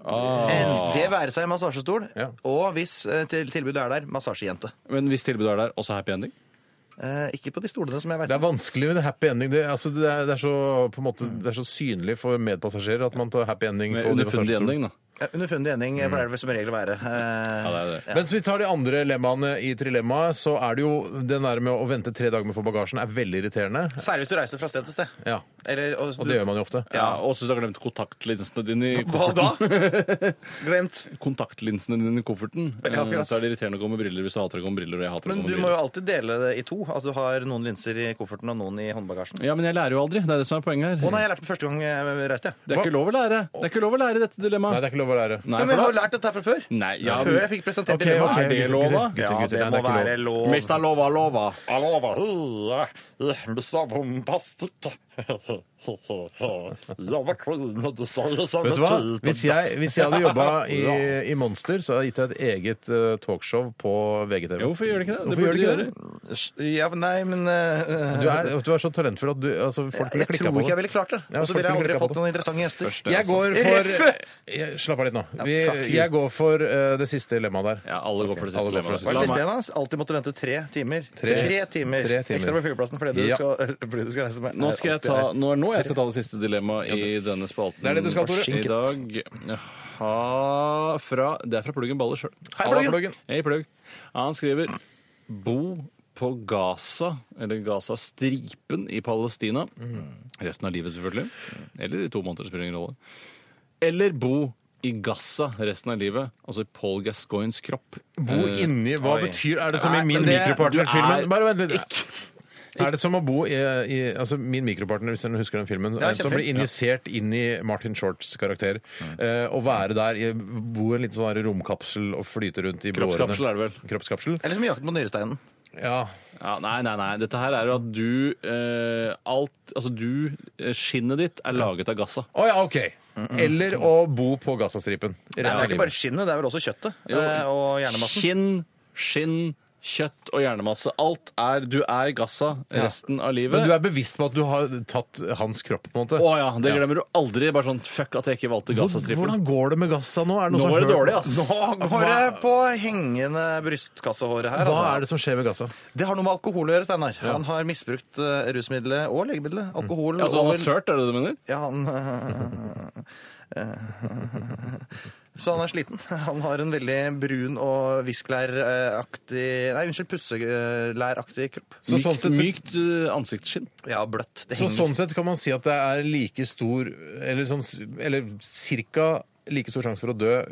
Speaker 4: Eh, Det være seg massasjestol,
Speaker 3: Ja.
Speaker 4: og hvis eh, til, tilbudet er der, massasjejente.
Speaker 2: Men hvis tilbudet er der, også happy ending?
Speaker 4: Eh, ikke på de stolene som jeg
Speaker 3: Det
Speaker 4: veit
Speaker 3: er vanskelig med det happy ending. Det, altså, det, er, det, er så, på en måte, det er så synlig for medpassasjerer at man tar happy ending.
Speaker 2: Med
Speaker 3: på de
Speaker 2: underfundig
Speaker 3: massasjestolene.
Speaker 2: ending, da.
Speaker 4: Underfundig ending
Speaker 3: Mm.
Speaker 4: eh, pleier det vel som regel å være. Eh,
Speaker 2: Ja, det er det.
Speaker 3: Mens vi tar de andre lemmaene i trilemmaet, så er det jo den der med å vente tre dager med å få bagasjen er veldig irriterende.
Speaker 4: Særlig hvis du reiser fra sted til sted.
Speaker 3: Ja,
Speaker 4: Eller, og,
Speaker 3: Og det gjør man jo ofte.
Speaker 2: Ja, og så har jeg glemt kontaktlinsene dine i
Speaker 4: Hva da?
Speaker 3: *laughs*
Speaker 2: kofferten.
Speaker 4: Glemt.
Speaker 2: Kontaktlinsene dine i kofferten.
Speaker 4: Ja, akkurat.
Speaker 2: Eh, Så er det irriterende å gå med briller hvis du hater å gå med briller. Og jeg hater å
Speaker 4: Men
Speaker 2: gå
Speaker 4: du
Speaker 2: med
Speaker 4: må jo
Speaker 2: briller.
Speaker 4: alltid dele det i to. Altså, du har noen linser i kofferten og noen i håndbagasjen.
Speaker 2: Ja, men jeg lærer jo aldri. Det er det som er poenget her.
Speaker 4: Å nei, jeg lærte den første gang jeg reiste. jeg.
Speaker 2: Det er ikke lov å lære. Det er ikke lov å lære dette
Speaker 3: Nei,
Speaker 2: dilemmaet.
Speaker 3: det er ikke lov å lære.
Speaker 2: Nei,
Speaker 4: Ja, men jeg har jo lært dette her fra før.
Speaker 2: Nei, ja,
Speaker 4: Før jeg fikk presentert
Speaker 3: Ok,
Speaker 4: dilemmaet.
Speaker 3: ok,
Speaker 2: Er det
Speaker 3: gutter,
Speaker 2: lov, da?
Speaker 3: gutter, gutter,
Speaker 4: ja,
Speaker 3: gutter,
Speaker 4: det
Speaker 3: nei,
Speaker 4: må
Speaker 3: er ikke
Speaker 4: være lov.
Speaker 2: Mista lova lova.
Speaker 4: Alova. Mista *laughs* bombastikk. Jobba kline, du sa jo
Speaker 3: Vet du hva? Hvis jeg, hvis jeg hadde jobba
Speaker 4: *laughs*
Speaker 3: i, i Monster, så hadde jeg gitt deg et eget eh, talkshow på VGTV.
Speaker 2: Ja, hvorfor gjør det ikke det? Det
Speaker 3: Hvorfor gjør
Speaker 2: burde
Speaker 3: det ikke
Speaker 2: du
Speaker 3: det?
Speaker 4: Ja, nei, men eh,
Speaker 3: Du er, du er så talentfull at du, altså, folk ville
Speaker 4: Jeg
Speaker 3: klikka
Speaker 4: tror
Speaker 3: på
Speaker 4: ikke jeg
Speaker 3: det.
Speaker 4: ville klart det.
Speaker 3: Ja,
Speaker 4: Og så ville jeg
Speaker 3: folk ville
Speaker 4: aldri
Speaker 3: klikket på
Speaker 4: fått noen interessante gjester.
Speaker 3: Jeg går for altså. jeg, Slapp av litt nå. Vi,
Speaker 4: fuck you.
Speaker 3: jeg går for eh, det siste lemmaet der.
Speaker 2: Ja, alle går for det siste
Speaker 3: alle går for det
Speaker 2: dilemmaet.
Speaker 4: Hva
Speaker 3: siste.
Speaker 4: er
Speaker 2: La
Speaker 4: det siste
Speaker 2: meg-
Speaker 4: igjen? da? Alltid måtte vente tre timer.
Speaker 3: Tre-
Speaker 4: Tre, timer.
Speaker 3: tre timer.
Speaker 4: Ekstra på flyplassen fordi du,
Speaker 3: Ja.
Speaker 4: skal, *laughs* fordi du skal reise med.
Speaker 2: Nå skal jeg
Speaker 4: *laughs*
Speaker 2: ta, nå er nå jeg skal ta det siste dilemmaet i denne spalten.
Speaker 3: Det er det du skal, Tore.
Speaker 2: I dag ha fra, Det er fra Pluggen Baller sjøl.
Speaker 4: Hei,
Speaker 3: Halla,
Speaker 4: Pluggen!
Speaker 3: Pluggen.
Speaker 2: Hei, Plugg. Han skriver Bo på Gaza, eller Gaza-stripen i Palestina. Resten av livet, selvfølgelig. Eller i to måneder, spiller ingen rolle. Eller bo i Gaza resten av livet. Altså i Paul Gascoignes kropp.
Speaker 3: Bo
Speaker 2: Eh,
Speaker 3: inni Hva betyr Er det som i
Speaker 4: Nei,
Speaker 3: min
Speaker 4: men det-
Speaker 3: mikropartner-filmen?
Speaker 2: du er-
Speaker 3: Bare vent litt. Er det som å bo i, i altså min mikropartner, hvis dere husker den filmen,
Speaker 4: Ja, Mm.
Speaker 3: eh, som ble
Speaker 4: kjempefilm.
Speaker 3: injisert inn i Martin Shorts karakter? eh, Å være der, i- bo i en liten sånn her romkapsel og flyte rundt i blårene.
Speaker 2: Kroppskapsel er det vel.
Speaker 3: Kroppskapsel?
Speaker 4: Eller som jakten på nyresteinen.
Speaker 3: Ja.
Speaker 2: Ja, nei, nei, nei. Dette her er jo at du eh, Alt Altså, du eh, Skinnet ditt er laget av Gaza.
Speaker 3: Å ja, OK. Eller å bo på Gazastripen. Resten
Speaker 4: Det
Speaker 3: av
Speaker 4: er ikke
Speaker 3: livet.
Speaker 4: bare skinnet, det er vel også kjøttet
Speaker 2: Jo.
Speaker 4: eh, og hjernemassen.
Speaker 2: Kinn, skinn, kjøtt og hjernemasse. Alt er Du er Gaza resten av livet.
Speaker 3: Men du er bevisst på at du har tatt hans kropp, på en måte?
Speaker 2: Å ja, det glemmer du aldri. Bare sånn fuck at jeg ikke valgte
Speaker 3: Hvor-
Speaker 2: Gaza-strippen.
Speaker 3: Hvordan går det med Gaza nå? Er det
Speaker 2: Nå
Speaker 3: noe som
Speaker 2: var det
Speaker 3: har hørt-
Speaker 2: dårlig, altså. ass.
Speaker 4: Nå går det på hengende brystkassehåret her.
Speaker 3: Hva
Speaker 4: altså.
Speaker 3: er det som skjer med Gaza?
Speaker 4: Det har noe med alkohol å gjøre, Steinar. Han har misbrukt eh, rusmiddelet og legemiddelet. Alkohol
Speaker 2: Altså, han
Speaker 4: over-
Speaker 2: har sørt, er det det du mener?
Speaker 4: Ja, han eh, *laughs* eh, Så han er sliten. Han har en veldig brun og viskelæraktig Nei, unnskyld, pusselæraktig kropp.
Speaker 3: Så
Speaker 2: mykt
Speaker 3: sånn sett-
Speaker 2: mykt eh, ansiktsskinn.
Speaker 4: Ja, bløtt. Det
Speaker 3: Så
Speaker 4: henger.
Speaker 3: sånn sett kan man si at det er like stor Eller, sånn, eller cirka like stor sjanse for å dø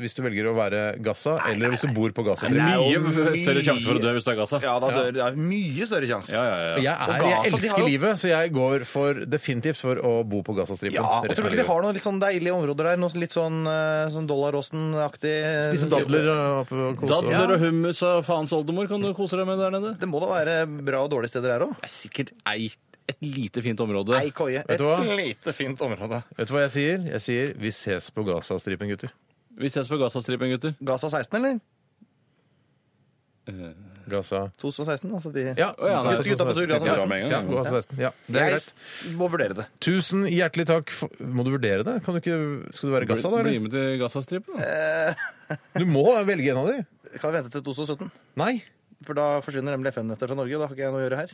Speaker 3: hvis du velger å være Gaza, eller hvis du bor på
Speaker 4: Nei,
Speaker 3: Gazastripen.
Speaker 4: nei, jo
Speaker 2: Mye større
Speaker 4: mye-
Speaker 2: sjanse for å dø hvis du er Gaza.
Speaker 4: Ja, da dør det. er Mye større sjanse.
Speaker 2: Ja, ja,
Speaker 3: Jeg,
Speaker 2: ja.
Speaker 3: er,
Speaker 4: Og Gaza,
Speaker 3: jeg
Speaker 4: de
Speaker 3: elsker
Speaker 4: har jo-
Speaker 3: livet, så jeg går for definitivt for å bo på Gazastripen.
Speaker 4: Ja, og
Speaker 3: resten
Speaker 4: tror du
Speaker 3: av
Speaker 4: ikke de
Speaker 3: livet.
Speaker 4: har noen litt sånn deilige områder der? Noe litt sånn, eh, sånn Dollaråsen-aktig
Speaker 3: Spise dadler
Speaker 4: eh,
Speaker 3: og og kose og-
Speaker 2: Dadler og hummus og faens oldemor kan du kose deg med der nede.
Speaker 4: Det må da være bra og dårlige steder her òg?
Speaker 2: Det er sikkert ei, et lite fint område.
Speaker 4: Ei koie.
Speaker 3: Vet
Speaker 4: Et
Speaker 3: du hva?
Speaker 4: lite fint område.
Speaker 3: Vet du hva jeg sier? Jeg sier vi ses på Gazastripen, gutter.
Speaker 2: Vi ses på Gazastripen, gutter.
Speaker 4: Gaza 16, eller?
Speaker 3: Gaza
Speaker 4: 2016? Altså de...
Speaker 3: Ja,
Speaker 2: Å, ja, nei.
Speaker 3: Gaza-
Speaker 4: Gutta på tur, Gaza
Speaker 3: Ja,
Speaker 2: 16. med en
Speaker 3: Ja,
Speaker 2: gang.
Speaker 3: Gaza 16. Ja, det er
Speaker 4: Jeg
Speaker 3: greit.
Speaker 4: s- må vurdere det.
Speaker 3: Tusen hjertelig takk. For, må du vurdere det? Kan du ikke, skal du være Gaza, da?
Speaker 2: Bli,
Speaker 3: eller?
Speaker 2: bli med til Gazastripen, da.
Speaker 3: Du må velge en av de.
Speaker 4: Kan vente til 2017.
Speaker 3: Nei.
Speaker 4: For da forsvinner nemlig FN-nettet fra Norge, og da har ikke jeg noe å gjøre her.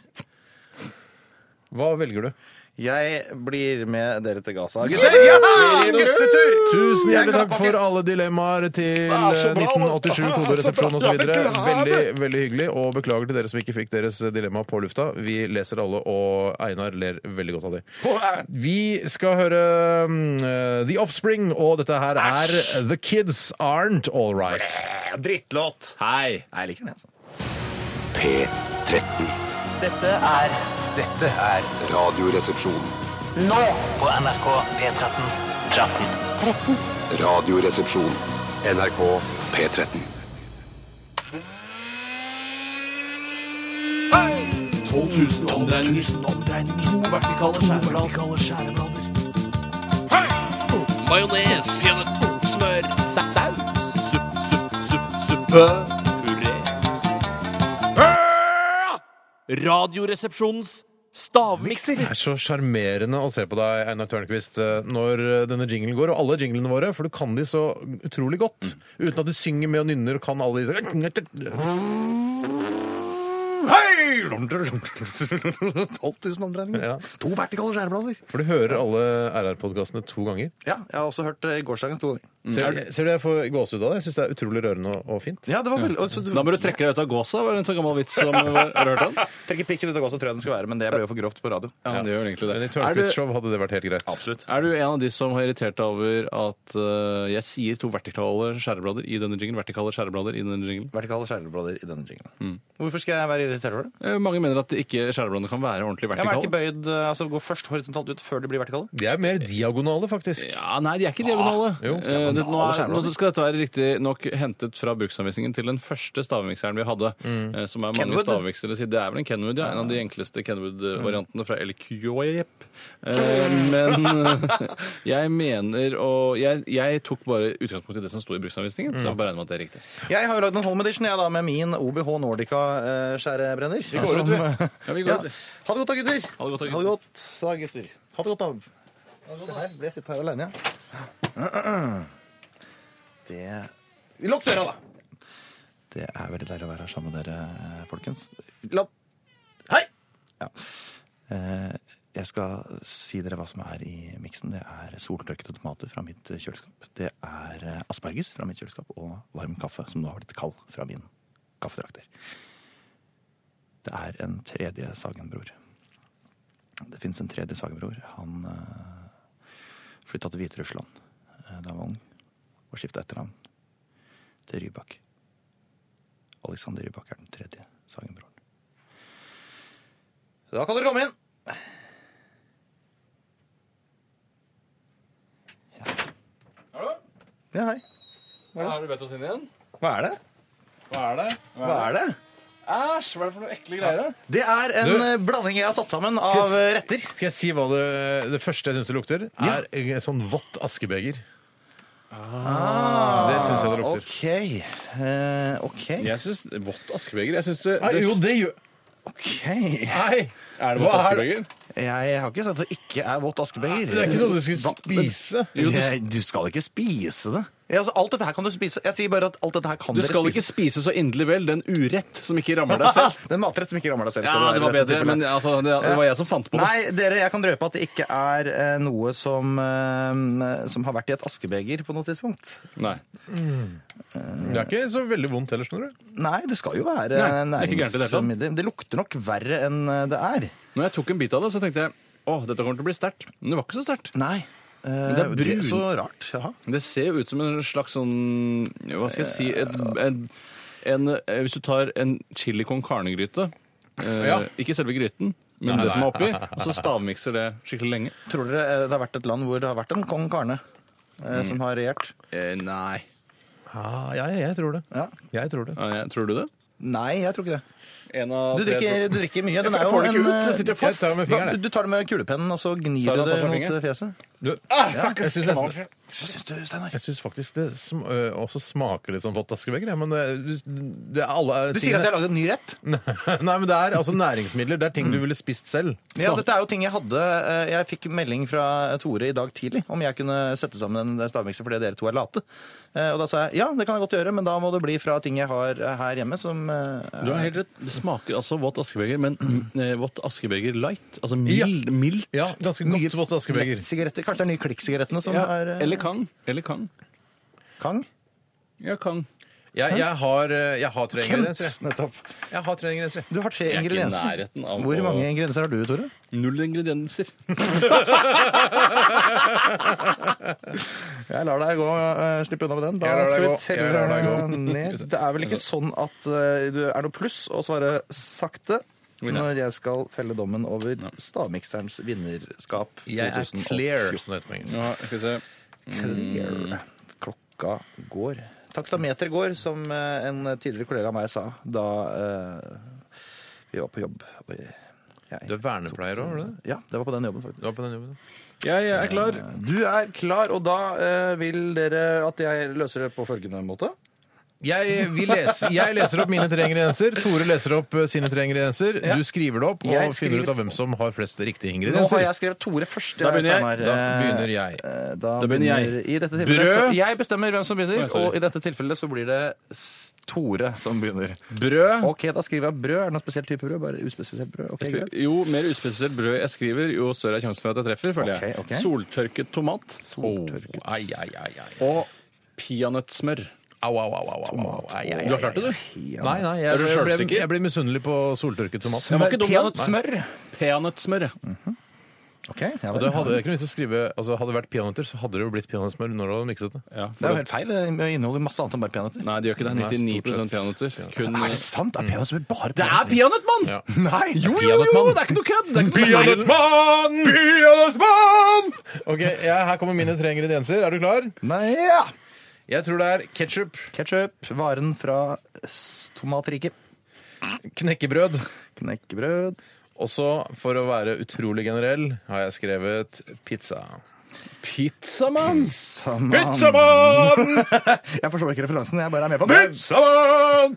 Speaker 3: Hva velger du?
Speaker 4: Jeg blir med dere til Gaza.
Speaker 3: Guttetur! Tusen hjertelig takk for alle dilemmaer til
Speaker 8: Det er så bra,
Speaker 3: 1987
Speaker 8: *laughs*
Speaker 3: koderesepsjon osv.
Speaker 8: Ja,
Speaker 3: Veldig, veldig hyggelig. Og beklager til dere som ikke fikk deres eh, dilemma på lufta. Vi leser alle, og Einar ler veldig godt av det. Vi skal høre mm, The Offspring, og dette her er The Kids Aren't All Right.
Speaker 4: Drittlåt.
Speaker 2: Hei.
Speaker 4: Nei, jeg liker den, altså.
Speaker 5: P13.
Speaker 9: Dette er
Speaker 5: Dette er Radioresepsjon.
Speaker 9: nå på NRK P13.
Speaker 5: Radioresepsjon. NRK P13.
Speaker 7: Majones. Smør. Saus. Supp, supp, supp, suppe. Puré. Radioresepsjonens stavmikser.
Speaker 3: Det er så sjarmerende å se på deg, Einar Tørnquist, eh, når denne jinglen går, og alle jinglene våre, for du kan de så utrolig godt.
Speaker 8: Mm.
Speaker 3: Uten at du synger med og nynner og kan alle disse
Speaker 4: Hei! 12 000 omdreininger.
Speaker 3: Ja.
Speaker 4: To vertikale skjæreblader.
Speaker 3: For du hører alle RR-podkastene to ganger.
Speaker 4: Ja, jeg har også hørt eh, gårsdagens to ganger.
Speaker 2: Mm.
Speaker 3: Ser, ser du jeg får gåsehud av det? Jeg syns det er utrolig rørende og, og fint.
Speaker 4: Ja, det var veldig... og så du-
Speaker 2: Da må du trekke deg ut av gåsa, var det en sånn gammel vits som var, Har du hørt den?
Speaker 4: Trekke pikken ut av gåsa, tror jeg den skal være, men det ble jo for grovt på radio.
Speaker 2: Ja, det gjør egentlig
Speaker 3: Men i
Speaker 2: Er du,
Speaker 3: Tørnquist-show hadde det vært helt greit.
Speaker 4: Absolutt.
Speaker 2: er du en av de som har irritert deg over at eh, jeg sier to vertikale skjæreblader i denne jinglen? Vertikale skjæreblader i denne jinglen?
Speaker 4: Vertikale skjæreblader i denne jinglen. Hvorfor skal jeg være irritert over det?
Speaker 2: Eh, Mange mener at ikke skjærebladene kan være ordentlig
Speaker 4: Jeg er ikke
Speaker 2: vertikale.
Speaker 4: bøyd, eh, altså Gå først horisontalt ut før de blir vertikale.
Speaker 3: De er mer diagonale, faktisk.
Speaker 2: Ja, nei, de er ikke diagonale.
Speaker 3: jo,
Speaker 2: Eh, det, nå, er, nå
Speaker 4: skjæreblader.
Speaker 2: skal dette være riktig nok hentet fra bruksanvisningen til den første stavmikseren vi hadde. eh, Som er mange
Speaker 4: Kenwood.
Speaker 2: stavmiksere sier. Det er vel en Kenwood, ja. Mm. En av de enkleste Kenwood-variantene fra LQEP. Men eh, *laughs* jeg mener og jeg, jeg tok bare utgangspunkt i det som sto i bruksanvisningen, så jeg bare regner med at det er riktig.
Speaker 4: Jeg har jo lagd en home edition jeg da, med min OBH eh, Nordica-skjærebrenner. Vi
Speaker 3: går ut, vi.
Speaker 2: Ja, vi går
Speaker 4: Ja.
Speaker 2: ut.
Speaker 4: Ha det godt da, gutter.
Speaker 2: Ha det godt da, gutter.
Speaker 4: da, gutter. Ha det godt da. Se her, jeg sitter her alene, ja. Det... Vi lukk døra, da. Det er veldig deilig å være her sammen med dere, folkens. La... Hei! Ja. Eh, Jeg skal si dere hva som er i miksen. Det er soltørkede tomater fra mitt kjøleskap. Det er eh, asparges fra mitt kjøleskap og varm kaffe, som nå har blitt kald fra min kaffedrakter. Det er en tredje Sagen-bror. Det fins en tredje Sagen-bror. Han eh, flytta til Hviterussland eh, da han var ung, og skifta etternavn til Rybak. Alexander Rybak er den tredje Sagen-broren. Da kan dere komme inn! Ja, hei.
Speaker 2: Har du bedt oss inn igjen?
Speaker 4: Hva er det?
Speaker 3: Hva er det?
Speaker 4: Hva er det?
Speaker 3: Æsj, hva er det for noen ekle greier her?
Speaker 4: Det er en
Speaker 3: Du-
Speaker 4: eh, blanding jeg har satt sammen av eh, retter.
Speaker 3: Skal jeg si hva det, det første jeg syns det lukter? Er en sånn vått askebeger. Det syns jeg det lukter.
Speaker 4: OK. Eh, OK.
Speaker 2: Jeg syns vått askebeger. Jeg synes det,
Speaker 3: Nei,
Speaker 2: det,
Speaker 3: jo, det gjør
Speaker 4: Ok.
Speaker 3: Nei!
Speaker 2: er det
Speaker 3: Hva
Speaker 2: vått
Speaker 3: er-
Speaker 2: askebeger?
Speaker 4: Jeg har ikke sagt at det ikke er vått askebeger.
Speaker 3: Det er ikke noe du skal spise.
Speaker 4: Jo, du... Jeg- du skal ikke spise det. Ja, altså, alt dette her kan du spise. Jeg sier bare at alt dette her kan
Speaker 2: Du
Speaker 4: dere
Speaker 2: skal ikke
Speaker 4: spise.
Speaker 2: spise så inderlig vel den urett som ikke *laughs* rammer deg
Speaker 4: *laughs*
Speaker 2: selv.
Speaker 4: Det er en matrett som ikke rammer deg selv. skal
Speaker 2: Ja,
Speaker 4: være
Speaker 2: det
Speaker 4: i
Speaker 2: var
Speaker 4: dette
Speaker 2: bedre,
Speaker 4: tilfellet.
Speaker 2: men altså, det, det var jeg som fant på det.
Speaker 4: Nei, dere, jeg kan drøpe at det ikke er eh, noe som, eh, som har vært i et askebeger på noe tidspunkt.
Speaker 2: Nei.
Speaker 3: Det er ikke så veldig vondt heller, skjønner du.
Speaker 4: Nei, det skal jo være
Speaker 2: Nei,
Speaker 4: eh,
Speaker 2: det er ikke gærent i det hele tatt.
Speaker 4: næringsmidler. Det lukter nok verre enn eh, det er.
Speaker 2: Når jeg tok en bit av det, så tenkte jeg å, dette kommer til å bli sterkt. Men det var ikke så sterkt.
Speaker 4: Nei.
Speaker 2: det
Speaker 4: Eh,
Speaker 2: er
Speaker 4: det er
Speaker 2: brun.
Speaker 4: så rart. Jaha.
Speaker 2: Det ser jo ut som en slags sånn Hva skal jeg si et, en, en, eh, Hvis du tar en chili con carne-gryte eh,
Speaker 3: Ja.
Speaker 2: Ikke selve gryten, men det som er oppi, og så stavmikser det skikkelig lenge.
Speaker 4: Tror dere eh, det har vært et land hvor det har vært en kong Karne eh,
Speaker 2: Mm.
Speaker 4: som har regjert?
Speaker 2: Eh, nei.
Speaker 3: Ah, ja, ja, jeg tror det.
Speaker 4: Ja.
Speaker 3: Jeg tror det.
Speaker 2: Ja, jeg- Tror du det?
Speaker 4: Nei, jeg tror ikke det.
Speaker 2: En av
Speaker 4: Du
Speaker 2: tre
Speaker 4: drikker,
Speaker 2: tror-
Speaker 4: du drikker
Speaker 2: *laughs*
Speaker 4: mye. Den
Speaker 2: Jeg
Speaker 4: er jo
Speaker 2: får det ikke
Speaker 4: en,
Speaker 2: ut, det sitter
Speaker 4: eh,
Speaker 3: fast. Jeg tar det med fingeren, jeg.
Speaker 4: Du tar det med kulepennen, og så gnir
Speaker 2: Sara
Speaker 4: du det
Speaker 2: tar seg
Speaker 4: mot
Speaker 2: fingeren.
Speaker 4: fjeset.
Speaker 3: Du, ah, fuck, jeg synes nesten-
Speaker 4: Hva syns du, Steinar?
Speaker 3: Jeg syns faktisk det sm øh, også smaker litt sånn våttaskebeger, jeg, men det, du- det er alle
Speaker 4: Du sier at jeg lagde en ny rett?
Speaker 3: *laughs* Nei, men det er altså næringsmidler. Det er ting du ville spist selv.
Speaker 4: Ja, dette er jo ting jeg hadde eh, Jeg fikk melding fra eh, Tore i dag tidlig om jeg kunne sette sammen en eh, stavmikser fordi dere to er late. Eh, Og da sa jeg ja, det kan jeg godt gjøre, men da må det bli fra ting jeg har eh, her hjemme som eh,
Speaker 2: Du har helt rett. Det smaker altså våt askebeger, men *clears throat* mm, eh, vått askebeger light. Altså mild, mildt.
Speaker 3: Ja, ganske godt vått askebeger.
Speaker 4: Sigaretter. Kanskje det er nye klikksigarettene som
Speaker 2: Ja,
Speaker 4: er eh,
Speaker 2: Eller kang. Eller kang.
Speaker 4: Kang?
Speaker 2: Ja, kang.
Speaker 3: Jeg, jeg, har, øh, jeg har tre ingredienser. jeg.
Speaker 4: Nettopp.
Speaker 3: Jeg har tre ingredienser. jeg.
Speaker 4: Du har tre
Speaker 2: Jeg er ikke i
Speaker 4: ingredienser.
Speaker 2: nærheten av
Speaker 4: Hvor
Speaker 2: å-
Speaker 4: mange ingredienser har du, Tore?
Speaker 2: Null ingredienser.
Speaker 4: Jeg lar deg gå, eh, slippe unna med den. Da
Speaker 3: Jeg lar deg
Speaker 4: skal vi
Speaker 3: gå. Jeg lar deg
Speaker 4: telle
Speaker 3: gå.
Speaker 4: *laughs* ned. Det er vel ikke sånn at eh, det er noe pluss å svare sakte når jeg skal felle dommen over stavmikserens vinnerskap
Speaker 3: Jeg er
Speaker 4: 2014.
Speaker 3: clear, som det heter på engelsk.
Speaker 2: Ja, skal vi se.
Speaker 4: Clear. Mm. Klokka går. Taksameter går, som eh, en tidligere kollega av meg sa da eh, vi var på jobb. Og jeg-
Speaker 3: Du er vernepleier òg, er du det?
Speaker 4: Ja, det var på den jobben, faktisk.
Speaker 3: Du er på den jobben.
Speaker 2: Jeg er klar.
Speaker 4: Du er klar, og da eh, vil dere at jeg løser det på følgende måte?
Speaker 3: Jeg, vil lese, jeg leser opp mine tre ingredienser. Tore leser opp eh, sine tre ingredienser. Du skriver det opp og
Speaker 4: Jeg
Speaker 3: finner
Speaker 4: skriver-
Speaker 3: ut av hvem som har flest
Speaker 4: Nå
Speaker 3: riktige
Speaker 4: har
Speaker 3: ingredienser.
Speaker 4: jeg skrevet Tore først.
Speaker 2: Da begynner
Speaker 4: Steinar.
Speaker 2: jeg.
Speaker 3: Da begynner jeg.
Speaker 4: Eh, Da,
Speaker 2: Da begynner jeg.
Speaker 4: I dette tilfellet,
Speaker 2: Brød.
Speaker 4: så jeg bestemmer hvem som begynner,
Speaker 2: Oi, sorry.
Speaker 4: og i dette tilfellet så blir det s- Tore som begynner.
Speaker 2: Brød.
Speaker 4: Ok, da skriver jeg brød. Er det noen spesiell type brød? Bare uspesifisert brød? Ok, greit.
Speaker 2: Jo mer uspesifisert brød jeg skriver, jo større er sjansen for at jeg treffer. føler jeg.
Speaker 4: Ok, ok.
Speaker 2: Soltørket tomat
Speaker 4: Soltørket.
Speaker 3: Ai, ai, ai, ai.
Speaker 2: og peanøttsmør.
Speaker 3: Au, au, au, au, au, au. Ai, ai,
Speaker 2: Du har
Speaker 3: ai.
Speaker 2: klart det, du?
Speaker 3: Nei, nei, jeg,
Speaker 2: Er du
Speaker 3: jeg, ble,
Speaker 2: selvsikker?
Speaker 3: jeg ble misunnelig på soltørket tomat.
Speaker 2: Den var ikke dum, den.
Speaker 4: Peanøttsmør.
Speaker 2: Peanøttsmør. ja.
Speaker 4: Mm. Ok, ja,
Speaker 3: Og
Speaker 4: vel.
Speaker 3: det hadde jeg ikke noe vits å skrive, altså Hadde det vært peanøtter, så hadde det jo blitt peanøttsmør når du hadde mikset det.
Speaker 2: Ja,
Speaker 4: det er jo
Speaker 2: for-
Speaker 4: helt feil. Det inneholder masse annet enn bare peanøtter.
Speaker 2: Nei, det gjør ikke det.
Speaker 3: Nei, stort
Speaker 2: 99
Speaker 3: sett.
Speaker 2: peanøtter. Kun
Speaker 4: Er det sant? Mm. Er peanøttsmør bare
Speaker 2: Det er peanøtt, mann!
Speaker 3: Ja.
Speaker 4: Nei!
Speaker 2: Jo, jo, jo! Det er ikke noe kødd! Det er ikke noe
Speaker 3: Peanøttmann! Peanøttmann! Ok, ja, Her kommer mine tre ingredienser. Er du klar?
Speaker 4: Nei, ja.
Speaker 3: Jeg tror det er ketsjup,
Speaker 4: Ketchup, varen fra s- tomatriket.
Speaker 3: knekkebrød
Speaker 4: Knekkebrød.
Speaker 3: og så, for å være utrolig generell, har jeg skrevet pizza.
Speaker 2: Pizzamann!
Speaker 4: Saman.
Speaker 3: Pizzamann!
Speaker 4: Jeg forstår ikke referansen, jeg bare er med på den.
Speaker 3: Pizzamann!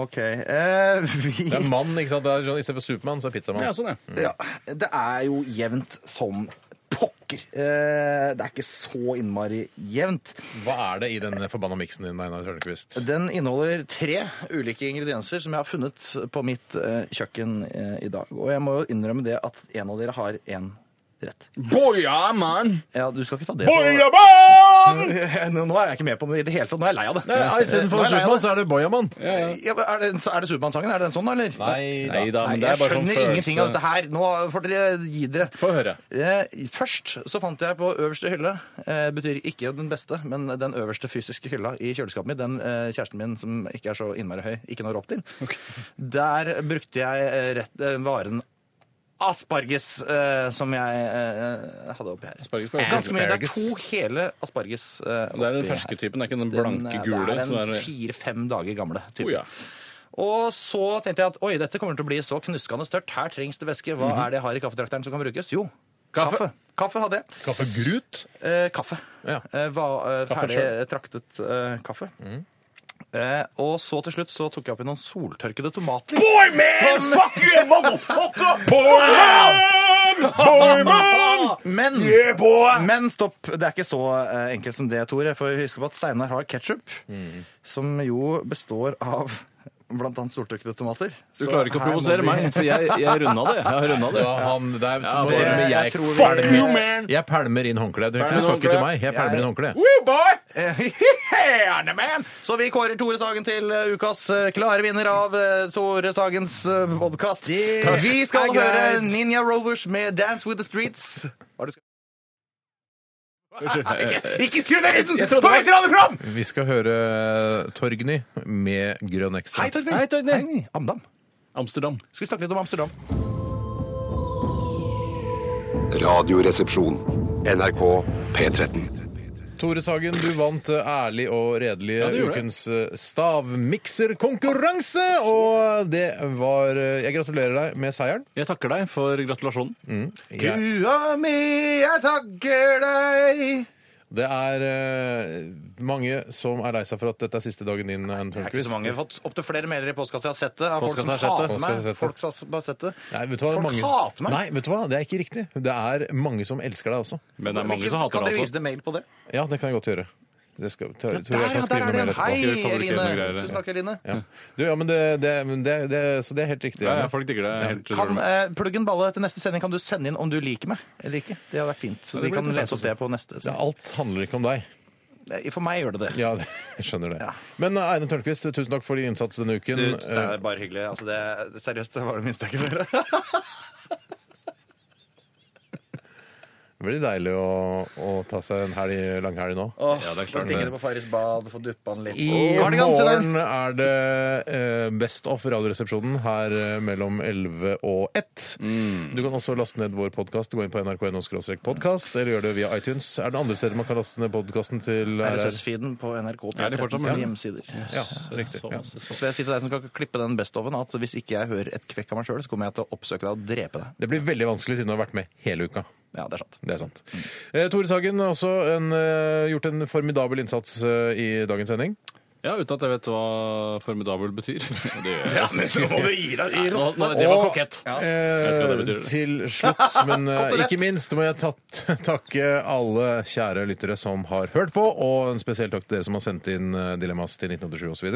Speaker 4: Ok, eh, vi...
Speaker 3: Det er mann, ikke sant? Det er sånn, I stedet for Supermann, så er pizzamann.
Speaker 2: Ja, sånn, ja.
Speaker 4: Ja, det er jo jevnt som pokker. Eh, det er ikke så innmari jevnt.
Speaker 3: Hva er det i den forbanna miksen din, Einar Tørnquist?
Speaker 4: Den inneholder tre ulike ingredienser som jeg har funnet på mitt eh, kjøkken eh, i dag. Og jeg må jo innrømme det at en av dere har én rett.
Speaker 2: Boja, mann!
Speaker 4: Ja, du skal ikke ta det så...
Speaker 3: Bojamann!
Speaker 4: *laughs* Nå nå er jeg ikke med på det i det hele tatt. Nå er jeg lei av det.
Speaker 3: Istedenfor
Speaker 4: Nå er jeg lei av
Speaker 3: Supermann,
Speaker 4: det.
Speaker 3: så er det Bojamann.
Speaker 4: Ja, men er det, er det Supermann-sangen? Er det den sånn, eller?
Speaker 3: Nei
Speaker 2: Nei da,
Speaker 4: Nei,
Speaker 2: men det er
Speaker 4: jeg
Speaker 2: bare sånn
Speaker 4: skjønner ingenting av dette her. Nå får dere gi dere.
Speaker 2: Få høre.
Speaker 4: Eh, Først så fant jeg på øverste hylle, eh, betyr ikke den beste, men den øverste fysiske hylla i kjøleskapet mitt, den eh, kjæresten min som ikke er så innmari høy, ikke når opp til, der brukte jeg eh, rett, eh, varen asparges eh, som jeg eh, hadde oppi her.
Speaker 2: Asparges på
Speaker 4: Ganske mye. Det er
Speaker 3: Asparges.
Speaker 4: to hele asparges eh,
Speaker 2: Det er den
Speaker 4: oppi her.
Speaker 2: ferske typen, det er ikke den
Speaker 4: Den,
Speaker 2: blanke
Speaker 4: eh,
Speaker 2: gule. som
Speaker 4: Det er
Speaker 2: er-
Speaker 4: den fire-fem dager gamle typen.
Speaker 2: Å, ja.
Speaker 4: Og så tenkte jeg at oi, dette kommer til å bli så knuskende størt. Her trengs det væske. Hva er det jeg har i kaffetrakteren som kan brukes? Jo,
Speaker 2: Kaffe.
Speaker 4: kaffe. Kaffe, hadde jeg.
Speaker 3: Kaffegrut?
Speaker 4: Eh, kaffe.
Speaker 3: Ja.
Speaker 4: Eh, var, eh,
Speaker 3: Kaffe
Speaker 4: ferdig traktet eh, kaffe. Eh, og så til slutt så tok jeg oppi noen soltørkede tomater. Boy, man! Fuck you, Men, men stopp. Det er ikke så eh, enkelt som det, Tore. For husk på at Steinar har ketsjup, som jo består av blant annet soltørkede tomater.
Speaker 2: Du klarer ikke å provosere meg, for jeg, jeg runda det. Jeg har runda det.
Speaker 3: Ja, han, det er,
Speaker 2: Ja,
Speaker 3: det,
Speaker 2: det-
Speaker 3: jeg,
Speaker 4: jeg tror vi-
Speaker 2: You
Speaker 3: pælmer,
Speaker 2: man!
Speaker 3: jeg pælmer inn håndkleet. Du er ikke
Speaker 2: Pælmer
Speaker 3: så fucket til
Speaker 2: håndkle.
Speaker 3: meg. Jeg pælmer
Speaker 4: Jeg-
Speaker 3: inn håndkleet.
Speaker 2: Woo, boy!
Speaker 4: *laughs* Gjerne, man! Så vi kårer Tore Sagen til eh, ukas eh, klare vinner av eh, Tore Sagens podkast. Vi skal
Speaker 3: Det er
Speaker 4: høre
Speaker 3: greit.
Speaker 4: Ninja Rovers med 'Dance With The Streets'. Hva er det du skal- ah, Ikke- Ikke skru ned lyden! På vei til radioprogram!
Speaker 3: Vi skal høre eh, Torgny med Grønn ekstra.
Speaker 4: Hei, Torgny.
Speaker 2: Hei, Torgny.
Speaker 4: Hei, Amdam.
Speaker 2: Amsterdam.
Speaker 4: Skal vi snakke litt om Amsterdam?
Speaker 5: Radioresepsjon. NRK P13.
Speaker 3: Tore Sagen, du vant eh, ærlig og redelig
Speaker 2: det gjorde jeg.
Speaker 3: ukens eh, stavmikserkonkurranse! Og det var eh, Jeg gratulerer deg med seieren.
Speaker 2: Jeg takker deg for gratulasjonen.
Speaker 3: Jeg-
Speaker 4: Kua mi, jeg takker deg.
Speaker 3: Det er eh, mange som er lei seg for at dette er siste dagen din, eh, Anne
Speaker 4: Det er ikke
Speaker 3: Tørnquist.
Speaker 4: så mange. Jeg har fått opptil flere mailer i postkassa. Jeg har sett det. Av folk som
Speaker 3: Postkassa har sett det.
Speaker 4: hater meg.
Speaker 3: Postkassa har sett det.
Speaker 4: Folk som har sett det.
Speaker 3: Nei, vet du hva?
Speaker 4: Folk
Speaker 3: mange...
Speaker 4: hater meg.
Speaker 3: Nei, vet du hva? Det er ikke riktig. Det er mange som elsker deg også.
Speaker 2: Men det er mange
Speaker 4: Hvilken-
Speaker 2: som
Speaker 4: kan
Speaker 2: hater
Speaker 4: dere
Speaker 2: det altså.
Speaker 4: vise
Speaker 2: også.
Speaker 4: det mail på det?
Speaker 3: Ja, det kan jeg godt gjøre. Det skal, tror,
Speaker 4: Ja, der,
Speaker 3: tror jeg kan
Speaker 4: ja, der
Speaker 3: skrive
Speaker 4: er det
Speaker 3: noe mer
Speaker 4: en
Speaker 3: etterpå.
Speaker 4: hei,
Speaker 2: Skriver favoritten
Speaker 4: Eline.
Speaker 2: og greier.
Speaker 4: Tusen takk, Eline.
Speaker 3: Ja. Du, ja, men det, det, men det, det, så det er helt riktig.
Speaker 2: Ja, ja,
Speaker 3: Janne.
Speaker 2: folk digger det helt
Speaker 4: Kan eh, pluggen balle til neste sending? Kan du sende inn om du liker meg eller ikke? Det hadde vært fint. Så de
Speaker 3: blir
Speaker 4: kan
Speaker 3: interessant
Speaker 4: lese opp det på neste
Speaker 3: Ja,
Speaker 4: sending. Eh,
Speaker 3: Alt handler ikke om deg.
Speaker 4: For meg gjør det det.
Speaker 3: Ja, det- *laughs* jeg skjønner det. Men eh, Einar Tørnquist, tusen takk for din innsats denne uken. Eh,
Speaker 4: Du, det er bare hyggelig. Altså, det, seriøst, det var det minste jeg kunne gjøre.
Speaker 3: Eh, Veldig deilig å, å ta seg en helg, langhelg nå.
Speaker 2: Ja, det er
Speaker 4: Nå
Speaker 2: klart.
Speaker 4: stikker det på Farris bad, få duppa den litt.
Speaker 3: I
Speaker 4: Cardigan, se der.
Speaker 3: morgen er det eh, Best of Radioresepsjonen her eh, mellom 11 og 1. Du kan også laste ned vår podkast. Gå inn på nrk.no podkast, eller gjør det via iTunes. Er det andre steder man kan laste ned podkasten til RR?
Speaker 4: RSS-feeden på NRK
Speaker 2: Er de
Speaker 4: 13
Speaker 2: fortsatt med?
Speaker 4: sine hjemmesider.
Speaker 3: Ja, riktig. Ja.
Speaker 2: sånn.
Speaker 4: Så vil jeg si til deg som skal klippe den best-oven, at hvis ikke jeg hører et kvekk av meg sjøl, så kommer jeg til å oppsøke deg og drepe deg.
Speaker 3: Det blir veldig vanskelig siden du har vært med hele uka.
Speaker 4: Ja, det er sant.
Speaker 3: Det er sant.
Speaker 2: Mm.
Speaker 3: Eh, Tore Sagen har også en, eh, gjort en formidabel innsats eh, i dagens sending.
Speaker 2: Ja, uten at jeg vet hva formidabel *laughs* betyr. Det gjør jeg.
Speaker 4: *laughs* nå må du gi deg!
Speaker 2: Nå, nå, det var kokett. Jeg vet ikke hva det
Speaker 3: Eh,
Speaker 2: betyr.
Speaker 3: til slutt,
Speaker 2: *laughs*
Speaker 3: men eh,
Speaker 4: Kotelett.
Speaker 3: ikke minst må jeg tatt, *laughs* takke alle kjære lyttere som har hørt på, og en spesiell takk til dere som har sendt inn eh, dilemmas til 1987 osv.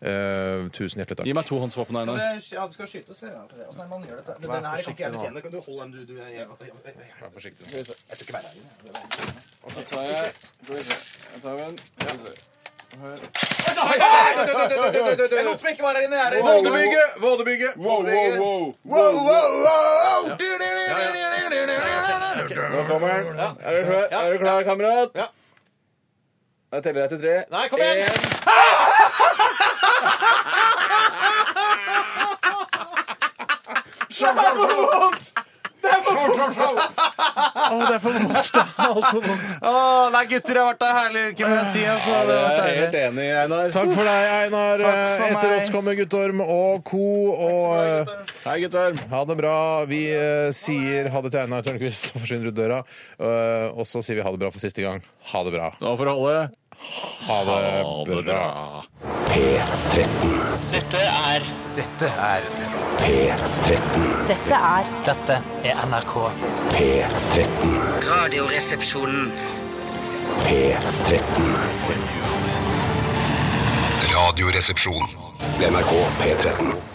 Speaker 3: Eh, tusen
Speaker 2: Gi
Speaker 3: hjertelig takk.
Speaker 2: meg to håndsvåpen, Einar.
Speaker 4: Ja, det skal skytes. Ja. Åssen er det man gjør dette? Den her kan ikke jeg betjene. Kan du holde den, du? du jeg, jeg, jeg, jeg, jeg,
Speaker 3: Vær forsiktig.
Speaker 4: skal ikke være her.
Speaker 2: Jeg tar jeg- skal vi se. Jeg tar en. Skal vi se.
Speaker 4: Det er noen som ikke var her inne! Jeg er her inne.
Speaker 3: Vådebygge! Vådebygge! Vådebygge!
Speaker 4: Wow, wow, wow! Du, du, du, du, du, du, du, du, du, du.
Speaker 2: Nå kommer den. Er du klar, er du klar kamerat? Ja. Jeg teller deg til tre. Nei, kom igjen!
Speaker 3: Å, det er for vondt! Det er alt for vondt.
Speaker 4: Å, nei, gutter, det har vært ei herlig uke, må jeg si. Altså. Det har vært
Speaker 2: Jeg er helt
Speaker 4: deilig.
Speaker 2: enig, Einar.
Speaker 3: Takk for deg, Einar. Eh,
Speaker 4: Takk for
Speaker 3: Etter
Speaker 4: meg.
Speaker 3: oss kommer Guttorm og co. Og eh,
Speaker 2: Hei, gutter.
Speaker 3: ha det bra. Vi eh, sier ha det til Einar Tørnquist, som forsvinner ut døra. Eh, og så sier vi ha det bra for siste gang. Ha det bra.
Speaker 2: Da får du holde.
Speaker 3: Ha det bra.
Speaker 9: Dette er
Speaker 10: Dette er
Speaker 9: Dette er NRK.
Speaker 10: Radioresepsjonen.
Speaker 11: Radioresepsjon.
Speaker 5: NRK P13.